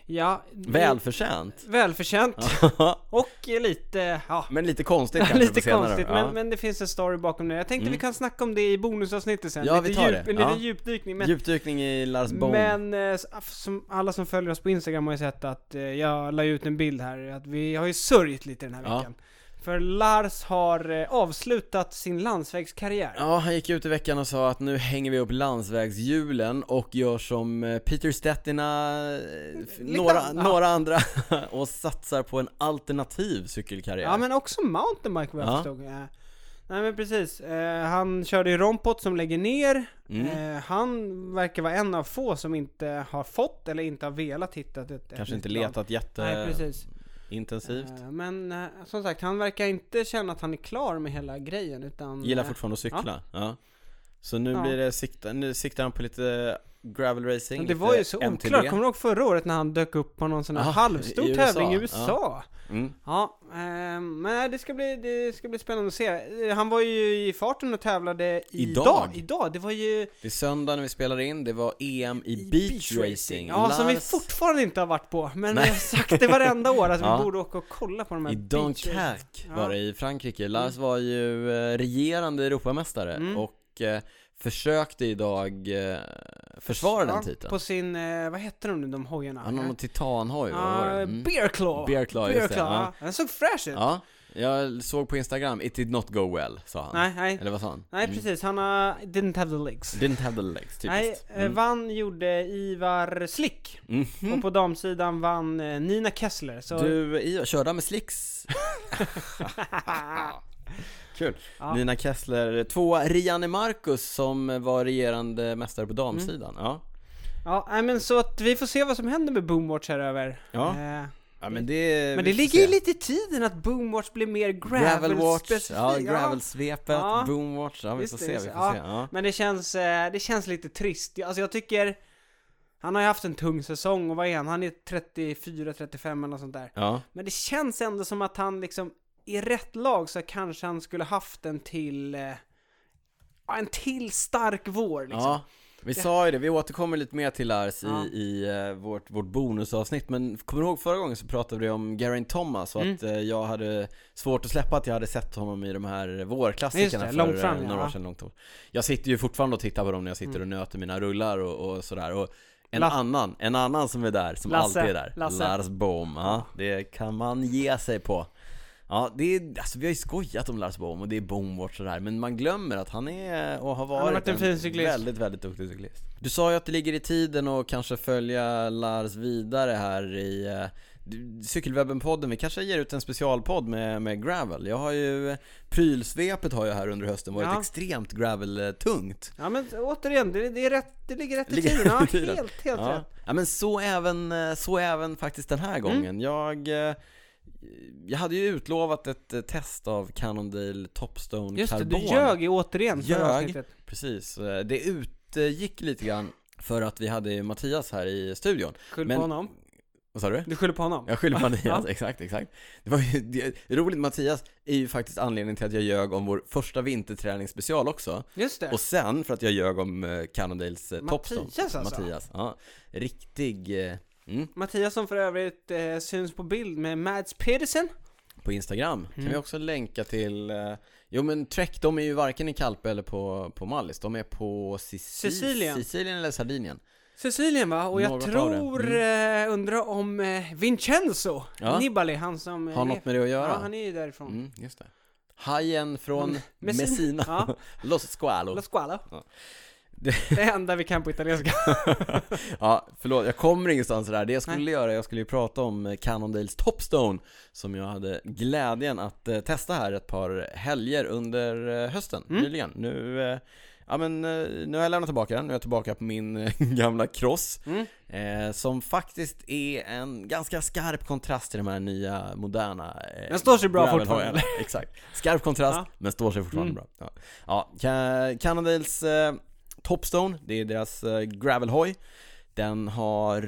[SPEAKER 1] ja. ja, det-
[SPEAKER 2] välförtjänt.
[SPEAKER 1] Välförtjänt. Och eh, lite, ja,
[SPEAKER 2] Men lite konstigt kanske på
[SPEAKER 1] lite
[SPEAKER 2] senare.
[SPEAKER 1] konstigt,
[SPEAKER 2] ja.
[SPEAKER 1] men, men det finns en story bakom det. Jag tänkte
[SPEAKER 2] Mm.
[SPEAKER 1] vi kan snacka om det i bonusavsnittet sen.
[SPEAKER 2] Ja,
[SPEAKER 1] lite
[SPEAKER 2] vi tar det.
[SPEAKER 1] En
[SPEAKER 2] Ja.
[SPEAKER 1] liten djupdykning. Men,
[SPEAKER 2] Djupdykning i Lars Bohm.
[SPEAKER 1] men eh, s- aff- som alla som följer oss på Instagram har ju sett att eh, jag la ut en bild här, att vi har ju sörjt lite den här
[SPEAKER 2] Ja.
[SPEAKER 1] veckan. För Lars har eh, avslutat sin landsvägskarriär.
[SPEAKER 2] Ja, han gick ut i veckan och sa att nu hänger vi upp landsvägshjulen och gör som eh, Peter Stettina, eh, f-
[SPEAKER 1] Lite
[SPEAKER 2] några,
[SPEAKER 1] an- ja.
[SPEAKER 2] några andra och satsar på en alternativ cykelkarriär.
[SPEAKER 1] Ja men också mountainbike vad jag
[SPEAKER 2] Ja.
[SPEAKER 1] förstod. Eh, Nej men precis, eh, han körde ju Rompot som lägger ner.
[SPEAKER 2] Mm.
[SPEAKER 1] Eh, han verkar vara en av få som inte har fått eller inte har velat hitta ett, ett
[SPEAKER 2] Kanske
[SPEAKER 1] nytt
[SPEAKER 2] inte
[SPEAKER 1] lag.
[SPEAKER 2] letat eh,
[SPEAKER 1] Nej precis.
[SPEAKER 2] jätteintensivt.
[SPEAKER 1] Eh, Men eh, som sagt, han verkar inte känna att han är klar med hela grejen utan...
[SPEAKER 2] Gillar
[SPEAKER 1] eh,
[SPEAKER 2] fortfarande att cykla. Ja. Så nu
[SPEAKER 1] Ja.
[SPEAKER 2] blir det sikta, nu siktar han på lite eh, gravel racing.
[SPEAKER 1] Det
[SPEAKER 2] lite
[SPEAKER 1] var ju så
[SPEAKER 2] MTB.
[SPEAKER 1] oklart, kommer du ihåg förra året när han dök upp på någon sån här
[SPEAKER 2] Ja,
[SPEAKER 1] halvstor
[SPEAKER 2] i USA.
[SPEAKER 1] tävling i USA?
[SPEAKER 2] Mm.
[SPEAKER 1] Ja, eh, men det ska, bli, det ska bli spännande att se. Eh, Han var ju i farten och tävlade idag.
[SPEAKER 2] Idag?
[SPEAKER 1] idag. Det var ju
[SPEAKER 2] Det är söndag när vi spelar in, det var EM i, beach, racing.
[SPEAKER 1] Ja, som vi
[SPEAKER 2] Lars-
[SPEAKER 1] fortfarande inte har varit på. Men
[SPEAKER 2] Nej.
[SPEAKER 1] vi har sagt det varenda år, att
[SPEAKER 2] Ja.
[SPEAKER 1] vi borde åka och kolla på de här
[SPEAKER 2] I
[SPEAKER 1] beach racing.
[SPEAKER 2] Dunkerque var det i Frankrike. Lars var ju eh, regerande Europamästare
[SPEAKER 1] Mm.
[SPEAKER 2] och eh, försökte idag eh, försvara den titeln.
[SPEAKER 1] På sin, eh, vad heter de nu, de hojarna?
[SPEAKER 2] Han har någon titanhoj, vad var det?
[SPEAKER 1] Ah,
[SPEAKER 2] Mm.
[SPEAKER 1] Bear Claw!
[SPEAKER 2] Bear Claw, just
[SPEAKER 1] Bear
[SPEAKER 2] det,
[SPEAKER 1] Claw,
[SPEAKER 2] ja.
[SPEAKER 1] ja. Den såg fräsch ut.
[SPEAKER 2] Ja, jag såg på Instagram, it did not go well, sa han.
[SPEAKER 1] Nej, nej.
[SPEAKER 2] Eller vad sa han?
[SPEAKER 1] Nej,
[SPEAKER 2] Mm.
[SPEAKER 1] precis. Han har, didn't have the legs.
[SPEAKER 2] Didn't have the legs,
[SPEAKER 1] nej,
[SPEAKER 2] typiskt.
[SPEAKER 1] eh, vann gjorde Ivar Slick.
[SPEAKER 2] Mm.
[SPEAKER 1] Och på damsidan vann eh, Nina Kessler. Så,
[SPEAKER 2] Du, i, körde han med slicks? Kul.
[SPEAKER 1] Ja.
[SPEAKER 2] Nina Kessler, två Rianne Marcus som var regerande mästare på
[SPEAKER 1] Mm.
[SPEAKER 2] damsidan. Ja.
[SPEAKER 1] ja, nej, men så att vi får se vad som händer med Boomwatch här över.
[SPEAKER 2] Ja.
[SPEAKER 1] Eh,
[SPEAKER 2] Ja men det...
[SPEAKER 1] Men det
[SPEAKER 2] vi får
[SPEAKER 1] ligger ju
[SPEAKER 2] se.
[SPEAKER 1] lite i tiden att Boomwatch blir mer
[SPEAKER 2] Gravelwatch,
[SPEAKER 1] gravel-specifikt.
[SPEAKER 2] ja, gravelsvepet,
[SPEAKER 1] Ja.
[SPEAKER 2] boomwatch, ja vi
[SPEAKER 1] Visst
[SPEAKER 2] får
[SPEAKER 1] är
[SPEAKER 2] se,
[SPEAKER 1] det
[SPEAKER 2] vi
[SPEAKER 1] så.
[SPEAKER 2] får
[SPEAKER 1] Ja.
[SPEAKER 2] se. Ja.
[SPEAKER 1] Men det känns, eh, det känns lite trist. Jag- Alltså jag tycker... Han har ju haft en tung säsong och vad är han? Han är 34-35 eller något sånt där.
[SPEAKER 2] Ja.
[SPEAKER 1] Men det känns ändå som att han liksom i rätt lag så kanske han skulle haft en till... Eh, ja, en till stark vår liksom.
[SPEAKER 2] ja. Vi sa ju det, vi återkommer lite mer till Lars i,
[SPEAKER 1] Ja.
[SPEAKER 2] i eh, vårt, vårt bonusavsnitt Men kommer du ihåg förra gången så pratade vi om Geraint Thomas och
[SPEAKER 1] Mm.
[SPEAKER 2] att eh, jag hade svårt att släppa att jag hade sett honom i de här eh,
[SPEAKER 1] Just
[SPEAKER 2] vårklassikerna
[SPEAKER 1] det,
[SPEAKER 2] för
[SPEAKER 1] långt
[SPEAKER 2] eh,
[SPEAKER 1] fram,
[SPEAKER 2] några
[SPEAKER 1] ja. Mm.
[SPEAKER 2] år sedan långt år. Jag sitter ju fortfarande och tittar på dem när jag sitter och nöter mina rullar och, och sådär och en
[SPEAKER 1] La-
[SPEAKER 2] annan, en annan som är där, som
[SPEAKER 1] Lasse,
[SPEAKER 2] alltid är där
[SPEAKER 1] Lasse.
[SPEAKER 2] Lars Bohm, ja, det kan man ge sig på Ja, det är, alltså vi har ju skojat om Lars Bohm och det är Bohmwatch och det här, men man glömmer att han är och har varit,
[SPEAKER 1] har varit en fin cyklist.
[SPEAKER 2] väldigt, väldigt duktig cyklist. Du sa ju att det ligger i tiden och kanske följa Lars vidare här i eh, du- Cykelwebben-podden. Vi kanske ger ut en specialpodd med, med gravel. Jag har ju, prylsvepet har ju här under hösten varit
[SPEAKER 1] Ja.
[SPEAKER 2] extremt gravel-tungt.
[SPEAKER 1] Ja men återigen, det, det, är rätt, det ligger rätt i
[SPEAKER 2] Ligger
[SPEAKER 1] tiden. Ja,
[SPEAKER 2] i tiden.
[SPEAKER 1] helt, helt
[SPEAKER 2] ja.
[SPEAKER 1] rätt. Mm.
[SPEAKER 2] ja men så även, eh, så även faktiskt den här gången. Jag, eh, jag hade ju utlovat ett eh, test av Cannondale Topstone
[SPEAKER 1] Just det,
[SPEAKER 2] Carbon.
[SPEAKER 1] du ljög ju återigen förra
[SPEAKER 2] Ljög.
[SPEAKER 1] avsnittet.
[SPEAKER 2] Precis, eh, det utgick lite grann för att vi hade ju Mattias här i studion.
[SPEAKER 1] Skyll
[SPEAKER 2] Men-
[SPEAKER 1] på honom.
[SPEAKER 2] Vad sa du?
[SPEAKER 1] Du skyller på honom.
[SPEAKER 2] Jag skyller på Mattias, exakt, exakt. Det var ju, det, roligt, Mattias är ju faktiskt anledningen till att jag ljög om vår första vinterträningsspecial också.
[SPEAKER 1] Just det.
[SPEAKER 2] Och sen för att jag ljög om eh, Cannondales eh, Topstone.
[SPEAKER 1] Mattias alltså?
[SPEAKER 2] Mattias, ja. Riktig, eh, mm,
[SPEAKER 1] Mattias som för övrigt eh, syns på bild med Mads Pedersen.
[SPEAKER 2] på Instagram. Kan
[SPEAKER 1] Mm.
[SPEAKER 2] vi också länka till, eh, jo men Trek, de är ju varken i Kalpe eller på, på Mallis. De är på Sicil-
[SPEAKER 1] Sicilien.
[SPEAKER 2] Sicilien eller Sardinien.
[SPEAKER 1] Sicilien va? Och jag
[SPEAKER 2] Något av det. Mm.
[SPEAKER 1] tror, eh, undrar om eh, Vincenzo
[SPEAKER 2] Ja.
[SPEAKER 1] Nibali, han som... eh,
[SPEAKER 2] Har något med det att göra?
[SPEAKER 1] Ja, han är ju därifrån.
[SPEAKER 2] Mm, just det. Hajen från
[SPEAKER 1] Mm, Messina.
[SPEAKER 2] Messina.
[SPEAKER 1] Ja.
[SPEAKER 2] Los
[SPEAKER 1] La
[SPEAKER 2] Squalo.
[SPEAKER 1] squalo.
[SPEAKER 2] Ja.
[SPEAKER 1] Det är det enda vi kan på italienska.
[SPEAKER 2] Ja, förlåt, jag kommer ingenstans där. Det jag skulle göra, jag skulle ju prata om eh, Cannondales Topstone som jag hade glädjen att eh, testa här ett par helger under eh, hösten,
[SPEAKER 1] Mm.
[SPEAKER 2] nyligen. Nu, eh, ja men, eh, nu har jag lämnat tillbaka den, nu är jag tillbaka på min eh, gamla cross.
[SPEAKER 1] Mm.
[SPEAKER 2] Eh, som faktiskt är en ganska skarp kontrast till de här nya moderna eh,
[SPEAKER 1] Den står sig bra
[SPEAKER 2] gravelhojarna.
[SPEAKER 1] fortfarande.
[SPEAKER 2] Exakt, skarp kontrast
[SPEAKER 1] Ja.
[SPEAKER 2] men står sig fortfarande
[SPEAKER 1] Mm.
[SPEAKER 2] bra Ja, ja Ca- Cannondales eh, Topstone, det är deras eh, gravelhoj den har,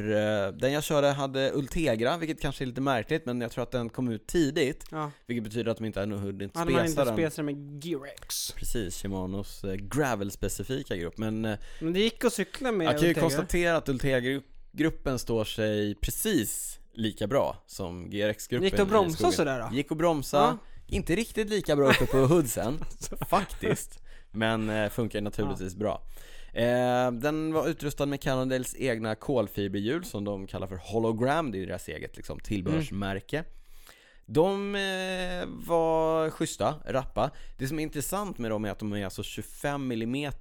[SPEAKER 2] eh, den jag körde hade Ultegra, vilket kanske är lite märkligt men jag tror att den kom ut tidigt
[SPEAKER 1] Ja.
[SPEAKER 2] Vilket betyder att de inte hade hunnit
[SPEAKER 1] Hade man
[SPEAKER 2] spesa
[SPEAKER 1] inte
[SPEAKER 2] den
[SPEAKER 1] spesat med Girex.
[SPEAKER 2] Precis, Shimanos eh, gravel-specifika grupp men eh,
[SPEAKER 1] Men det gick att cykla med
[SPEAKER 2] jag kan ju
[SPEAKER 1] Ultegra.
[SPEAKER 2] konstatera att Ultegra-gruppen står sig precis lika bra som GRX-gruppen
[SPEAKER 1] Gick det att
[SPEAKER 2] i
[SPEAKER 1] bromsa
[SPEAKER 2] skogen.
[SPEAKER 1] sådär då?
[SPEAKER 2] Gick att bromsa,
[SPEAKER 1] Ja.
[SPEAKER 2] inte riktigt lika bra uppe på hoodsen, faktiskt Men eh, funkar naturligtvis bra eh, Den var utrustad med Cannondales egna kolfiberhjul som de kallar för hologram, det är deras eget liksom, tillbehörsmärke De eh, var schyssta, rappa. Det som är intressant med dem är att de är alltså 25 mm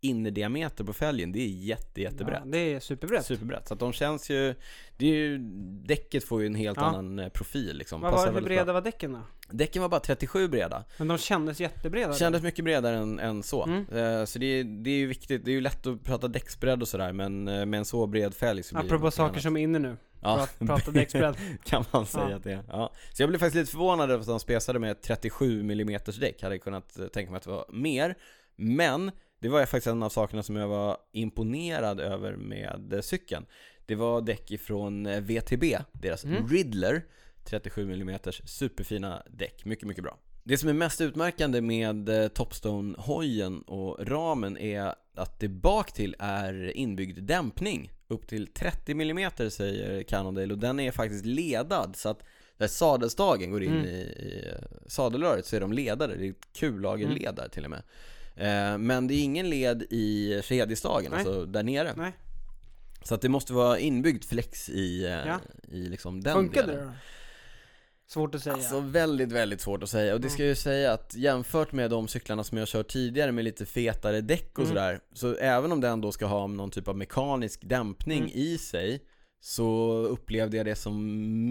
[SPEAKER 2] innerdiameter på fälgen. Det är jätte, jättebrett.
[SPEAKER 1] Ja, det är superbrett.
[SPEAKER 2] Superbrett. Så att de känns ju, det är ju, däcket får ju en helt
[SPEAKER 1] Ja.
[SPEAKER 2] annan eh, profil liksom.
[SPEAKER 1] Vad
[SPEAKER 2] Passar
[SPEAKER 1] var det för
[SPEAKER 2] väldigt
[SPEAKER 1] breda
[SPEAKER 2] bra.
[SPEAKER 1] var däcken då?
[SPEAKER 2] Däcken var bara 37 breda.
[SPEAKER 1] Men de kändes jättebreda.
[SPEAKER 2] Kändes mycket bredare än, än så.
[SPEAKER 1] Mm.
[SPEAKER 2] Eh, Så det är, det är ju viktigt, det är ju lätt att prata däcksbredd och sådär men eh, med en så bred fälg så blir det
[SPEAKER 1] Apropå
[SPEAKER 2] något
[SPEAKER 1] saker
[SPEAKER 2] annat.
[SPEAKER 1] som är inne nu.
[SPEAKER 2] Ja.
[SPEAKER 1] Prat, prata däcksbredd.
[SPEAKER 2] Kan man säga att det är. Ja. Så jag blev faktiskt lite förvånad över att de spesade med 37 mm däck. Hade kunnat eh, tänka mig att det var mer. Men det var ju faktiskt en av sakerna som jag var imponerad över med eh, cykeln. Det var däck ifrån eh, VTB, deras
[SPEAKER 1] Mm.
[SPEAKER 2] Riddler. 37 mm superfina däck. Mycket, mycket bra. Det som är mest utmärkande med eh, Topstone-hojen och ramen är att det bak till är inbyggd dämpning upp till 30 mm säger Cannondale och den är faktiskt ledad så att där sadelstagen går in
[SPEAKER 1] Mm.
[SPEAKER 2] i, i eh, sadelröret så är de ledade, det är
[SPEAKER 1] Mm.
[SPEAKER 2] kullagerledare till och med. Eh, Men det är ingen led i kedjestagen,
[SPEAKER 1] Nej.
[SPEAKER 2] alltså där nere.
[SPEAKER 1] Nej.
[SPEAKER 2] Så att det måste vara inbyggd flex i, eh,
[SPEAKER 1] Ja.
[SPEAKER 2] i liksom den
[SPEAKER 1] Funkade
[SPEAKER 2] delen.
[SPEAKER 1] det då? Svårt att säga.
[SPEAKER 2] Alltså väldigt, väldigt svårt att säga. Och
[SPEAKER 1] Mm.
[SPEAKER 2] det ska jag ju säga att jämfört med de cyklarna som jag kört tidigare med lite fetare däck och
[SPEAKER 1] Mm.
[SPEAKER 2] sådär. Så även om den då ska ha någon typ av mekanisk dämpning
[SPEAKER 1] Mm.
[SPEAKER 2] i sig. Så upplevde jag det som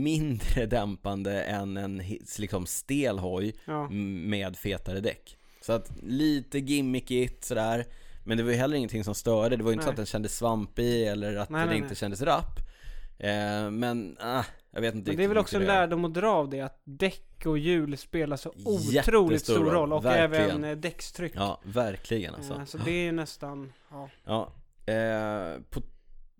[SPEAKER 2] mindre dämpande än en hi- liksom stel hoj
[SPEAKER 1] ja.
[SPEAKER 2] m- med fetare däck. Så att lite gimmickigt sådär. Men det var ju heller ingenting som störde. Det var ju inte så
[SPEAKER 1] Nej.
[SPEAKER 2] att den kändes svampig eller att
[SPEAKER 1] Nej,
[SPEAKER 2] den
[SPEAKER 1] nej,
[SPEAKER 2] inte
[SPEAKER 1] nej.
[SPEAKER 2] kändes rapp. Eh, men, ah, jag vet inte
[SPEAKER 1] Men det är
[SPEAKER 2] riktigt
[SPEAKER 1] väl
[SPEAKER 2] hur
[SPEAKER 1] också en
[SPEAKER 2] mycket det är.
[SPEAKER 1] lärdom att dra av det, att däck och hjul spelar så otroligt
[SPEAKER 2] Jättestor
[SPEAKER 1] stor
[SPEAKER 2] roll,
[SPEAKER 1] roll och
[SPEAKER 2] verkligen.
[SPEAKER 1] även eh, däckstryck.
[SPEAKER 2] Ja, verkligen
[SPEAKER 1] alltså.
[SPEAKER 2] alltså.
[SPEAKER 1] Så det är ju nästan, ja.
[SPEAKER 2] Ja, eh, på,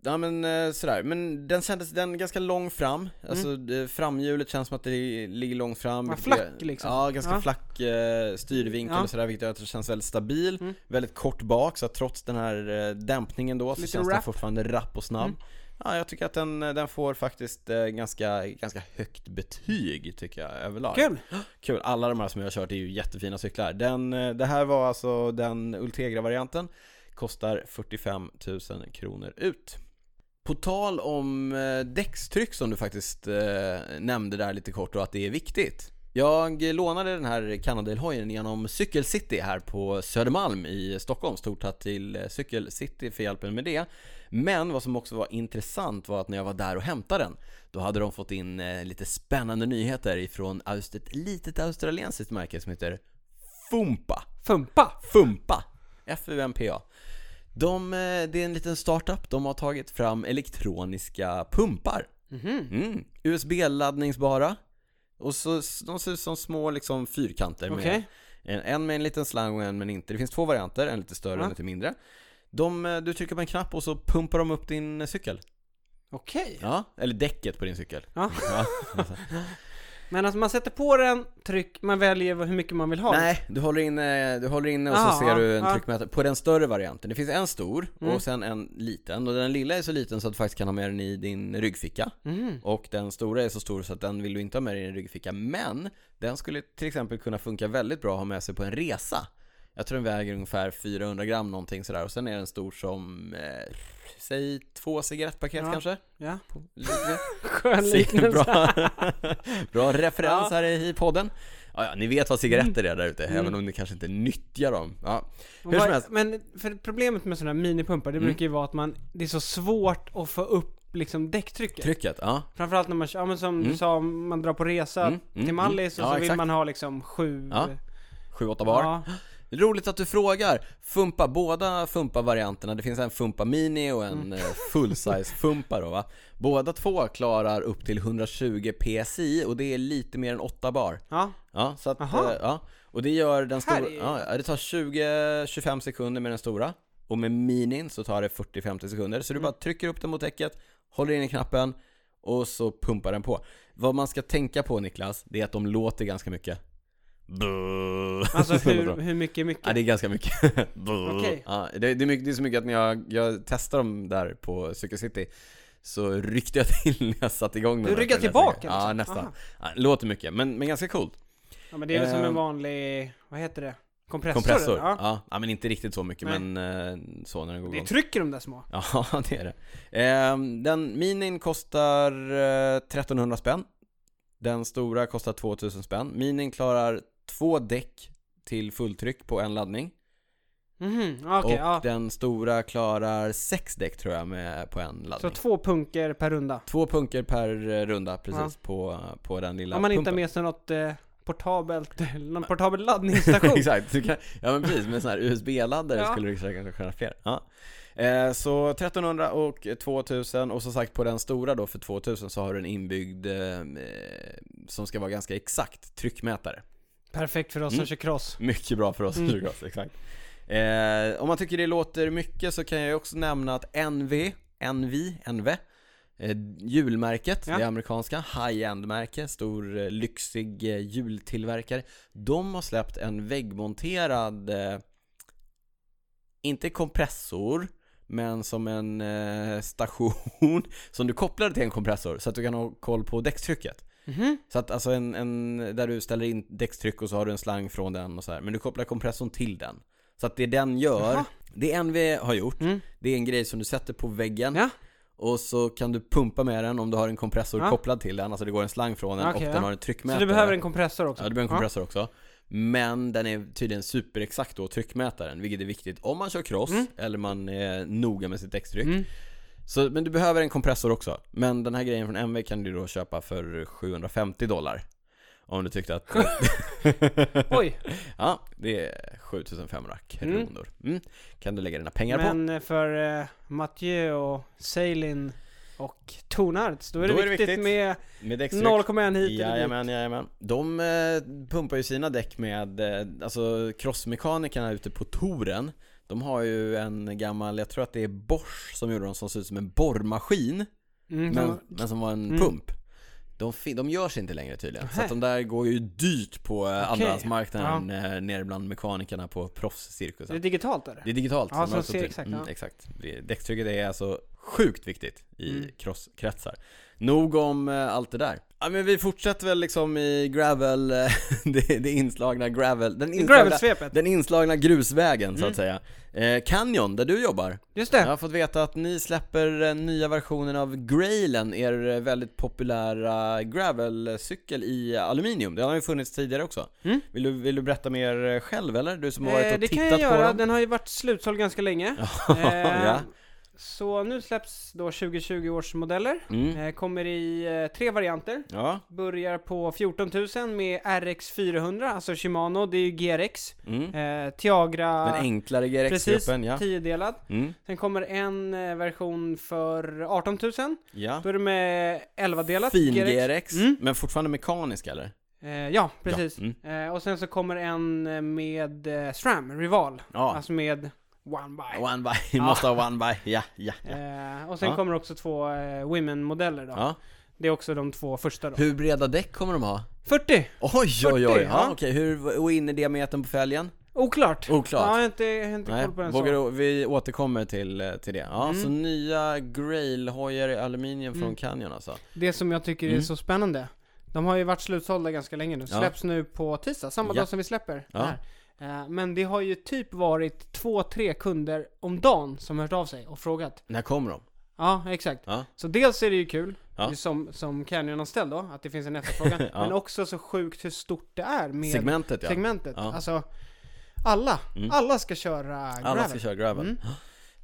[SPEAKER 2] ja men eh, sådär, men den kändes, den är ganska lång fram, alltså det, framhjulet känns som att det ligger långt fram
[SPEAKER 1] Mm. Ja,
[SPEAKER 2] vilket
[SPEAKER 1] flack,
[SPEAKER 2] är-
[SPEAKER 1] liksom.
[SPEAKER 2] Ja, ganska
[SPEAKER 1] Ja.
[SPEAKER 2] flack eh, styrvinkel
[SPEAKER 1] Ja.
[SPEAKER 2] och sådär vilket gör att det känns väldigt stabil,
[SPEAKER 1] Mm.
[SPEAKER 2] väldigt kort bak så att trots den här eh, dämpningen då så
[SPEAKER 1] Lite
[SPEAKER 2] känns den
[SPEAKER 1] rap.
[SPEAKER 2] fortfarande rapp och snabb
[SPEAKER 1] Mm.
[SPEAKER 2] Ja, jag tycker att den, den får faktiskt eh, ganska, ganska högt betyg tycker jag överlag
[SPEAKER 1] Kul!
[SPEAKER 2] Kul, alla de här som jag har kört är ju jättefina cyklar. Den, eh, det här var alltså den Ultegra-varianten. Kostar 45 000 kronor ut. På tal om eh, däckstryck som du faktiskt eh, nämnde där lite kort och att det är viktigt. Jag lånade den här Cannondale-hojen genom Cykelcity här på Södermalm i Stockholm. Stort tack till eh, Cykelcity för hjälpen med det. Men vad som också var intressant var att när jag var där och hämtade den, då hade de fått in eh, lite spännande nyheter ifrån aust- ett litet australiensiskt märke som heter Fumpa.
[SPEAKER 1] Fumpa!
[SPEAKER 2] Fumpa! F-U-M-P-A. De, eh, det är en liten startup, de har tagit fram elektroniska pumpar.
[SPEAKER 1] Mhm.
[SPEAKER 2] Mm. USB-laddningsbara. Och så, de ser ut som små liksom, fyrkanter med
[SPEAKER 1] Okej.
[SPEAKER 2] en, en med en liten slang och en men inte. Det finns två varianter, en lite större och
[SPEAKER 1] Ja.
[SPEAKER 2] en lite mindre. De, eh, du trycker på en knapp och så pumpar de upp din eh, cykel.
[SPEAKER 1] Okej.
[SPEAKER 2] Ja, eller däcket på din cykel.
[SPEAKER 1] Ja.
[SPEAKER 2] Ja.
[SPEAKER 1] Men alltså man sätter på den, tryck, man väljer hur mycket man vill ha.
[SPEAKER 2] Nej, du håller inne, du håller inne och
[SPEAKER 1] Ja,
[SPEAKER 2] så ser du en
[SPEAKER 1] ja.
[SPEAKER 2] tryckmätare på den större varianten. Det finns en stor
[SPEAKER 1] Mm.
[SPEAKER 2] och sen en liten. Och den lilla är så liten så att du faktiskt kan ha med den i din ryggficka.
[SPEAKER 1] Mhm.
[SPEAKER 2] Och den stora är så stor så att den vill du inte ha med dig i din ryggficka. Men den skulle till exempel kunna funka väldigt bra att ha med sig på en resa. Jag tror den väger ungefär 400 gram någonting sådär. Och sen är den stor som, eh, säg två cigarettpaket
[SPEAKER 1] Ja.
[SPEAKER 2] kanske?
[SPEAKER 1] Ja.
[SPEAKER 2] Lite.
[SPEAKER 1] Skön
[SPEAKER 2] Sig-
[SPEAKER 1] liknelse.
[SPEAKER 2] Bra, bra referens här i podden. Ja, ja, ni vet vad cigaretter är där ute,
[SPEAKER 1] Mm.
[SPEAKER 2] även om ni kanske inte nyttjar dem. Ja.
[SPEAKER 1] Och
[SPEAKER 2] Hur som
[SPEAKER 1] vad-
[SPEAKER 2] helst. Mm.
[SPEAKER 1] Men för problemet med sådana här minipumpar, det brukar ju vara att man, det är så svårt att få upp liksom däcktrycket.
[SPEAKER 2] Trycket, ja.
[SPEAKER 1] Framförallt när man, ja men som du sa, om man drar på resa
[SPEAKER 2] Mm, mm,
[SPEAKER 1] till Mallis
[SPEAKER 2] mm.
[SPEAKER 1] och
[SPEAKER 2] Ja,
[SPEAKER 1] så vill
[SPEAKER 2] exakt.
[SPEAKER 1] man ha liksom sju...
[SPEAKER 2] Ja, 7-8 bar.
[SPEAKER 1] Ja.
[SPEAKER 2] Roligt att du frågar. Fumpa, båda Fumpa-varianterna. Det finns en Fumpa Mini och
[SPEAKER 1] Mm.
[SPEAKER 2] en eh, full-size Fumpa då va. Båda två klarar upp till 120 PSI och det är lite mer än 8 bar.
[SPEAKER 1] ja.
[SPEAKER 2] Ja, så att, eh,
[SPEAKER 1] Aha.
[SPEAKER 2] ja. Och det gör den
[SPEAKER 1] Här
[SPEAKER 2] stora,
[SPEAKER 1] är-
[SPEAKER 2] ja, det tar 20-25 sekunder med den stora Och med minin så tar det 40-50 sekunder Så du
[SPEAKER 1] Mm.
[SPEAKER 2] bara trycker upp den mot däcket, håller in i knappen och så pumpar den på Vad man ska tänka på Niklas, det är att de låter ganska mycket Buh.
[SPEAKER 1] Alltså hur, hur mycket är mycket?
[SPEAKER 2] Ja, det är ganska mycket. Buh.
[SPEAKER 1] Okej.
[SPEAKER 2] ja, det, det, är mycket det är så mycket att när jag, jag testade dem där på Cykel City så ryckte jag till när jag satte igång den.
[SPEAKER 1] Du ryckte
[SPEAKER 2] Jag tror
[SPEAKER 1] tillbaka,
[SPEAKER 2] nästan- Ja,
[SPEAKER 1] liksom?
[SPEAKER 2] nästan.
[SPEAKER 1] Aha.
[SPEAKER 2] Ja, låter mycket, men, men ganska coolt.
[SPEAKER 1] Ja men det är väl som
[SPEAKER 2] Ehm.
[SPEAKER 1] en vanlig, vad heter det? Kompressor?
[SPEAKER 2] Kompressor?
[SPEAKER 1] Ja.
[SPEAKER 2] Ja. ja, men inte riktigt så mycket
[SPEAKER 1] Nej.
[SPEAKER 2] men eh, så när den går
[SPEAKER 1] Det
[SPEAKER 2] igång.
[SPEAKER 1] trycker de där små.
[SPEAKER 2] Ja, det är det. Ehm, den minin kostar eh, 1300 spänn. Den stora kostar 2000 spänn. Minin klarar två däck till fulltryck på en laddning.
[SPEAKER 1] Mhm, ja, okej,
[SPEAKER 2] och
[SPEAKER 1] ja.
[SPEAKER 2] den stora klarar sex däck tror jag med, på en
[SPEAKER 1] Så
[SPEAKER 2] laddning.
[SPEAKER 1] två punker per runda.
[SPEAKER 2] Två punker per eh, runda precis på, på den lilla
[SPEAKER 1] Om man inte
[SPEAKER 2] pumpen.
[SPEAKER 1] har med sig något eh, portabelt, någon portabel laddningsstation.
[SPEAKER 2] Exakt, du kan, ja men precis med sån här USB-laddare
[SPEAKER 1] Ja.
[SPEAKER 2] skulle du säkert kunna ha fler. Ja. Eh, så 1300 och 2000 och som sagt på den stora då för 2000 så har du en inbyggd eh, eh, som ska vara ganska exakt tryckmätare.
[SPEAKER 1] Perfekt för oss som
[SPEAKER 2] Mm.
[SPEAKER 1] kör cross.
[SPEAKER 2] Mycket bra för oss
[SPEAKER 1] Mm.
[SPEAKER 2] mm. exakt. Eh, om man tycker det låter mycket så kan jag ju också nämna att NV, NV, NV eh, Julmärket,
[SPEAKER 1] Ja.
[SPEAKER 2] det amerikanska, high-end-märke, stor eh, lyxig eh, jultillverkare. De har släppt en väggmonterad, eh, inte kompressor, men som en eh, station som du kopplar till en kompressor så att du kan ha koll på däckstrycket.
[SPEAKER 1] Mhm.
[SPEAKER 2] Så att alltså en, en, där du ställer in däckstryck och så har du en slang från den och så här. Men du kopplar kompressorn till den. Så att det den gör,
[SPEAKER 1] Jaha.
[SPEAKER 2] det NV har gjort,
[SPEAKER 1] Mm.
[SPEAKER 2] det är en grej som du sätter på väggen
[SPEAKER 1] Ja.
[SPEAKER 2] och så kan du pumpa med den om du har en kompressor
[SPEAKER 1] Ja.
[SPEAKER 2] kopplad till den. Alltså det går en slang från den
[SPEAKER 1] Okej,
[SPEAKER 2] och
[SPEAKER 1] ja.
[SPEAKER 2] den har en
[SPEAKER 1] Så
[SPEAKER 2] tryckmätare.
[SPEAKER 1] du behöver en kompressor också?
[SPEAKER 2] Ja, du behöver en kompressor också. Men den är tydligen superexakt då, tryckmätaren, vilket är viktigt om man kör cross
[SPEAKER 1] Mm.
[SPEAKER 2] eller man är noga med sitt däckstryck.
[SPEAKER 1] Mm.
[SPEAKER 2] Så, men du behöver en kompressor också. Men den här grejen från MV kan du då köpa för 750 dollar. Om du tyckte att...
[SPEAKER 1] Oj,
[SPEAKER 2] ja, det är Mm. 7500 kronor. Mm. Kan du lägga dina pengar på.
[SPEAKER 1] men eh, för eh, Mathieu och Sailin och Tonards. Då är det,
[SPEAKER 2] Då är det
[SPEAKER 1] viktigt,
[SPEAKER 2] viktigt.
[SPEAKER 1] med
[SPEAKER 2] Med däckstryck.
[SPEAKER 1] 0,1 hit eller dit.
[SPEAKER 2] Jajamän, jajamän. De eh, pumpar ju sina däck med, eh, alltså crossmekanikerna ute på touren. De har ju en gammal, jag tror att det är Bosch som gjorde dem som ser ut som en borrmaskin.
[SPEAKER 1] Mm,
[SPEAKER 2] Men,
[SPEAKER 1] så-
[SPEAKER 2] men som var en
[SPEAKER 1] Mm.
[SPEAKER 2] pump. De, fin- de görs inte längre tydligen. Så
[SPEAKER 1] Nähä.
[SPEAKER 2] att de där går ju dyrt på okay. andrahandsmarknaden eh, nere bland mekanikerna på
[SPEAKER 1] det är
[SPEAKER 2] proffscirkusen.
[SPEAKER 1] digitalt är det?
[SPEAKER 2] Det är digitalt.
[SPEAKER 1] Ja,
[SPEAKER 2] som
[SPEAKER 1] så
[SPEAKER 2] jag
[SPEAKER 1] de
[SPEAKER 2] sa
[SPEAKER 1] ser
[SPEAKER 2] till.
[SPEAKER 1] exakt,
[SPEAKER 2] Mm,
[SPEAKER 1] ja.
[SPEAKER 2] exakt. Det- Däckstrycket är alltså sjukt viktigt i
[SPEAKER 1] Mm.
[SPEAKER 2] crosskretsar. Nog om eh, allt det där. Ja, men vi fortsätter väl liksom i gravel, eh, det, det inslagna gravel, den inslagna,
[SPEAKER 1] Gravelsvepet,
[SPEAKER 2] den inslagna grusvägen så att
[SPEAKER 1] Mm.
[SPEAKER 2] säga. Eh, Canyon, där du jobbar.
[SPEAKER 1] just det.
[SPEAKER 2] Jag har fått veta att ni släpper eh, nya versionen av Grailen, er eh, väldigt populära gravelcykel i aluminium. Den har ju funnits tidigare också.
[SPEAKER 1] Mm.
[SPEAKER 2] Vill, du, vill du berätta mer eh, själv eller? Du som har varit
[SPEAKER 1] Eh,
[SPEAKER 2] och
[SPEAKER 1] det kan
[SPEAKER 2] tittat
[SPEAKER 1] jag
[SPEAKER 2] på
[SPEAKER 1] göra,
[SPEAKER 2] dem?
[SPEAKER 1] den har ju varit slutsåld ganska länge. Eh,
[SPEAKER 2] ja.
[SPEAKER 1] Så nu släpps då 2020 års modeller.
[SPEAKER 2] Mm.
[SPEAKER 1] Eh, Kommer i eh, tre varianter.
[SPEAKER 2] Ja.
[SPEAKER 1] Börjar på 14 000 med RX 400, alltså Shimano, det är ju GRX.
[SPEAKER 2] Mm.
[SPEAKER 1] Eh, Tiagra,
[SPEAKER 2] Den enklare
[SPEAKER 1] precis,
[SPEAKER 2] GRX-gruppen, ja.
[SPEAKER 1] 10-delad.
[SPEAKER 2] Mm.
[SPEAKER 1] Sen kommer en eh, version för 18 000.
[SPEAKER 2] ja.
[SPEAKER 1] Då är det med 11-delat
[SPEAKER 2] Fin GRX,
[SPEAKER 1] Mm.
[SPEAKER 2] men fortfarande mekanisk eller?
[SPEAKER 1] Eh, ja, precis.
[SPEAKER 2] Ja. Mm.
[SPEAKER 1] Eh, och sen så kommer en eh, med eh, SRAM, Rival.
[SPEAKER 2] ja.
[SPEAKER 1] Alltså med One by.
[SPEAKER 2] One by, måste ha one by, ja, ja, ja.
[SPEAKER 1] Eh, och sen
[SPEAKER 2] Ja.
[SPEAKER 1] kommer också två eh, Women-modeller då.
[SPEAKER 2] ja.
[SPEAKER 1] Det är också de två första då.
[SPEAKER 2] Hur breda däck kommer de ha?
[SPEAKER 1] 40!
[SPEAKER 2] Oj, oj,
[SPEAKER 1] 40,
[SPEAKER 2] oj!
[SPEAKER 1] ja.
[SPEAKER 2] Ja, okej, hur, och in i diametern på fälgen?
[SPEAKER 1] Oklart!
[SPEAKER 2] Oklart.
[SPEAKER 1] Ja, jag har inte, jag har inte
[SPEAKER 2] Nej,
[SPEAKER 1] koll på den
[SPEAKER 2] vågar
[SPEAKER 1] så.
[SPEAKER 2] du, vi återkommer till, eh, till det. Ja,
[SPEAKER 1] Mm.
[SPEAKER 2] så nya Grail-hojar i aluminium
[SPEAKER 1] Mm.
[SPEAKER 2] från Canyon alltså.
[SPEAKER 1] Det som jag tycker är
[SPEAKER 2] Mm.
[SPEAKER 1] så spännande. De har ju varit slutsålda ganska länge nu.
[SPEAKER 2] Ja.
[SPEAKER 1] Släpps nu på tisdag, samma
[SPEAKER 2] Ja.
[SPEAKER 1] dag som vi släpper
[SPEAKER 2] Ja.
[SPEAKER 1] det här. Eh, Men det har ju typ varit två, tre kunder om dagen som hört av sig och frågat.
[SPEAKER 2] När kommer de?
[SPEAKER 1] Ja, exakt.
[SPEAKER 2] Ja.
[SPEAKER 1] Så dels är det ju kul,
[SPEAKER 2] Ja.
[SPEAKER 1] ju som, som Canyon-anställd då, att det finns en efterfrågan.
[SPEAKER 2] Ja.
[SPEAKER 1] Men också så sjukt hur stort det är med
[SPEAKER 2] Segmentet ja.
[SPEAKER 1] segmentet.
[SPEAKER 2] Ja.
[SPEAKER 1] Alltså, alla,
[SPEAKER 2] Mm.
[SPEAKER 1] alla ska köra
[SPEAKER 2] Alla ska
[SPEAKER 1] gravel.
[SPEAKER 2] köra gravel.
[SPEAKER 1] Mm.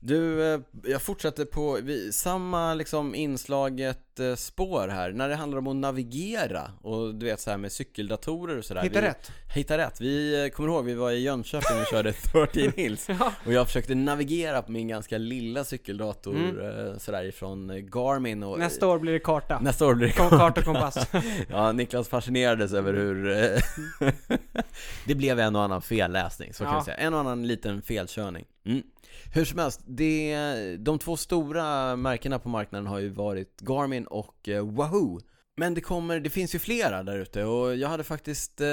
[SPEAKER 2] Du, eh, jag fortsätter på vi, samma liksom inslaget eh, spår här. När det handlar om att navigera och du vet så här med cykeldatorer och sådär.
[SPEAKER 1] Hitta
[SPEAKER 2] vi,
[SPEAKER 1] rätt.
[SPEAKER 2] Hitta rätt. Vi eh, kommer ihåg, vi var i Jönköping och körde 13 Hills.
[SPEAKER 1] Ja.
[SPEAKER 2] Och jag försökte navigera på min ganska lilla cykeldator eh, sådär ifrån eh, Garmin och
[SPEAKER 1] Mm. Nästa år blir det karta.
[SPEAKER 2] Nästa år blir det
[SPEAKER 1] Kom- Karta och kompass.
[SPEAKER 2] Ja, Niklas fascinerades över hur... eh, det blev en och annan felläsning, så kan
[SPEAKER 1] Ja.
[SPEAKER 2] vi säga. En och annan liten felkörning. Mm. Hur som helst, det, de två stora märkena på marknaden har ju varit Garmin och eh, Wahoo. Men det, kommer, det finns ju flera där ute och jag hade faktiskt eh,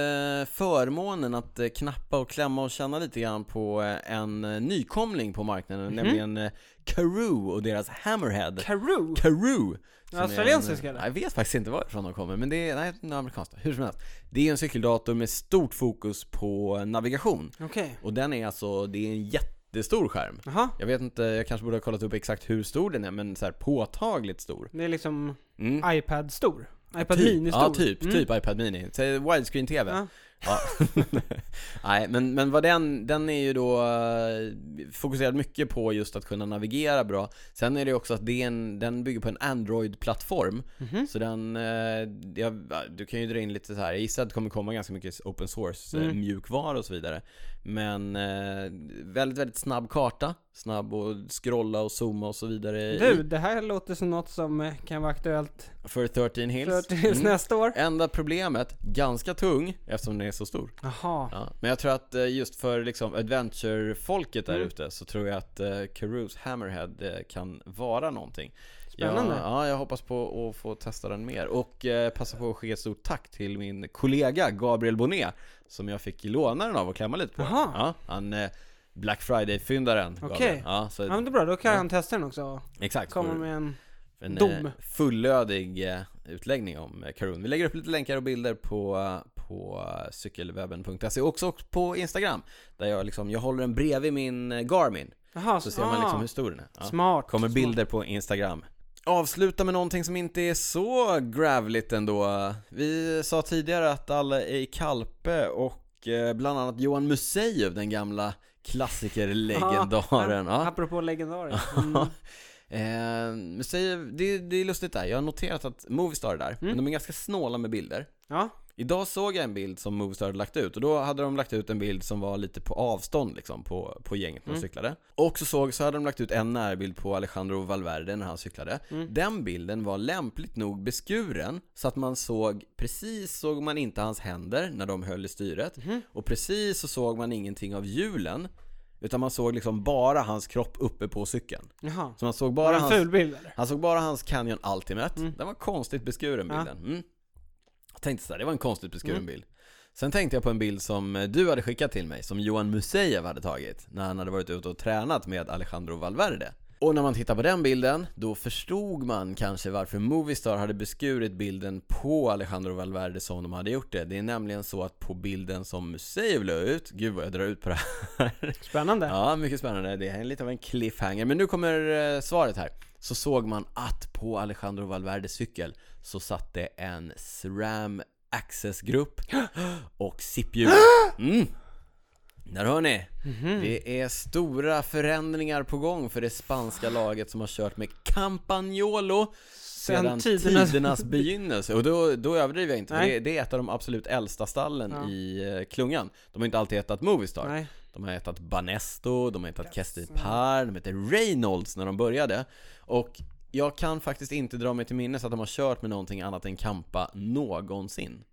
[SPEAKER 2] förmånen att eh, knappa och klämma och känna lite grann på eh, en eh, nykomling på marknaden,
[SPEAKER 1] Mhm.
[SPEAKER 2] nämligen eh, Karoo och deras Hammerhead.
[SPEAKER 1] Karoo!
[SPEAKER 2] Karoo! som är
[SPEAKER 1] Australiensisk,
[SPEAKER 2] en-
[SPEAKER 1] eller?
[SPEAKER 2] Jag vet faktiskt inte varifrån de kommer, men det är, nej, den är amerikansk. Hur som helst. Det är en cykeldator med stort fokus på navigation.
[SPEAKER 1] Okej.
[SPEAKER 2] Och den är alltså, det är en jättestor skärm.
[SPEAKER 1] Jaha.
[SPEAKER 2] Jag vet inte, jag kanske borde ha kollat upp exakt hur stor den är, men så här påtagligt stor.
[SPEAKER 1] Det är liksom
[SPEAKER 2] Mm.
[SPEAKER 1] iPad-stor. iPad
[SPEAKER 2] Typ.
[SPEAKER 1] Mini-stor.
[SPEAKER 2] Ja, typ,
[SPEAKER 1] Mm.
[SPEAKER 2] typ iPad Mini. Säg Widescreen-TV.
[SPEAKER 1] Ja.
[SPEAKER 2] Ja. Nej, men, men vad den, den är ju då eh, fokuserad mycket på just att kunna navigera bra. Sen är det också att det är en, den bygger på en Android-plattform.
[SPEAKER 1] Mhm.
[SPEAKER 2] Så den, eh, jag, du kan ju dra in lite så här. jag gissar att det kommer komma ganska mycket open source, eh,
[SPEAKER 1] Mm.
[SPEAKER 2] mjukvara och så vidare. Men eh, väldigt, väldigt snabb karta. Snabb att scrolla och zooma och så vidare. i-
[SPEAKER 1] Du, det här låter som något som eh, kan vara aktuellt
[SPEAKER 2] För 13 Hills.
[SPEAKER 1] för tills
[SPEAKER 2] Mm.
[SPEAKER 1] nästa år.
[SPEAKER 2] Enda problemet, ganska tung eftersom den är så stor.
[SPEAKER 1] Jaha.
[SPEAKER 2] Ja, men jag tror att eh, just för liksom adventure-folket där
[SPEAKER 1] Mm.
[SPEAKER 2] ute så tror jag att eh, Carews Hammerhead eh, kan vara någonting.
[SPEAKER 1] Spännande.
[SPEAKER 2] Ja, ja, jag hoppas på att få testa den mer. Och eh, passa på att skicka ett stort tack till min kollega Gabriel Bonnet som jag fick låna den av och klämma lite på.
[SPEAKER 1] Jaha.
[SPEAKER 2] Ja, han eh, Black Friday-fyndaren. Gabriel.
[SPEAKER 1] Okej.
[SPEAKER 2] Ja, så,
[SPEAKER 1] Ja men det är bra, då kan
[SPEAKER 2] Ja.
[SPEAKER 1] han testa den också och
[SPEAKER 2] Exakt.
[SPEAKER 1] komma
[SPEAKER 2] för-
[SPEAKER 1] med en...
[SPEAKER 2] en
[SPEAKER 1] Dom.
[SPEAKER 2] eh, fullödig eh, utläggning om eh, Karun. Vi lägger upp lite länkar och bilder på, eh, på eh, cykelwebben.se och också på Instagram. Där jag, liksom, jag håller den bredvid min eh, Garmin.
[SPEAKER 1] Jaha,
[SPEAKER 2] Så ser man liksom
[SPEAKER 1] ah,
[SPEAKER 2] hur stor den är. Ja.
[SPEAKER 1] Smart.
[SPEAKER 2] Kommer
[SPEAKER 1] smart.
[SPEAKER 2] bilder på Instagram. Avsluta med någonting som inte är så gravligt ändå. Vi sa tidigare att alla är i Kalpe och eh, bland annat Johan Museev, den gamla klassikerlegendaren. Ja.
[SPEAKER 1] Apropå legendariskt. Mm.
[SPEAKER 2] Ja. Eh, men
[SPEAKER 1] Mm.
[SPEAKER 2] säg, det, det är lustigt där, jag har noterat att Movistar är där, men de är ganska snåla med bilder.
[SPEAKER 1] Ja.
[SPEAKER 2] Idag såg jag en bild som Movistar hade lagt ut och då hade de lagt ut en bild som var lite på avstånd liksom på, på gänget när de
[SPEAKER 1] Mm.
[SPEAKER 2] cyklade. Och så såg så hade de lagt ut en närbild på Alejandro Valverde när han cyklade.
[SPEAKER 1] Mm.
[SPEAKER 2] Den bilden var lämpligt nog beskuren så att man såg, precis såg man inte hans händer när de höll i styret
[SPEAKER 1] Mhm.
[SPEAKER 2] och precis så såg man ingenting av hjulen utan man såg liksom bara hans kropp uppe på cykeln.
[SPEAKER 1] Jaha.
[SPEAKER 2] Så man såg
[SPEAKER 1] Var
[SPEAKER 2] bara
[SPEAKER 1] det en
[SPEAKER 2] hans...
[SPEAKER 1] ful bild eller?
[SPEAKER 2] Han såg bara hans Canyon Ultimate.
[SPEAKER 1] Mm.
[SPEAKER 2] Den var konstigt beskuren
[SPEAKER 1] Ja.
[SPEAKER 2] bilden. Mm. Jag tänkte såhär, det var en konstigt beskuren
[SPEAKER 1] Mm.
[SPEAKER 2] bild. Sen tänkte jag på en bild som eh, du hade skickat till mig, som Johan Musejev hade tagit när han hade varit ute och tränat med Alejandro Valverde. Och när man tittar på den bilden, då förstod man kanske varför Movistar hade beskurit bilden på Alejandro Valverde som de hade gjort det. Det är nämligen så att på bilden som Musejev la ut, gud vad jag drar ut på det här.
[SPEAKER 1] Spännande.
[SPEAKER 2] Ja, mycket spännande. Det är lite av en cliffhanger. Men nu kommer eh, svaret här. Så såg man att på Alejandro Valverdes cykel så satt det en SRAM Access-grupp och SIP-hjul. Mm. Där hör ni!
[SPEAKER 1] Mhm.
[SPEAKER 2] Det är stora förändringar på gång för det spanska laget som har kört med Campagnolo
[SPEAKER 1] Sen
[SPEAKER 2] sedan tidernas,
[SPEAKER 1] tidernas-
[SPEAKER 2] begynnelse. Och då, då överdriver jag inte, för
[SPEAKER 1] Nej.
[SPEAKER 2] det, det är ett av de absolut äldsta stallen
[SPEAKER 1] Ja.
[SPEAKER 2] i eh, klungan. De har inte alltid hetat Movistar.
[SPEAKER 1] Nej.
[SPEAKER 2] De har hetat Banesto, de har hetat Kestil Par, de hette Reynolds när de började. Och jag kan faktiskt inte dra mig till minnes att de har kört med någonting annat än Kampa någonsin.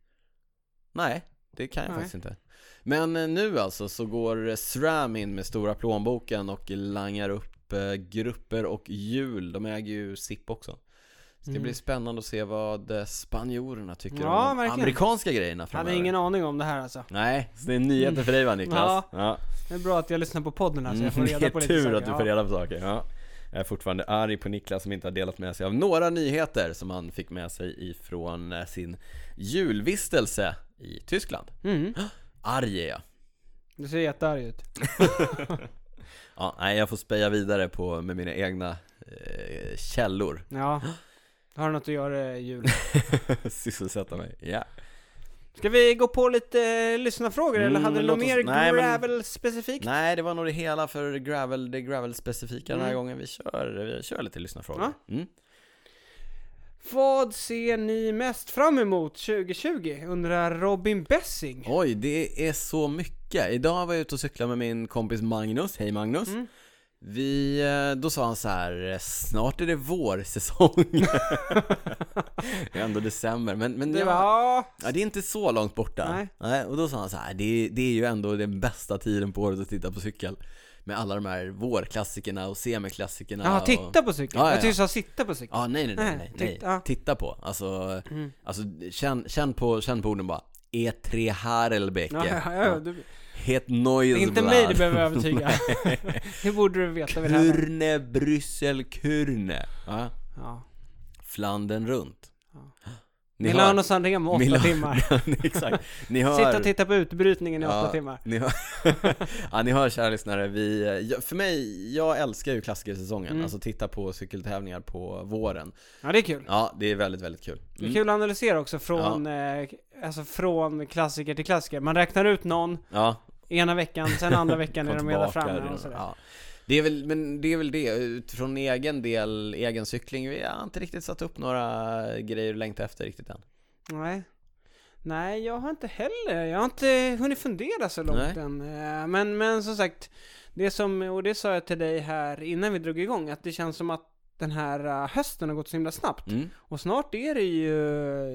[SPEAKER 2] Nej, det kan jag
[SPEAKER 1] Nej.
[SPEAKER 2] faktiskt inte. Men eh, nu alltså så går eh, SRAM in med stora plånboken och langar upp eh, grupper och hjul. De äger ju SIP också. Så det
[SPEAKER 1] Mm.
[SPEAKER 2] blir spännande att se vad eh, spanjorerna tycker
[SPEAKER 1] Ja,
[SPEAKER 2] om de
[SPEAKER 1] verkligen.
[SPEAKER 2] amerikanska grejerna
[SPEAKER 1] Jag
[SPEAKER 2] framöver.
[SPEAKER 1] hade ingen aning om det här alltså.
[SPEAKER 2] Nej, så det är nyheter för dig va Niklas?
[SPEAKER 1] Ja.
[SPEAKER 2] Ja.
[SPEAKER 1] Det är bra att jag lyssnar på podden här så Alltså, jag får
[SPEAKER 2] Mm,
[SPEAKER 1] reda på lite
[SPEAKER 2] Det är tur
[SPEAKER 1] saker.
[SPEAKER 2] att du får reda på saker, ja. Jag är fortfarande arg på Niklas som inte har delat med sig av några nyheter som han fick med sig ifrån eh, sin julvistelse i Tyskland.
[SPEAKER 1] Ja. Mm.
[SPEAKER 2] Arg är jag.
[SPEAKER 1] Du ser jättearg ut.
[SPEAKER 2] Ja, nej, jag får speja vidare på, med mina egna eh, källor.
[SPEAKER 1] Ja. Har du något att göra i jul?
[SPEAKER 2] Sysselsätta mig. Ja.
[SPEAKER 1] Ska vi gå på lite eh, lyssnarfrågor eller
[SPEAKER 2] Mm,
[SPEAKER 1] hade du något
[SPEAKER 2] låt oss-
[SPEAKER 1] mer
[SPEAKER 2] nej, men-
[SPEAKER 1] gravel specifikt?
[SPEAKER 2] Nej, det var nog det hela för gravel, det gravel-specifika den här
[SPEAKER 1] Mm.
[SPEAKER 2] gången. Vi kör, vi kör lite lyssnarfrågor. Mm.
[SPEAKER 1] Vad ser ni mest fram emot 2020? Undrar Robin Bessing.
[SPEAKER 2] Oj, det är så mycket. Idag var jag ute och cyklade med min kompis Magnus. Hej Magnus.
[SPEAKER 1] Mm.
[SPEAKER 2] Vi, eh, då sa han så här, snart är det vårsäsong. det är ändå december, men, men
[SPEAKER 1] Det
[SPEAKER 2] jag-
[SPEAKER 1] var... Ja.
[SPEAKER 2] ja, det är inte så långt borta.
[SPEAKER 1] Nej.
[SPEAKER 2] och då sa han så här, det, är- det är ju ändå den bästa tiden på året att titta på cykel. Med alla de här vårklassikerna och semiklassikerna.
[SPEAKER 1] Jaha,
[SPEAKER 2] och...
[SPEAKER 1] titta på cykeln.
[SPEAKER 2] Ja, ja,
[SPEAKER 1] Jag tyckte
[SPEAKER 2] ja.
[SPEAKER 1] du sa sitta på cykeln.
[SPEAKER 2] Ja, nej, nej, nej,
[SPEAKER 1] Nej,
[SPEAKER 2] nej, nej.
[SPEAKER 1] titta- ja.
[SPEAKER 2] Titta på. Alltså,
[SPEAKER 1] Mm.
[SPEAKER 2] alltså känn, känn, på, känn på orden bara. E E3 Harelbeke.
[SPEAKER 1] Ja, ja, ja, du,
[SPEAKER 2] Het
[SPEAKER 1] det
[SPEAKER 2] Neues
[SPEAKER 1] är inte mig du behöver övertyga. det borde du veta vid det här laget.
[SPEAKER 2] Kurne, Bryssel, Kurne. Ja.
[SPEAKER 1] ja.
[SPEAKER 2] Flandern runt.
[SPEAKER 1] Ja.
[SPEAKER 2] Ni
[SPEAKER 1] Milano San Remo, åtta
[SPEAKER 2] Milano-
[SPEAKER 1] timmar.
[SPEAKER 2] Exakt. Ni hör...
[SPEAKER 1] Sitta och titta på utbrytningen i åtta
[SPEAKER 2] Ja,
[SPEAKER 1] timmar.
[SPEAKER 2] Ni hör, ja, ni hör kära lyssnare, vi, ja, för mig, jag älskar ju klassikersäsongen,
[SPEAKER 1] Mm.
[SPEAKER 2] alltså titta på cykeltävlingar på våren.
[SPEAKER 1] Ja, det är kul.
[SPEAKER 2] Ja, det är väldigt, väldigt kul. Mm.
[SPEAKER 1] Det är kul att analysera också från, eh, alltså från klassiker till klassiker. Man räknar ut någon
[SPEAKER 2] Ja,
[SPEAKER 1] ena veckan, sen andra veckan är
[SPEAKER 2] kom
[SPEAKER 1] de hela
[SPEAKER 2] tillbaka,
[SPEAKER 1] framme
[SPEAKER 2] det är
[SPEAKER 1] och
[SPEAKER 2] de-
[SPEAKER 1] sådär.
[SPEAKER 2] ja. Det är väl, men det är väl det, utifrån egen del, egen cykling, vi har inte riktigt satt upp några grejer att längta efter riktigt än.
[SPEAKER 1] Nej. Nej, jag har inte heller, jag har inte hunnit fundera så långt
[SPEAKER 2] Nej.
[SPEAKER 1] än. Eh, Men, men som sagt, det som, och det sa jag till dig här innan vi drog igång, att det känns som att den här eh, hösten har gått så himla snabbt.
[SPEAKER 2] Mm.
[SPEAKER 1] Och snart är det ju,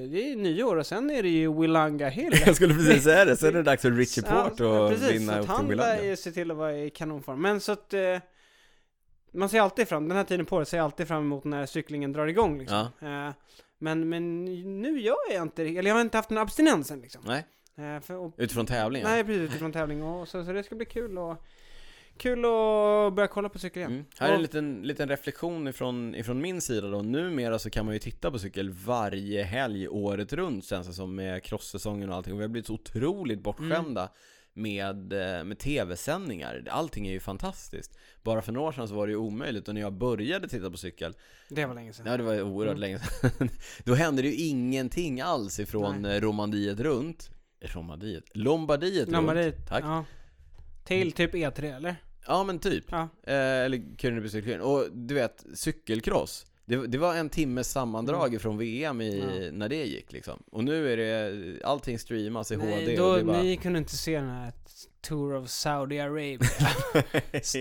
[SPEAKER 1] det är ju nyår och sen är det ju Willanga Hill.
[SPEAKER 2] Jag skulle precis säga det, sen är det dags för Richie
[SPEAKER 1] Ja,
[SPEAKER 2] Port att
[SPEAKER 1] precis,
[SPEAKER 2] vinna
[SPEAKER 1] så
[SPEAKER 2] upp
[SPEAKER 1] att
[SPEAKER 2] till
[SPEAKER 1] han lär
[SPEAKER 2] Willandia.
[SPEAKER 1] ju se till att vara i kanonform. Men så att eh, man ser alltid fram, den här tiden på året ser jag alltid fram emot när cyklingen drar igång liksom.
[SPEAKER 2] Ja,
[SPEAKER 1] Eh, men, men nu gör jag inte det. eller jag har inte haft den abstinensen liksom.
[SPEAKER 2] nej,
[SPEAKER 1] Eh, för, och,
[SPEAKER 2] utifrån tävlingen.
[SPEAKER 1] Nej, precis utifrån tävling och så, så det ska bli kul och kul att börja kolla på cykel igen.
[SPEAKER 2] Mm. Här är en liten, liten reflektion ifrån, ifrån min sida då. Numera så kan man ju titta på cykel varje helg året runt känns det som med crosssäsongen och allting. Och vi har blivit så otroligt bortskämda
[SPEAKER 1] Mm.
[SPEAKER 2] med, eh, med tv-sändningar. Allting är ju fantastiskt. Bara för några år sedan så var det ju omöjligt och när jag började titta på cykel,
[SPEAKER 1] Det var länge sedan.
[SPEAKER 2] ja det var ju oerhört länge sedan, då hände det ju ingenting alls ifrån eh, Romandiet runt. Romandiet? Lombardiet
[SPEAKER 1] Lomma
[SPEAKER 2] runt.
[SPEAKER 1] dit.
[SPEAKER 2] Tack. Mm.
[SPEAKER 1] Ja. Till typ E3 eller?
[SPEAKER 2] Ja men typ.
[SPEAKER 1] Ja.
[SPEAKER 2] Eh, eller Currenby cykelkuren. Och du vet, cykelcross. Det, det var en timmes sammandrag från VM i, när det gick liksom. Och nu är det, allting streamas i HD
[SPEAKER 1] Nej,
[SPEAKER 2] och
[SPEAKER 1] då,
[SPEAKER 2] det är bara...
[SPEAKER 1] ni kunde inte se den här Tour of Saudiarabien. Stackars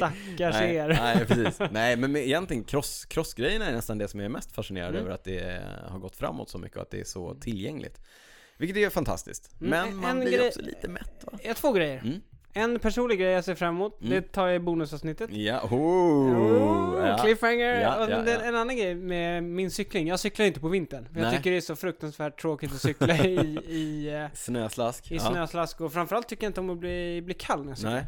[SPEAKER 2] nej,
[SPEAKER 1] er.
[SPEAKER 2] Nej, precis. Nej, men med- egentligen cross, crossgrejerna är nästan det som jag är mest fascinerad
[SPEAKER 1] Mm.
[SPEAKER 2] över, att det eh, har gått framåt så mycket och att det är så tillgängligt. Vilket är fantastiskt.
[SPEAKER 1] Mm,
[SPEAKER 2] Men
[SPEAKER 1] en-
[SPEAKER 2] man
[SPEAKER 1] en
[SPEAKER 2] blir
[SPEAKER 1] grej-
[SPEAKER 2] också lite mätt va?
[SPEAKER 1] Jag har Eh, två grejer.
[SPEAKER 2] Mm.
[SPEAKER 1] En personlig grej jag ser fram emot,
[SPEAKER 2] Mm.
[SPEAKER 1] det tar jag i bonusavsnittet.
[SPEAKER 2] Ja, oh,
[SPEAKER 1] Oh,
[SPEAKER 2] ja.
[SPEAKER 1] cliffhanger!
[SPEAKER 2] Ja,
[SPEAKER 1] och
[SPEAKER 2] ja,
[SPEAKER 1] den-
[SPEAKER 2] ja.
[SPEAKER 1] En annan grej med min cykling, jag cyklar inte på vintern. För jag
[SPEAKER 2] Nej.
[SPEAKER 1] tycker det är så fruktansvärt tråkigt att cykla i, i, eh,
[SPEAKER 2] Snöslask.
[SPEAKER 1] i snöslask och framförallt tycker jag inte om att bli, bli kall när jag
[SPEAKER 2] Ja.
[SPEAKER 1] cyklar.
[SPEAKER 2] Nej.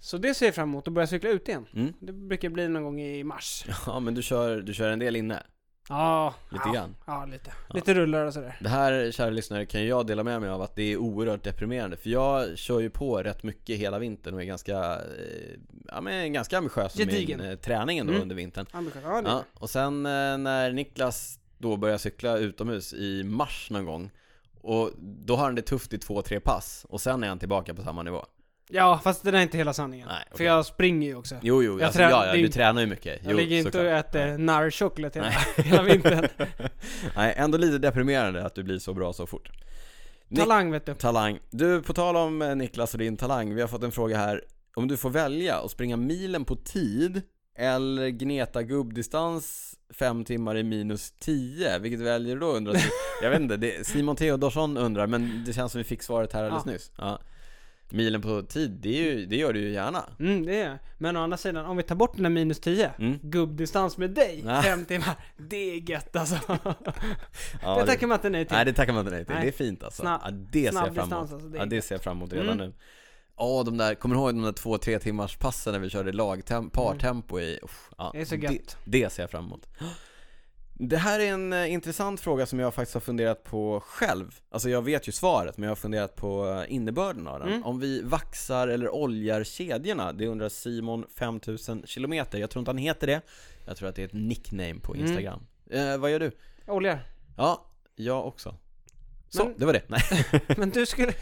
[SPEAKER 1] Så det ser jag fram emot, att börja cykla ut igen.
[SPEAKER 2] Mm.
[SPEAKER 1] Det brukar bli någon gång i mars.
[SPEAKER 2] ja, men du kör, du kör en del inne.
[SPEAKER 1] Ja,
[SPEAKER 2] Lite
[SPEAKER 1] ja,
[SPEAKER 2] grann.
[SPEAKER 1] ja lite. Lite rullar och sådär.
[SPEAKER 2] Det här, kära lyssnare, kan jag dela med mig av att det är oerhört deprimerande. För jag kör ju på rätt mycket hela vintern och är ganska, eh, ja, men ganska ambitiös med
[SPEAKER 1] Gedigen.
[SPEAKER 2] min eh, träning ändå
[SPEAKER 1] Mm.
[SPEAKER 2] under vintern.
[SPEAKER 1] Ambitiöst. Ja, det är
[SPEAKER 2] Ja,
[SPEAKER 1] det.
[SPEAKER 2] och sen eh, när Niklas då börjar cykla utomhus i mars någon gång och då har han det tufft i två, tre pass och sen är han tillbaka på samma nivå.
[SPEAKER 1] ja, fast det där är inte hela sanningen.
[SPEAKER 2] Nej,
[SPEAKER 1] För
[SPEAKER 2] okej.
[SPEAKER 1] jag springer ju också.
[SPEAKER 2] Jo, jo,
[SPEAKER 1] Jag
[SPEAKER 2] alltså,
[SPEAKER 1] trä-
[SPEAKER 2] ja, ja,
[SPEAKER 1] det är
[SPEAKER 2] du
[SPEAKER 1] inte-
[SPEAKER 2] tränar ju mycket.
[SPEAKER 1] Jag
[SPEAKER 2] Jo,
[SPEAKER 1] ligger inte och
[SPEAKER 2] såklart.
[SPEAKER 1] äter narrchoklad hela, hela vintern.
[SPEAKER 2] Nej, ändå lite deprimerande att du blir så bra så fort. Ni-
[SPEAKER 1] Talang vet du.
[SPEAKER 2] Talang. Du, på tal om eh, Niklas och din talang, vi har fått en fråga här. Om du får välja att springa milen på tid eller gneta gubbdistans fem timmar i minus 10, vilket väljer du då undrar Jag vet inte, det, Simon Theodorsson undrar, men det känns som vi fick svaret här alldeles
[SPEAKER 1] Ja.
[SPEAKER 2] nyss. Ja. Milen på tid, det, är ju, det gör du ju gärna.
[SPEAKER 1] Mm, det är jag. Men å andra sidan, om vi tar bort den här minus 10,
[SPEAKER 2] Mm.
[SPEAKER 1] gubbdistans med dig,
[SPEAKER 2] Ja.
[SPEAKER 1] fem timmar, det är gött alltså.
[SPEAKER 2] Ja,
[SPEAKER 1] det tackar man inte nej till.
[SPEAKER 2] Nej det tackar man inte nej till,
[SPEAKER 1] Nej.
[SPEAKER 2] det är fint alltså.
[SPEAKER 1] Snabb-
[SPEAKER 2] ja, det ser
[SPEAKER 1] snabb
[SPEAKER 2] jag fram emot.
[SPEAKER 1] distans, alltså, det är
[SPEAKER 2] ja, det
[SPEAKER 1] gött. Mm.
[SPEAKER 2] ser jag fram emot redan nu. Ja, de där, kommer du ihåg de där två, tre timmars passen när vi körde lagtem- partempo i? Uff, ja,
[SPEAKER 1] Mm. Det är så
[SPEAKER 2] det,
[SPEAKER 1] gött.
[SPEAKER 2] det ser jag fram emot. Det här är en eh, intressant fråga som jag faktiskt har funderat på själv. Alltså jag vet ju svaret, men jag har funderat på eh, innebörden av
[SPEAKER 1] Mm.
[SPEAKER 2] den. Om vi vaxar eller oljar kedjorna, det undrar Simon 5000 kilometer. Jag tror inte han heter det. Jag tror att det är ett nickname
[SPEAKER 1] Mm.
[SPEAKER 2] på Instagram. Eh, vad gör du?
[SPEAKER 1] Olja.
[SPEAKER 2] Ja, jag också. Så,
[SPEAKER 1] Men-
[SPEAKER 2] det var det. Nej.
[SPEAKER 1] Men du skulle...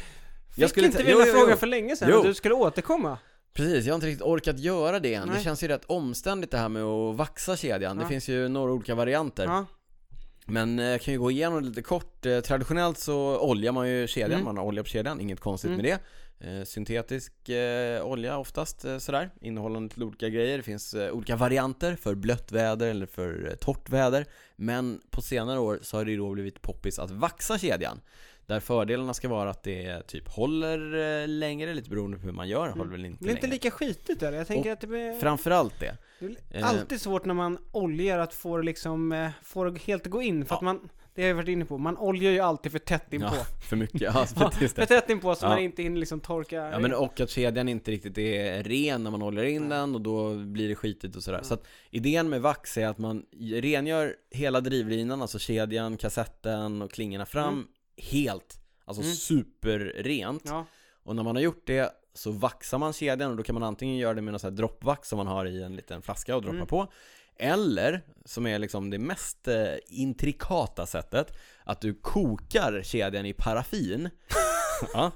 [SPEAKER 1] Fick
[SPEAKER 2] skulle
[SPEAKER 1] inte
[SPEAKER 2] ta-
[SPEAKER 1] vi
[SPEAKER 2] jo,
[SPEAKER 1] den här
[SPEAKER 2] jo, jo.
[SPEAKER 1] frågan för länge sedan?
[SPEAKER 2] Jo.
[SPEAKER 1] och Du skulle återkomma?
[SPEAKER 2] Precis, jag har inte riktigt orkat göra det än. Det
[SPEAKER 1] Nej.
[SPEAKER 2] känns ju rätt omständigt det här med att vaxa kedjan. Det
[SPEAKER 1] Ja.
[SPEAKER 2] finns ju några olika varianter.
[SPEAKER 1] Ja.
[SPEAKER 2] Men eh, jag kan ju gå igenom det lite kort. Eh, Traditionellt så oljar man ju kedjan,
[SPEAKER 1] Mm.
[SPEAKER 2] man har olja på kedjan, inget konstigt
[SPEAKER 1] Mm.
[SPEAKER 2] med det. Eh, Syntetisk eh, olja oftast eh, sådär, innehållande lite olika grejer. Det finns eh, olika varianter för blött väder eller för eh, torrt väder. Men på senare år så har det ju då blivit poppis att vaxa kedjan. Där fördelarna ska vara att det typ håller eh, längre, lite beroende på hur man gör, håller väl inte
[SPEAKER 1] Det är Mm. inte
[SPEAKER 2] längre.
[SPEAKER 1] lika skitigt eller? Jag tänker att det blir...
[SPEAKER 2] Framförallt det.
[SPEAKER 1] Det är
[SPEAKER 2] Eh.
[SPEAKER 1] alltid svårt när man oljar att få det liksom, eh, få det helt att gå in. För att man, det har jag varit inne på, man oljar ju alltid för tätt inpå.
[SPEAKER 2] Ja, för mycket. Ja,
[SPEAKER 1] Ja,
[SPEAKER 2] just det.
[SPEAKER 1] för tätt inpå så
[SPEAKER 2] Ja.
[SPEAKER 1] man inte hinner liksom torka.
[SPEAKER 2] Ja men och att kedjan inte riktigt är ren när man håller in den och då blir det skitigt och sådär. Så att idén med vax är att man rengör hela drivlinan, alltså kedjan, kassetten och klingorna fram
[SPEAKER 1] Mm.
[SPEAKER 2] helt. Alltså
[SPEAKER 1] Mm.
[SPEAKER 2] superrent.
[SPEAKER 1] Ja.
[SPEAKER 2] Och när man har gjort det så vaxar man kedjan och då kan man antingen göra det med någon sån här droppvax som man har i en liten flaska och droppa
[SPEAKER 1] Mm.
[SPEAKER 2] på. Eller, som är liksom det mest eh, intrikata sättet, att du kokar kedjan i paraffin. ja.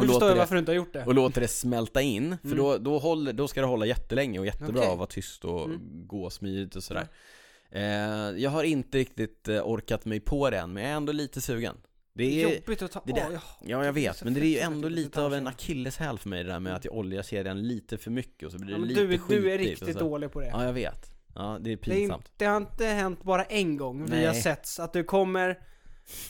[SPEAKER 1] Nu förstår
[SPEAKER 2] låter
[SPEAKER 1] jag
[SPEAKER 2] det-
[SPEAKER 1] varför du inte har gjort det.
[SPEAKER 2] och låter det smälta in, för då, då, håller, då ska det hålla jättelänge och jättebra
[SPEAKER 1] Mm. Okej. Mm.
[SPEAKER 2] och vara tyst och gå smidigt och sådär. Eh, jag har inte riktigt eh, orkat mig på det än, men jag är ändå lite sugen. Det är,
[SPEAKER 1] Jobbigt att ta
[SPEAKER 2] det där-
[SPEAKER 1] av.
[SPEAKER 2] ja, jag
[SPEAKER 1] det är
[SPEAKER 2] vet,
[SPEAKER 1] så
[SPEAKER 2] men det är ju
[SPEAKER 1] fruktansvärt
[SPEAKER 2] ändå
[SPEAKER 1] jobbigt att
[SPEAKER 2] lite
[SPEAKER 1] ta
[SPEAKER 2] av en
[SPEAKER 1] sig.
[SPEAKER 2] akilleshäl för mig det där med att jag oljar kedjan lite för mycket och så blir
[SPEAKER 1] Ja,
[SPEAKER 2] det
[SPEAKER 1] men
[SPEAKER 2] lite
[SPEAKER 1] du, är- du är
[SPEAKER 2] skitigt och
[SPEAKER 1] riktigt
[SPEAKER 2] så.
[SPEAKER 1] dålig på det.
[SPEAKER 2] Ja, jag vet. Ja, det är
[SPEAKER 1] det, är
[SPEAKER 2] pinsamt.
[SPEAKER 1] inte, det har inte hänt bara en gång vi
[SPEAKER 2] Nej.
[SPEAKER 1] har setts. Att du kommer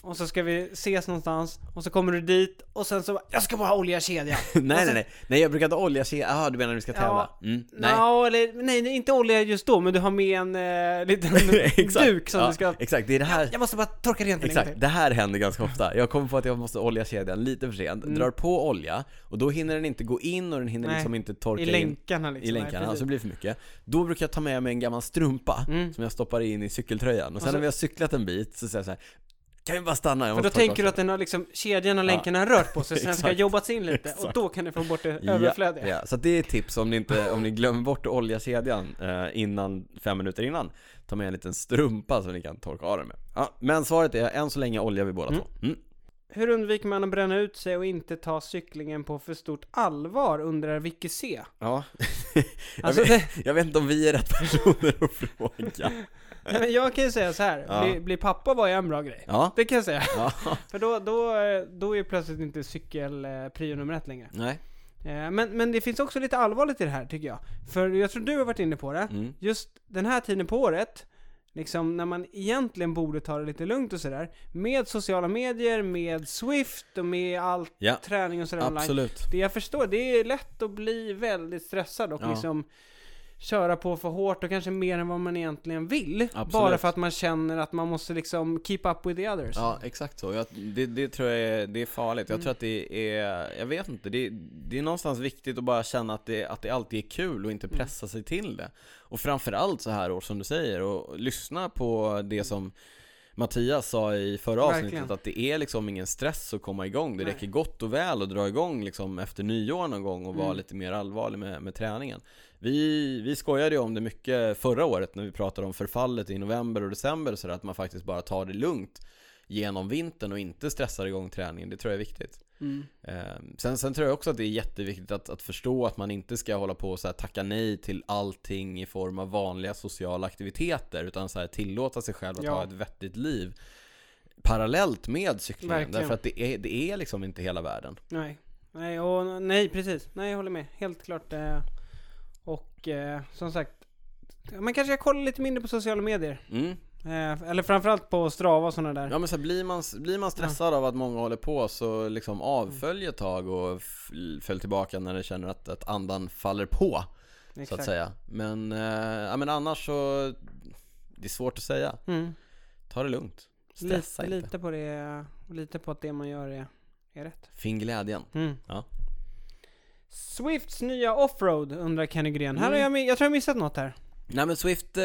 [SPEAKER 1] och så ska vi ses någonstans och så kommer du dit och sen så bara, jag ska bara olja kedjan.
[SPEAKER 2] nej,
[SPEAKER 1] så-
[SPEAKER 2] nej, nej. Nej, jag brukar inte olja kedjan. Jaha, du menar när vi ska
[SPEAKER 1] Alltså- Ja.
[SPEAKER 2] tävla? Mm, nej.
[SPEAKER 1] Ja, eller nej, nej, inte olja just då men du har med en eh, liten
[SPEAKER 2] Exakt.
[SPEAKER 1] duk som
[SPEAKER 2] ja,
[SPEAKER 1] du ska...
[SPEAKER 2] Exakt, det är det här.
[SPEAKER 1] Jag måste bara torka rent den en gång
[SPEAKER 2] Exakt, det här händer ganska ofta. Jag kommer på att jag måste olja kedjan lite för sent, drar på olja och då hinner den inte gå in och den hinner
[SPEAKER 1] Mm. Nej,
[SPEAKER 2] liksom inte
[SPEAKER 1] till.
[SPEAKER 2] torka
[SPEAKER 1] I
[SPEAKER 2] in
[SPEAKER 1] länkarna liksom.
[SPEAKER 2] i
[SPEAKER 1] nej,
[SPEAKER 2] länkarna,
[SPEAKER 1] precis.
[SPEAKER 2] alltså det blir för mycket. Då brukar jag ta med mig en gammal strumpa
[SPEAKER 1] Mm.
[SPEAKER 2] som jag stoppar in i cykeltröjan och sen
[SPEAKER 1] så-
[SPEAKER 2] när vi har cyklat en bit så säger jag så här, kan vi bara stanna? Jag
[SPEAKER 1] För då
[SPEAKER 2] måste torka
[SPEAKER 1] tänker du
[SPEAKER 2] av
[SPEAKER 1] att den har liksom, kedjan och länkarna har rört på sig, sen ska
[SPEAKER 2] Exakt.
[SPEAKER 1] jobbats in lite och
[SPEAKER 2] Exakt.
[SPEAKER 1] då kan du få bort det
[SPEAKER 2] Ja,
[SPEAKER 1] överflödiga.
[SPEAKER 2] Ja, så att det är ett tips om ni, inte, om ni glömmer bort att olja kedjan eh, innan, fem minuter innan. Ta med en liten strumpa som ni kan torka av den med. Ja, men svaret är, än så länge oljar vi båda två. Mm.
[SPEAKER 1] Hur undviker man att bränna ut sig och inte ta cyklingen på för stort allvar, undrar Vicky C.
[SPEAKER 2] Ja, jag,
[SPEAKER 1] Alltså,
[SPEAKER 2] vet,
[SPEAKER 1] det,
[SPEAKER 2] jag vet inte om vi är rätt personer att fråga.
[SPEAKER 1] nej, men jag kan ju säga så här.
[SPEAKER 2] Ja.
[SPEAKER 1] Bli, bli pappa var ju en bra grej.
[SPEAKER 2] Ja,
[SPEAKER 1] Det kan jag säga.
[SPEAKER 2] ja.
[SPEAKER 1] För då, då, eh, då är ju plötsligt inte cykel eh, prio nummer ett längre.
[SPEAKER 2] Nej.
[SPEAKER 1] Eh, Men, men det finns också lite allvarligt i det här tycker jag. För jag tror du har varit inne på det.
[SPEAKER 2] Mm.
[SPEAKER 1] Just den här tiden på året, liksom när man egentligen borde ta det lite lugnt och sådär. Med sociala medier, med Swift och med all
[SPEAKER 2] Ja,
[SPEAKER 1] träning och sådär online.
[SPEAKER 2] absolut.
[SPEAKER 1] Det jag förstår, det är lätt att bli väldigt stressad och
[SPEAKER 2] Ja.
[SPEAKER 1] liksom köra på för hårt och kanske mer än vad man egentligen vill.
[SPEAKER 2] Absolut.
[SPEAKER 1] Bara för att man känner att man måste liksom keep up with the others.
[SPEAKER 2] Ja, exakt så. Jag, det, det tror jag är, det är farligt.
[SPEAKER 1] Mm.
[SPEAKER 2] Jag tror att det är, jag vet inte, det, det är någonstans viktigt att bara känna att det, att det alltid är kul och inte
[SPEAKER 1] Mm.
[SPEAKER 2] pressa sig till det. Och framförallt så här år som du säger, och lyssna på det som Mattias sa i förra avsnittet
[SPEAKER 1] Verkligen.
[SPEAKER 2] att det är liksom ingen stress att komma igång. Det
[SPEAKER 1] Nej.
[SPEAKER 2] räcker gott och väl att dra igång liksom efter nyår någon gång och vara
[SPEAKER 1] Mm.
[SPEAKER 2] lite mer allvarlig med, med träningen. Vi, vi skojade ju om det mycket förra året när vi pratade om förfallet i november och december och sådär att man faktiskt bara tar det lugnt genom vintern och inte stressar igång träningen. Det tror jag är viktigt.
[SPEAKER 1] Mm.
[SPEAKER 2] Eh, Sen, sen tror jag också att det är jätteviktigt att, att förstå att man inte ska hålla på och så här tacka nej till allting i form av vanliga sociala aktiviteter utan så här tillåta sig själv att
[SPEAKER 1] Ja.
[SPEAKER 2] ha ett vettigt liv parallellt med cyklingen.
[SPEAKER 1] Verkligen.
[SPEAKER 2] Därför att det är, det är liksom inte hela världen.
[SPEAKER 1] Nej. Nej, och, nej, precis. Nej, jag håller med. Helt klart. eh, Och eh, som sagt, man kanske ska kolla lite mindre på sociala medier.
[SPEAKER 2] Mm.
[SPEAKER 1] Eh, Eller framförallt på Strava och sådana där.
[SPEAKER 2] Ja men så här, blir, man, blir man stressad av att många håller på så liksom
[SPEAKER 1] Mm.
[SPEAKER 2] avfölj ett tag och f- följ tillbaka när det känner att, att andan faller på. Så att säga. Men, eh, ja, men annars så, det är svårt att säga.
[SPEAKER 1] Mm.
[SPEAKER 2] Ta det lugnt. Stressa
[SPEAKER 1] Lite,
[SPEAKER 2] inte.
[SPEAKER 1] lite på det, lite på att det man gör är, är rätt.
[SPEAKER 2] Finn glädjen.
[SPEAKER 1] Mm.
[SPEAKER 2] Ja.
[SPEAKER 1] Swifts nya offroad undrar Kenny Gren. Här
[SPEAKER 2] Mm.
[SPEAKER 1] har jag, mi- jag tror jag missat något här.
[SPEAKER 2] Nej men Swift, eh,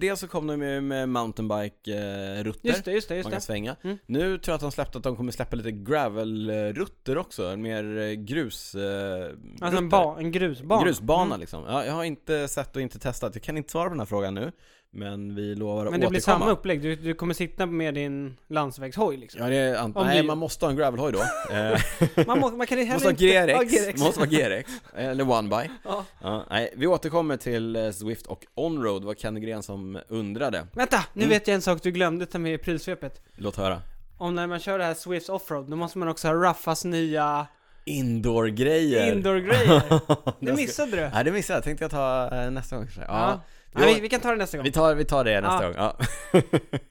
[SPEAKER 2] dels så kom de ju med mountainbike-rutter.
[SPEAKER 1] Just det, just det, just
[SPEAKER 2] man kan
[SPEAKER 1] det.
[SPEAKER 2] svänga.
[SPEAKER 1] Mm.
[SPEAKER 2] Nu tror jag att de släppte att de kommer släppa lite gravel-rutter också, en mer eh, grus... eh,
[SPEAKER 1] Alltså en,
[SPEAKER 2] rutter.
[SPEAKER 1] ba, en grusbana.
[SPEAKER 2] Grusbana
[SPEAKER 1] Mm.
[SPEAKER 2] liksom. Ja, jag har inte sett och inte testat. Jag kan inte svara på den här frågan nu. Men vi lovar att
[SPEAKER 1] Men det blir
[SPEAKER 2] återkomma.
[SPEAKER 1] samma upplägg. Du, du kommer sitta med din landsvägshoj liksom.
[SPEAKER 2] Ja, det är an-
[SPEAKER 1] Om
[SPEAKER 2] Nej,
[SPEAKER 1] ni-
[SPEAKER 2] man måste ha en gravelhoj då. Eh,
[SPEAKER 1] Man, må, man kan ju heller
[SPEAKER 2] måste ha
[SPEAKER 1] inte... Ja,
[SPEAKER 2] GRX.
[SPEAKER 1] G-rex.
[SPEAKER 2] Måste vara GRX. Eller one by.
[SPEAKER 1] Ja.
[SPEAKER 2] Ja, nej, vi återkommer till eh, Swift och Onroad. Det var Kenny Gren som undrade.
[SPEAKER 1] Vänta! Nu
[SPEAKER 2] Mm.
[SPEAKER 1] vet jag en sak du glömde ta med i prylsvepet.
[SPEAKER 2] Låt höra.
[SPEAKER 1] Om när man kör det här Swifts offroad, då måste man också ha Raffas nya
[SPEAKER 2] Indoor-grejer.
[SPEAKER 1] indoor-grejer. Det
[SPEAKER 2] ska-
[SPEAKER 1] missade du.
[SPEAKER 2] Nej, det missade jag. Tänkte jag ta eh, nästa gång kanske. Ja.
[SPEAKER 1] Ja,
[SPEAKER 2] Vi,
[SPEAKER 1] vi, vi kan ta det nästa gång.
[SPEAKER 2] vi, tar, vi tar det
[SPEAKER 1] Ja.
[SPEAKER 2] nästa gång. Ja.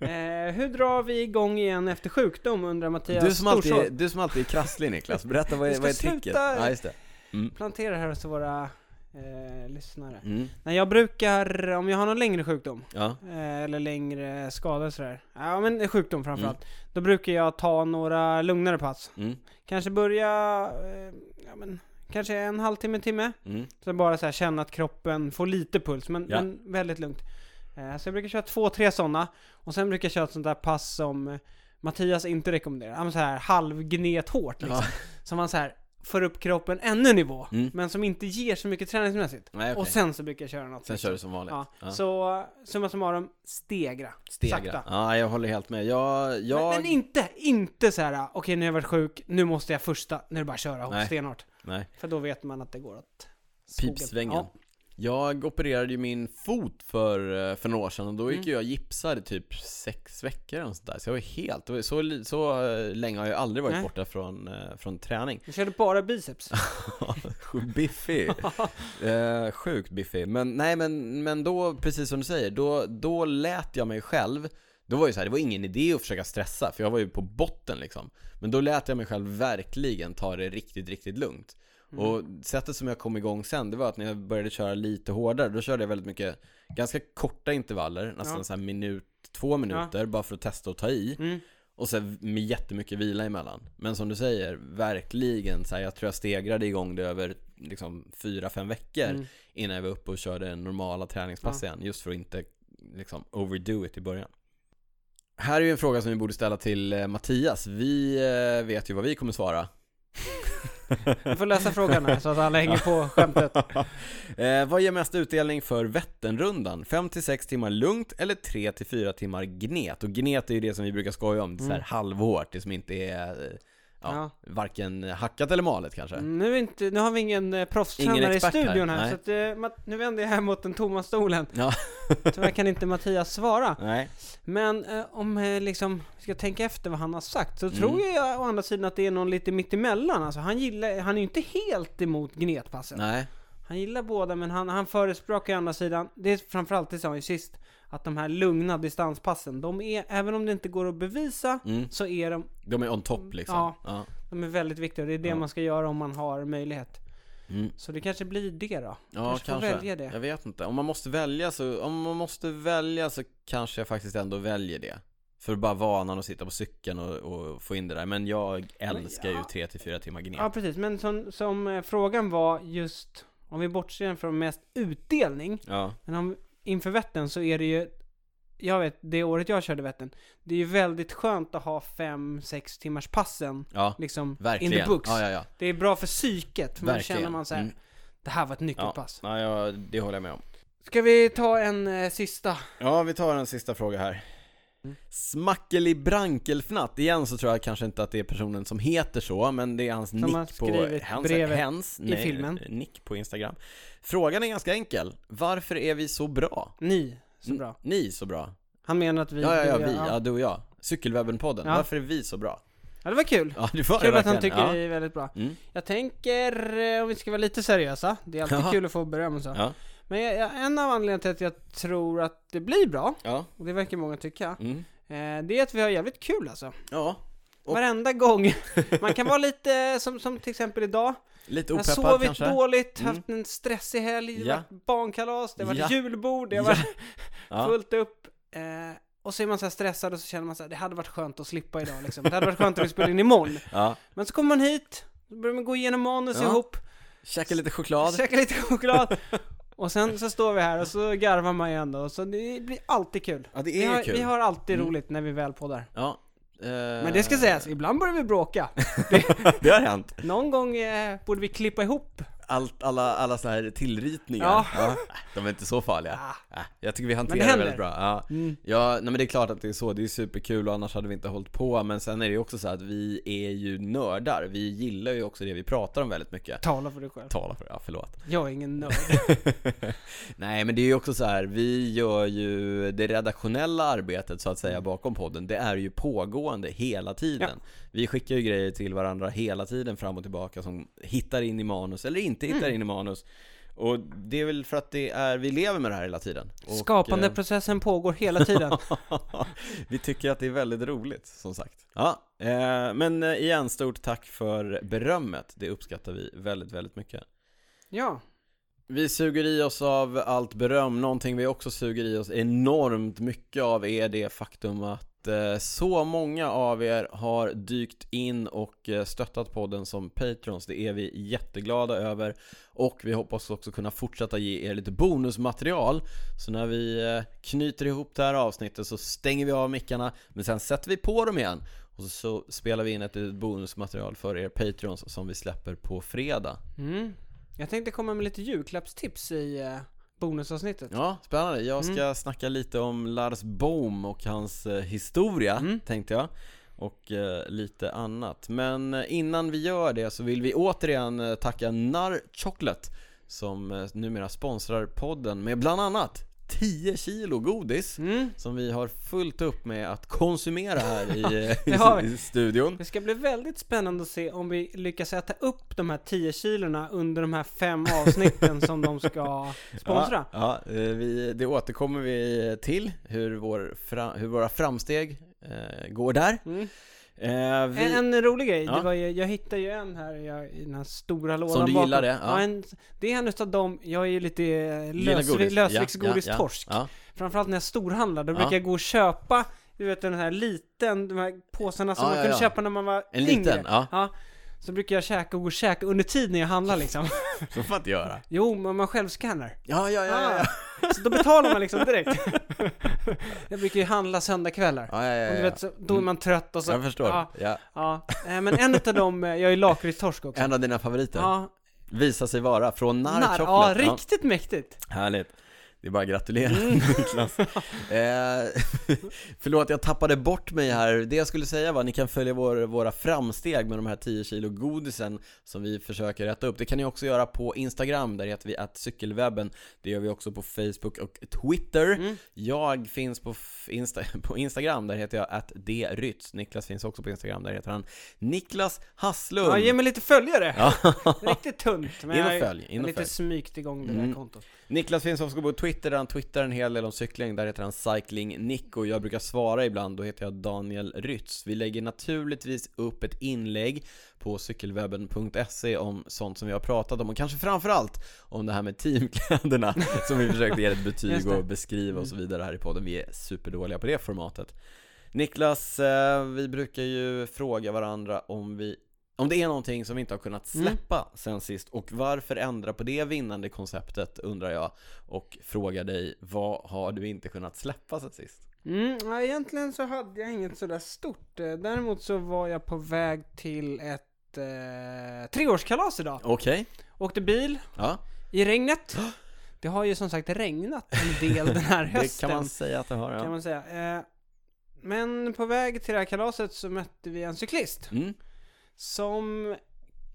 [SPEAKER 1] Eh, hur drar vi igång igen efter sjukdom undrar Mattias
[SPEAKER 2] Du, som alltid,
[SPEAKER 1] Storsås.
[SPEAKER 2] du som alltid är krasslig Niklas, berätta vad
[SPEAKER 1] Vi
[SPEAKER 2] är,
[SPEAKER 1] ska
[SPEAKER 2] vad är tricket?
[SPEAKER 1] sluta-
[SPEAKER 2] Ja, just det. Mm.
[SPEAKER 1] Plantera här hos våra eh, lyssnare.
[SPEAKER 2] Mm.
[SPEAKER 1] Nej, jag brukar, om jag har någon längre sjukdom,
[SPEAKER 2] Ja.
[SPEAKER 1] eh, eller längre skada och sådär. Ja men sjukdom framförallt. Då brukar jag ta några lugnare pass.
[SPEAKER 2] Mm.
[SPEAKER 1] Kanske börja, eh, ja men, kanske en halvtimme, en timme.
[SPEAKER 2] Mm.
[SPEAKER 1] Så bara så här känna att kroppen får lite puls, men,
[SPEAKER 2] Ja.
[SPEAKER 1] men väldigt lugnt. Eh, Så jag brukar köra två, tre sådana. Och sen brukar jag köra ett sånt där pass som eh, Mattias inte rekommenderar. Ja, men så här halvgnet hårt liksom.
[SPEAKER 2] Ja.
[SPEAKER 1] Så man så här får upp kroppen ännu nivå,
[SPEAKER 2] Mm.
[SPEAKER 1] men som inte ger så mycket träningsmässigt.
[SPEAKER 2] Nej, okej.
[SPEAKER 1] Och sen så brukar jag köra något.
[SPEAKER 2] Sen
[SPEAKER 1] liksom.
[SPEAKER 2] kör du som vanligt.
[SPEAKER 1] ja.
[SPEAKER 2] Ja.
[SPEAKER 1] Så summa summarum, stegra.
[SPEAKER 2] Stegra.
[SPEAKER 1] Sakta.
[SPEAKER 2] Ja, jag håller helt med. Jag, jag...
[SPEAKER 1] Men, men inte, inte så här. okej nu har jag varit sjuk, nu måste jag första, nu är det bara att köra hårt,
[SPEAKER 2] Nej.
[SPEAKER 1] stenhårt.
[SPEAKER 2] Nej.
[SPEAKER 1] För då vet man att det går åt skogen.
[SPEAKER 2] Pipsvängen.
[SPEAKER 1] Ja.
[SPEAKER 2] Jag opererade ju min fot för, eh, för några år sedan och
[SPEAKER 1] Mm.
[SPEAKER 2] då gick ju jag gipsad i typ sex veckor eller något sånt där. Så jag var helt, det var så, li- så eh, länge har jag aldrig varit
[SPEAKER 1] Nej.
[SPEAKER 2] borta från, eh, från träning.
[SPEAKER 1] Du körde bara biceps.
[SPEAKER 2] biffig. eh, sjukt biffig. Men nej, men, men då, precis som du säger, då, då lät jag mig själv då var ju så här, det var ingen idé att försöka stressa för jag var ju på botten liksom. Men då lät jag mig själv verkligen ta det riktigt, riktigt lugnt.
[SPEAKER 1] Mm.
[SPEAKER 2] Och sättet som jag kom igång sen, det var att när jag började köra lite hårdare, då körde jag väldigt mycket, ganska korta intervaller, nästan
[SPEAKER 1] Ja.
[SPEAKER 2] så här minut, två minuter, bara för att testa och ta i.
[SPEAKER 1] Mm.
[SPEAKER 2] Och sen med jättemycket vila emellan. Men som du säger, verkligen så här, jag tror jag stegrade igång det över liksom fyra, fem veckor
[SPEAKER 1] Mm.
[SPEAKER 2] innan jag var uppe och körde normala träningspass igen. Just för att inte liksom overdo it i början. Här är ju en fråga som vi borde ställa till eh, Mattias. Vi eh, vet ju vad vi kommer svara.
[SPEAKER 1] Du får läsa frågan här så att alla hänger på skämtet.
[SPEAKER 2] Eh, vad ger mest utdelning för Vätternrundan? 5-6 timmar lugnt eller 3-4 timmar gnet? Och gnet är ju det som vi brukar skoja om, så här
[SPEAKER 1] Mm.
[SPEAKER 2] halvhårt, det som inte är eh,
[SPEAKER 1] Ja.
[SPEAKER 2] ja,
[SPEAKER 1] Mm.
[SPEAKER 2] varken hackat eller malet kanske.
[SPEAKER 1] Nu, är inte, nu har vi ingen eh, proffstränare
[SPEAKER 2] Ingen
[SPEAKER 1] i
[SPEAKER 2] expert här,
[SPEAKER 1] studion här,
[SPEAKER 2] nej.
[SPEAKER 1] så att, eh, Matt- nu vänder jag här mot den tomma stolen.
[SPEAKER 2] Ja.
[SPEAKER 1] Tyvärr kan inte Mattias svara.
[SPEAKER 2] Nej.
[SPEAKER 1] Men eh, om eh, liksom, vi ska tänka efter vad han har sagt, så
[SPEAKER 2] Mm.
[SPEAKER 1] tror jag å andra sidan att det är någon lite mittemellan. Alltså han gillar, han är ju inte helt emot gnetpasset.
[SPEAKER 2] Nej.
[SPEAKER 1] Han gillar båda men han, han förespråkar å andra sidan, det är framförallt det sa han ju sist, att de här lugna distanspassen, de är, även om det inte går att bevisa,
[SPEAKER 2] Mm.
[SPEAKER 1] så är de,
[SPEAKER 2] De är on top liksom.
[SPEAKER 1] Mm, Ja.
[SPEAKER 2] Ja.
[SPEAKER 1] de är väldigt viktiga och det är det
[SPEAKER 2] Ja.
[SPEAKER 1] man ska göra om man har möjlighet.
[SPEAKER 2] Mm.
[SPEAKER 1] Så det kanske blir det då.
[SPEAKER 2] Ja, kanske.
[SPEAKER 1] får välja det.
[SPEAKER 2] Jag vet inte. Om man måste välja så, om man måste välja så kanske jag faktiskt ändå väljer det. För bara vanan att sitta på cykeln och, och få in det där. Men jag älskar
[SPEAKER 1] ja.
[SPEAKER 2] ju 3-4 timmar gnet.
[SPEAKER 1] Ja precis, men som, som eh, frågan var just, om vi bortser från mest utdelning,
[SPEAKER 2] Ja.
[SPEAKER 1] Men om, inför Vättern så är det ju Jag vet, det året jag körde Vättern Det är ju väldigt skönt att ha 5-6 timmars passen
[SPEAKER 2] ja.
[SPEAKER 1] Liksom
[SPEAKER 2] Verkligen.
[SPEAKER 1] in the books
[SPEAKER 2] Ja, ja, ja.
[SPEAKER 1] Det är bra för psyket, för man
[SPEAKER 2] Verkligen.
[SPEAKER 1] känner man så här,
[SPEAKER 2] Mm.
[SPEAKER 1] Det här var ett
[SPEAKER 2] Ja.
[SPEAKER 1] nyckelpass
[SPEAKER 2] ja, ja, det håller jag med om.
[SPEAKER 1] Ska vi ta en eh, sista?
[SPEAKER 2] Ja, vi tar en sista fråga här.
[SPEAKER 1] Mm.
[SPEAKER 2] Smackelig Brankelfnatt, igen så tror jag kanske inte att det är personen som heter så, men det är hans
[SPEAKER 1] har
[SPEAKER 2] nick på
[SPEAKER 1] skrivit
[SPEAKER 2] hens,
[SPEAKER 1] brevet
[SPEAKER 2] hens
[SPEAKER 1] i filmen.
[SPEAKER 2] nick på Instagram. Frågan är ganska enkel. Varför är vi så bra?
[SPEAKER 1] Ni, så bra
[SPEAKER 2] N- Ni så bra.
[SPEAKER 1] Han menar att vi
[SPEAKER 2] Mm. Ja, ja, ja,
[SPEAKER 1] du-
[SPEAKER 2] vi, ja,
[SPEAKER 1] ja.
[SPEAKER 2] du och jag. Cykelwebben-podden.
[SPEAKER 1] Ja.
[SPEAKER 2] Varför är vi så bra?
[SPEAKER 1] ja, det var kul
[SPEAKER 2] Ja, det var det
[SPEAKER 1] Kul att han
[SPEAKER 2] verkligen.
[SPEAKER 1] tycker
[SPEAKER 2] ja.
[SPEAKER 1] det är väldigt bra
[SPEAKER 2] Mm.
[SPEAKER 1] Jag tänker, eh, om vi ska vara lite seriösa Det är alltid
[SPEAKER 2] Jaha.
[SPEAKER 1] kul att få beröm och så
[SPEAKER 2] Ja,
[SPEAKER 1] Men jag, jag, en av anledningarna till att jag tror att det blir bra
[SPEAKER 2] ja,
[SPEAKER 1] Och det verkar många tycka
[SPEAKER 2] mm.
[SPEAKER 1] Eh, Det är att vi har jävligt kul alltså.
[SPEAKER 2] ja. Och-
[SPEAKER 1] Varenda gång. Man kan vara lite som, som till exempel idag.
[SPEAKER 2] Lite
[SPEAKER 1] Jag har
[SPEAKER 2] opeppad
[SPEAKER 1] sovit
[SPEAKER 2] kanske.
[SPEAKER 1] dåligt,
[SPEAKER 2] Mm.
[SPEAKER 1] haft en stressig helg,
[SPEAKER 2] Ja.
[SPEAKER 1] det har varit barnkalas, det har varit
[SPEAKER 2] Ja.
[SPEAKER 1] julbord, det har
[SPEAKER 2] Ja.
[SPEAKER 1] varit
[SPEAKER 2] Ja.
[SPEAKER 1] fullt upp. Eh, och så är man så här stressad och så känner man så här, det hade varit skönt att slippa idag liksom. Det hade varit skönt att vi spelade in imorgon.
[SPEAKER 2] ja.
[SPEAKER 1] Men så kommer man hit, så börjar man gå igenom manus
[SPEAKER 2] Ja.
[SPEAKER 1] ihop,
[SPEAKER 2] Käka lite choklad.
[SPEAKER 1] käka lite choklad. Och sen så står vi här och så garvar man igen då, så det blir alltid kul.
[SPEAKER 2] Ja, det
[SPEAKER 1] Vi
[SPEAKER 2] är ju
[SPEAKER 1] har,
[SPEAKER 2] kul.
[SPEAKER 1] vi har alltid
[SPEAKER 2] Mm.
[SPEAKER 1] roligt när vi väl poddar.
[SPEAKER 2] Ja. eh,
[SPEAKER 1] Men det ska sägas, ibland börjar vi bråka.
[SPEAKER 2] det har hänt.
[SPEAKER 1] Någon gång eh, borde vi klippa ihop.
[SPEAKER 2] Allt, alla, alla så här tillritningar.
[SPEAKER 1] Ja.
[SPEAKER 2] De är inte så farliga.
[SPEAKER 1] Ah.
[SPEAKER 2] Ah, Jag tycker vi
[SPEAKER 1] Men
[SPEAKER 2] hanterar
[SPEAKER 1] det
[SPEAKER 2] det
[SPEAKER 1] händer.
[SPEAKER 2] väldigt bra. Ja. ja, nej men det är klart att det är så. Det är superkul och annars hade vi inte hållit på. Men sen är det ju också så här att vi är ju nördar. Vi gillar ju också det vi pratar om väldigt mycket.
[SPEAKER 1] Tala för dig själv.
[SPEAKER 2] Tala för det, ja förlåt.
[SPEAKER 1] Jag är ingen nörd.
[SPEAKER 2] Nej men det är ju också så här, vi gör ju det redaktionella arbetet så att säga bakom podden, det är ju pågående hela tiden. Vi skickar ju grejer till varandra hela tiden fram och tillbaka som hittar in i manus eller inte hittar in i manus. Och det är väl för att det är, vi lever med det här hela tiden. Och, eh,
[SPEAKER 1] Skapandeprocessen pågår hela tiden.
[SPEAKER 2] vi tycker att det är väldigt roligt, som sagt. Ja, eh, men eh, igen, stort tack för berömmet. Det uppskattar vi väldigt, väldigt mycket.
[SPEAKER 1] Ja,
[SPEAKER 2] Vi suger i oss av allt beröm. Någonting vi också suger i oss enormt mycket av är det faktum att eh, så många av er har dykt in och eh, stöttat podden som patrons. Det är vi jätteglada över och vi hoppas också kunna fortsätta ge er lite bonusmaterial. Så när vi eh, knyter ihop det här avsnittet så stänger vi av mickarna men sen sätter vi på dem igen och så, så spelar vi in ett litet bonusmaterial för er patrons som vi släpper på fredag.
[SPEAKER 1] mm. jag tänkte komma med lite julklappstips i eh, bonusavsnittet.
[SPEAKER 2] Ja, spännande. Jag ska
[SPEAKER 1] Mm.
[SPEAKER 2] snacka lite om Lars Bohm och hans eh, historia,
[SPEAKER 1] Mm.
[SPEAKER 2] tänkte jag. Och eh, lite annat. Men eh, innan vi gör det så vill vi återigen eh, tacka Narr Chocolate som eh, numera sponsrar podden med bland annat 10 kilo godis
[SPEAKER 1] Mm.
[SPEAKER 2] som vi har fullt upp med att konsumera här i,
[SPEAKER 1] det har
[SPEAKER 2] i, i studion.
[SPEAKER 1] Det ska bli väldigt spännande att se om vi lyckas äta upp de här 10 kilorna under de här fem avsnitten som de ska sponsra.
[SPEAKER 2] Ja, ja eh, vi, det återkommer vi till hur, vår fra, hur våra framsteg eh, går där.
[SPEAKER 1] Mm.
[SPEAKER 2] Eh, vi,
[SPEAKER 1] En, en rolig grej,
[SPEAKER 2] Ja.
[SPEAKER 1] det var ju, jag hittade ju en här jag, i den här stora lådan
[SPEAKER 2] du
[SPEAKER 1] bakom.
[SPEAKER 2] gillade, ja.
[SPEAKER 1] en, det är en utav dem, jag är ju lite eh,
[SPEAKER 2] Gillar
[SPEAKER 1] lösvi-
[SPEAKER 2] godis.
[SPEAKER 1] lösviktsgodistorsk.
[SPEAKER 2] Ja, ja,
[SPEAKER 1] Framförallt när jag storhandlar, då
[SPEAKER 2] Ja.
[SPEAKER 1] brukar jag gå och köpa, du vet den här liten, de här påsarna som
[SPEAKER 2] Ja,
[SPEAKER 1] man
[SPEAKER 2] ja,
[SPEAKER 1] kunde
[SPEAKER 2] ja.
[SPEAKER 1] köpa när man var
[SPEAKER 2] En
[SPEAKER 1] yngre.
[SPEAKER 2] liten, ja.
[SPEAKER 1] ja. Så brukar jag käka och gå och käka under tid när jag handlar liksom.
[SPEAKER 2] Så får man inte göra.
[SPEAKER 1] Jo, men man självskannar.
[SPEAKER 2] Ja, ja, ja, ja.
[SPEAKER 1] Ah, så då betalar man liksom direkt. jag brukar ju handla söndagkvällar.
[SPEAKER 2] ja, ja, ja,
[SPEAKER 1] Och
[SPEAKER 2] ja,
[SPEAKER 1] du
[SPEAKER 2] ja.
[SPEAKER 1] vet, så, då är man trött och så.
[SPEAKER 2] Jag förstår.
[SPEAKER 1] Ja,
[SPEAKER 2] Ja.
[SPEAKER 1] ja. Eh, men en utav dem, eh, jag är lakritstorsk också.
[SPEAKER 2] En av dina favoriter.
[SPEAKER 1] Ja,
[SPEAKER 2] Visar sig vara från Nar,
[SPEAKER 1] narr, ja,
[SPEAKER 2] Chocolate.
[SPEAKER 1] riktigt mäktigt.
[SPEAKER 2] Härligt. Det är bara att gratulera
[SPEAKER 1] Mm.
[SPEAKER 2] Niklas. Eh, förlåt, jag tappade bort mig här. Det jag skulle säga var att ni kan följa vår, våra framsteg med de här 10 kilo godisen som vi försöker rätta upp. Det kan ni också göra på Instagram, där heter vi att cykelwebben. Det gör vi också på Facebook och Twitter.
[SPEAKER 1] Mm.
[SPEAKER 2] Jag finns på, f- Insta, på Instagram, där heter jag att Niklas finns också på Instagram, där heter han Niklas Hasslund.
[SPEAKER 1] Ja, ge mig lite följare.
[SPEAKER 2] Ja.
[SPEAKER 1] Riktigt tunt. Men
[SPEAKER 2] In och
[SPEAKER 1] jag har
[SPEAKER 2] följ, in
[SPEAKER 1] ju
[SPEAKER 2] och
[SPEAKER 1] lite
[SPEAKER 2] följ.
[SPEAKER 1] smygt igång det där
[SPEAKER 2] Mm.
[SPEAKER 1] kontot.
[SPEAKER 2] Niklas finns också på Twitter, där han twittrar en hel del om cykling, där heter han Cycling Nick och jag brukar svara ibland, då heter jag Daniel Rytz. Vi lägger naturligtvis upp ett inlägg på cykelwebben.se om sånt som vi har pratat om och kanske framförallt om det här med teamkläderna som vi försökte ge ett betyg
[SPEAKER 1] Just det. Mm.
[SPEAKER 2] och beskriva och så vidare här i podden. Vi är superdåliga på det formatet. Niklas, eh, vi brukar ju fråga varandra om vi om det är någonting som vi inte har kunnat
[SPEAKER 1] Mm.
[SPEAKER 2] släppa sen sist och varför ändra på det vinnande konceptet undrar jag och frågar dig vad har du inte kunnat släppa sen sist?
[SPEAKER 1] Mm, ja, egentligen så hade jag inget sådär stort. Eh, Däremot så var jag på väg till ett eh, treårskalas idag.
[SPEAKER 2] Okej,
[SPEAKER 1] Åkte bil
[SPEAKER 2] ja
[SPEAKER 1] i regnet. Det har ju som sagt regnat en del den här
[SPEAKER 2] det
[SPEAKER 1] hösten.
[SPEAKER 2] kan man säga att det har
[SPEAKER 1] kan
[SPEAKER 2] ja.
[SPEAKER 1] man säga. Eh, men på väg till det här kalaset så mötte vi en cyklist
[SPEAKER 2] Mm.
[SPEAKER 1] som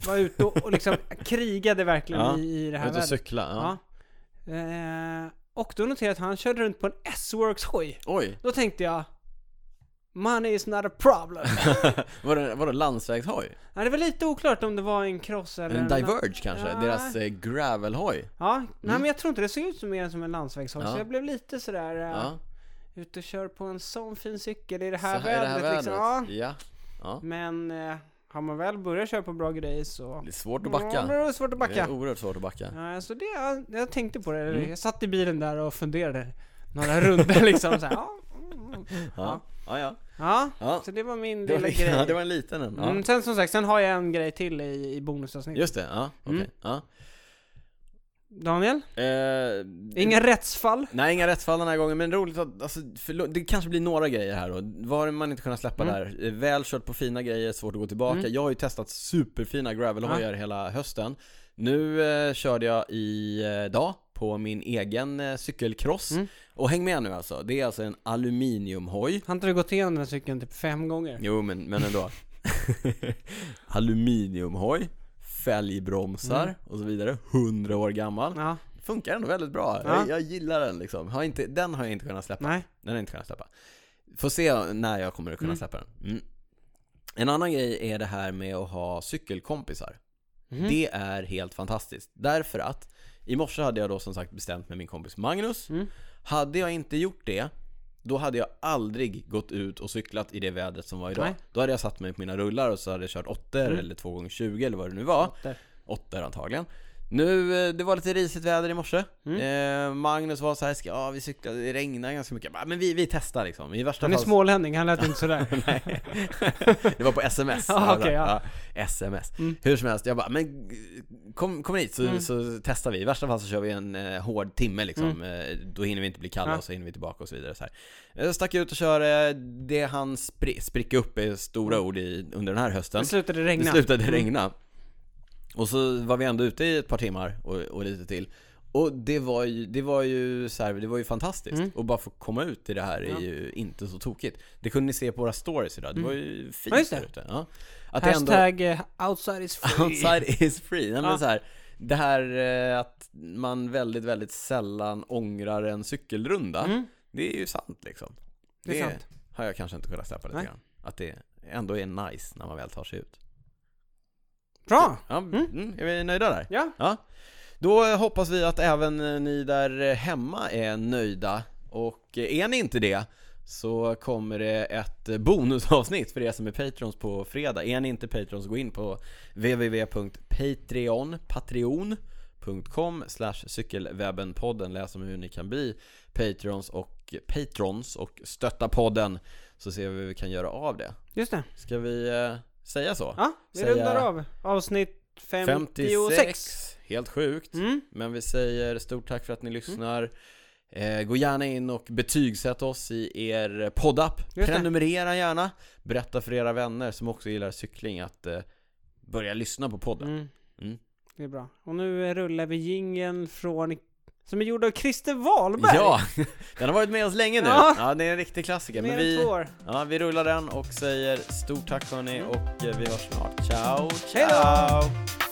[SPEAKER 1] var ute och, och liksom krigade verkligen
[SPEAKER 2] Ja,
[SPEAKER 1] i, i det här
[SPEAKER 2] Ut och
[SPEAKER 1] vädret.
[SPEAKER 2] cykla, ja.
[SPEAKER 1] Ja. Eh, och då noterade jag att han körde runt på en S-Works hoj.
[SPEAKER 2] Oj,
[SPEAKER 1] Då tänkte jag Money is not a problem.
[SPEAKER 2] var det, var det landsvägshoj?
[SPEAKER 1] Nej, det var lite oklart om det var en cross eller
[SPEAKER 2] En diverge kanske?
[SPEAKER 1] Ja.
[SPEAKER 2] Deras eh, gravelhoj?
[SPEAKER 1] Ja, nej men jag tror inte det såg ut som mer än som en landsvägshoj så
[SPEAKER 2] Mm. Ja.
[SPEAKER 1] jag blev lite sådär eh,
[SPEAKER 2] Ja,
[SPEAKER 1] ute och kör på en sån fin cykel i det
[SPEAKER 2] så
[SPEAKER 1] här,
[SPEAKER 2] här är det här
[SPEAKER 1] vädret
[SPEAKER 2] vädret,
[SPEAKER 1] liksom. Ja.
[SPEAKER 2] ja. ja
[SPEAKER 1] Men eh, har man väl börjat köra på bra grejer så...
[SPEAKER 2] Det är svårt att
[SPEAKER 1] Ja,
[SPEAKER 2] backa,
[SPEAKER 1] det är svårt att
[SPEAKER 2] det är
[SPEAKER 1] backa.
[SPEAKER 2] oerhört svårt att backa
[SPEAKER 1] Ja, så det, jag, jag tänkte på det.
[SPEAKER 2] Mm.
[SPEAKER 1] Jag satt i bilen där och funderade några runder liksom så här, ja, mm.
[SPEAKER 2] Ja, ja, ja,
[SPEAKER 1] ja,
[SPEAKER 2] ja.
[SPEAKER 1] så det var min
[SPEAKER 2] Det, var,
[SPEAKER 1] lilla
[SPEAKER 2] li- ja, det
[SPEAKER 1] grej.
[SPEAKER 2] var en liten en ja.
[SPEAKER 1] Mm, sen som sagt, sen har jag en grej till i, i bonusavsnittet.
[SPEAKER 2] Just det, ja, okej,
[SPEAKER 1] Mm.
[SPEAKER 2] ja
[SPEAKER 1] Daniel?
[SPEAKER 2] Eh,
[SPEAKER 1] Inga rättsfall?
[SPEAKER 2] Nej, inga rättsfall den här gången, men roligt att, alltså, förlåt, det kanske blir några grejer här då. Vad har man inte kunnat släppa
[SPEAKER 1] Mm.
[SPEAKER 2] där? Eh, Väl kört på fina grejer, svårt att gå tillbaka.
[SPEAKER 1] Mm.
[SPEAKER 2] Jag har ju testat superfina gravelhojar hela hösten. Nu eh, körde jag i eh, dag på min egen eh, cykelcross.
[SPEAKER 1] Mm.
[SPEAKER 2] Och häng med nu alltså, det är alltså en aluminiumhoj.
[SPEAKER 1] Har inte du gått igenom den här cykeln typ fem gånger?
[SPEAKER 2] Jo, men, men ändå. aluminiumhoj, fälgbromsar
[SPEAKER 1] Mm.
[SPEAKER 2] och så vidare. 100 år gammal.
[SPEAKER 1] Ja,
[SPEAKER 2] Funkar ändå väldigt bra.
[SPEAKER 1] Ja.
[SPEAKER 2] Jag, jag gillar den liksom. Har inte, den har jag inte kunnat släppa.
[SPEAKER 1] nej.
[SPEAKER 2] Den har jag inte kunnat släppa. Får se när jag kommer att kunna
[SPEAKER 1] Mm.
[SPEAKER 2] släppa den. Mm. En annan grej är det här med att ha cykelkompisar.
[SPEAKER 1] Mhm.
[SPEAKER 2] Det är helt fantastiskt. Därför att i morse hade jag då som sagt bestämt med min kompis Magnus.
[SPEAKER 1] Mm.
[SPEAKER 2] Hade jag inte gjort det, då hade jag aldrig gått ut och cyklat i det vädret som var idag.
[SPEAKER 1] Nej. Mm.
[SPEAKER 2] Då hade jag satt mig på mina rullar och så hade jag kört åttor eller 2x20 eller vad det nu var.
[SPEAKER 1] Där.
[SPEAKER 2] Åttor antagligen. Nu, eh, det var lite risigt väder i morse.
[SPEAKER 1] Mm.
[SPEAKER 2] Eh, Magnus var så här, ska, ja vi cyklade, det regnade ganska mycket. Jag bara, Men vi, vi testar liksom. I värsta
[SPEAKER 1] Han är
[SPEAKER 2] fall-
[SPEAKER 1] smålänning, han lät inte sådär.
[SPEAKER 2] Nej. det var på sms.
[SPEAKER 1] Ja, okej, ja. Mm.
[SPEAKER 2] Ja, sms. Hur som helst, jag bara, men kom, kom hit så, så testar vi. I värsta fall så kör vi en eh, hård timme liksom. Eh, då hinner vi inte bli kalla
[SPEAKER 1] Mm. Ja.
[SPEAKER 2] och så hinner vi tillbaka och så vidare. Så här. Jag stack ut och körde det han spri- spricka upp är stora
[SPEAKER 1] Mm.
[SPEAKER 2] ord i, under den här hösten.
[SPEAKER 1] Det slutade regna. Mm.
[SPEAKER 2] Det slutade regna. Och så var vi ändå ute i ett par timmar och, och lite till. Och det var ju, det var ju, så här, det var ju fantastiskt. Och bara få komma ut i det här är
[SPEAKER 1] Mm. Ja. Mm.
[SPEAKER 2] ju inte så tokigt. Det kunde ni se på våra stories idag. Det var ju fint
[SPEAKER 1] Ja, just det.
[SPEAKER 2] där ute. Ja. Att det ändå,
[SPEAKER 1] Hashtag eh, outside is free.
[SPEAKER 2] outside is free. Nej, men
[SPEAKER 1] Ja.
[SPEAKER 2] så här, det här eh, att man väldigt, väldigt sällan ångrar en cykelrunda.
[SPEAKER 1] Mm.
[SPEAKER 2] Det är ju sant liksom.
[SPEAKER 1] Det är sant.
[SPEAKER 2] har jag kanske inte kunnat släppa lite
[SPEAKER 1] Nej.
[SPEAKER 2] grann. Att det ändå är nice när man väl tar sig ut.
[SPEAKER 1] Bra!
[SPEAKER 2] Ja, mm, är vi nöjda där?
[SPEAKER 1] Ja.
[SPEAKER 2] ja. Då eh, hoppas vi att även eh, ni där eh, hemma är nöjda. Och eh, är ni inte det så kommer det ett eh, bonusavsnitt för er som är patrons på fredag. Är ni inte patrons, gå in på www.patreon, patreon.com slash cykelwebbenpodden. Läs om hur ni kan bli patrons och patrons och stötta podden så ser vi vad vi kan göra av det.
[SPEAKER 1] Just det.
[SPEAKER 2] Ska vi eh, säga så?
[SPEAKER 1] Ja, vi
[SPEAKER 2] Säga-
[SPEAKER 1] rundar av avsnitt 56.
[SPEAKER 2] 56! Helt sjukt.
[SPEAKER 1] Mm.
[SPEAKER 2] Men vi säger stort tack för att ni lyssnar. Eh, gå gärna in och betygsätt oss i er poddapp.
[SPEAKER 1] det.
[SPEAKER 2] Prenumerera gärna. Berätta för era vänner som också gillar cykling att eh, börja lyssna på podden.
[SPEAKER 1] Mm.
[SPEAKER 2] Mm.
[SPEAKER 1] Det är bra. Och nu eh, rullar vi jingeln från, som är gjord av Christer Wahlberg.
[SPEAKER 2] Ja, den har varit med oss länge nu.
[SPEAKER 1] Mm. Ja.
[SPEAKER 2] Ja, det är en riktig klassiker.
[SPEAKER 1] Mer
[SPEAKER 2] Men
[SPEAKER 1] än två
[SPEAKER 2] vi,
[SPEAKER 1] år.
[SPEAKER 2] ja, vi rullar den och säger stort tack hörni och eh, vi hörs snart. Ciao,
[SPEAKER 1] Hej då!
[SPEAKER 2] ciao!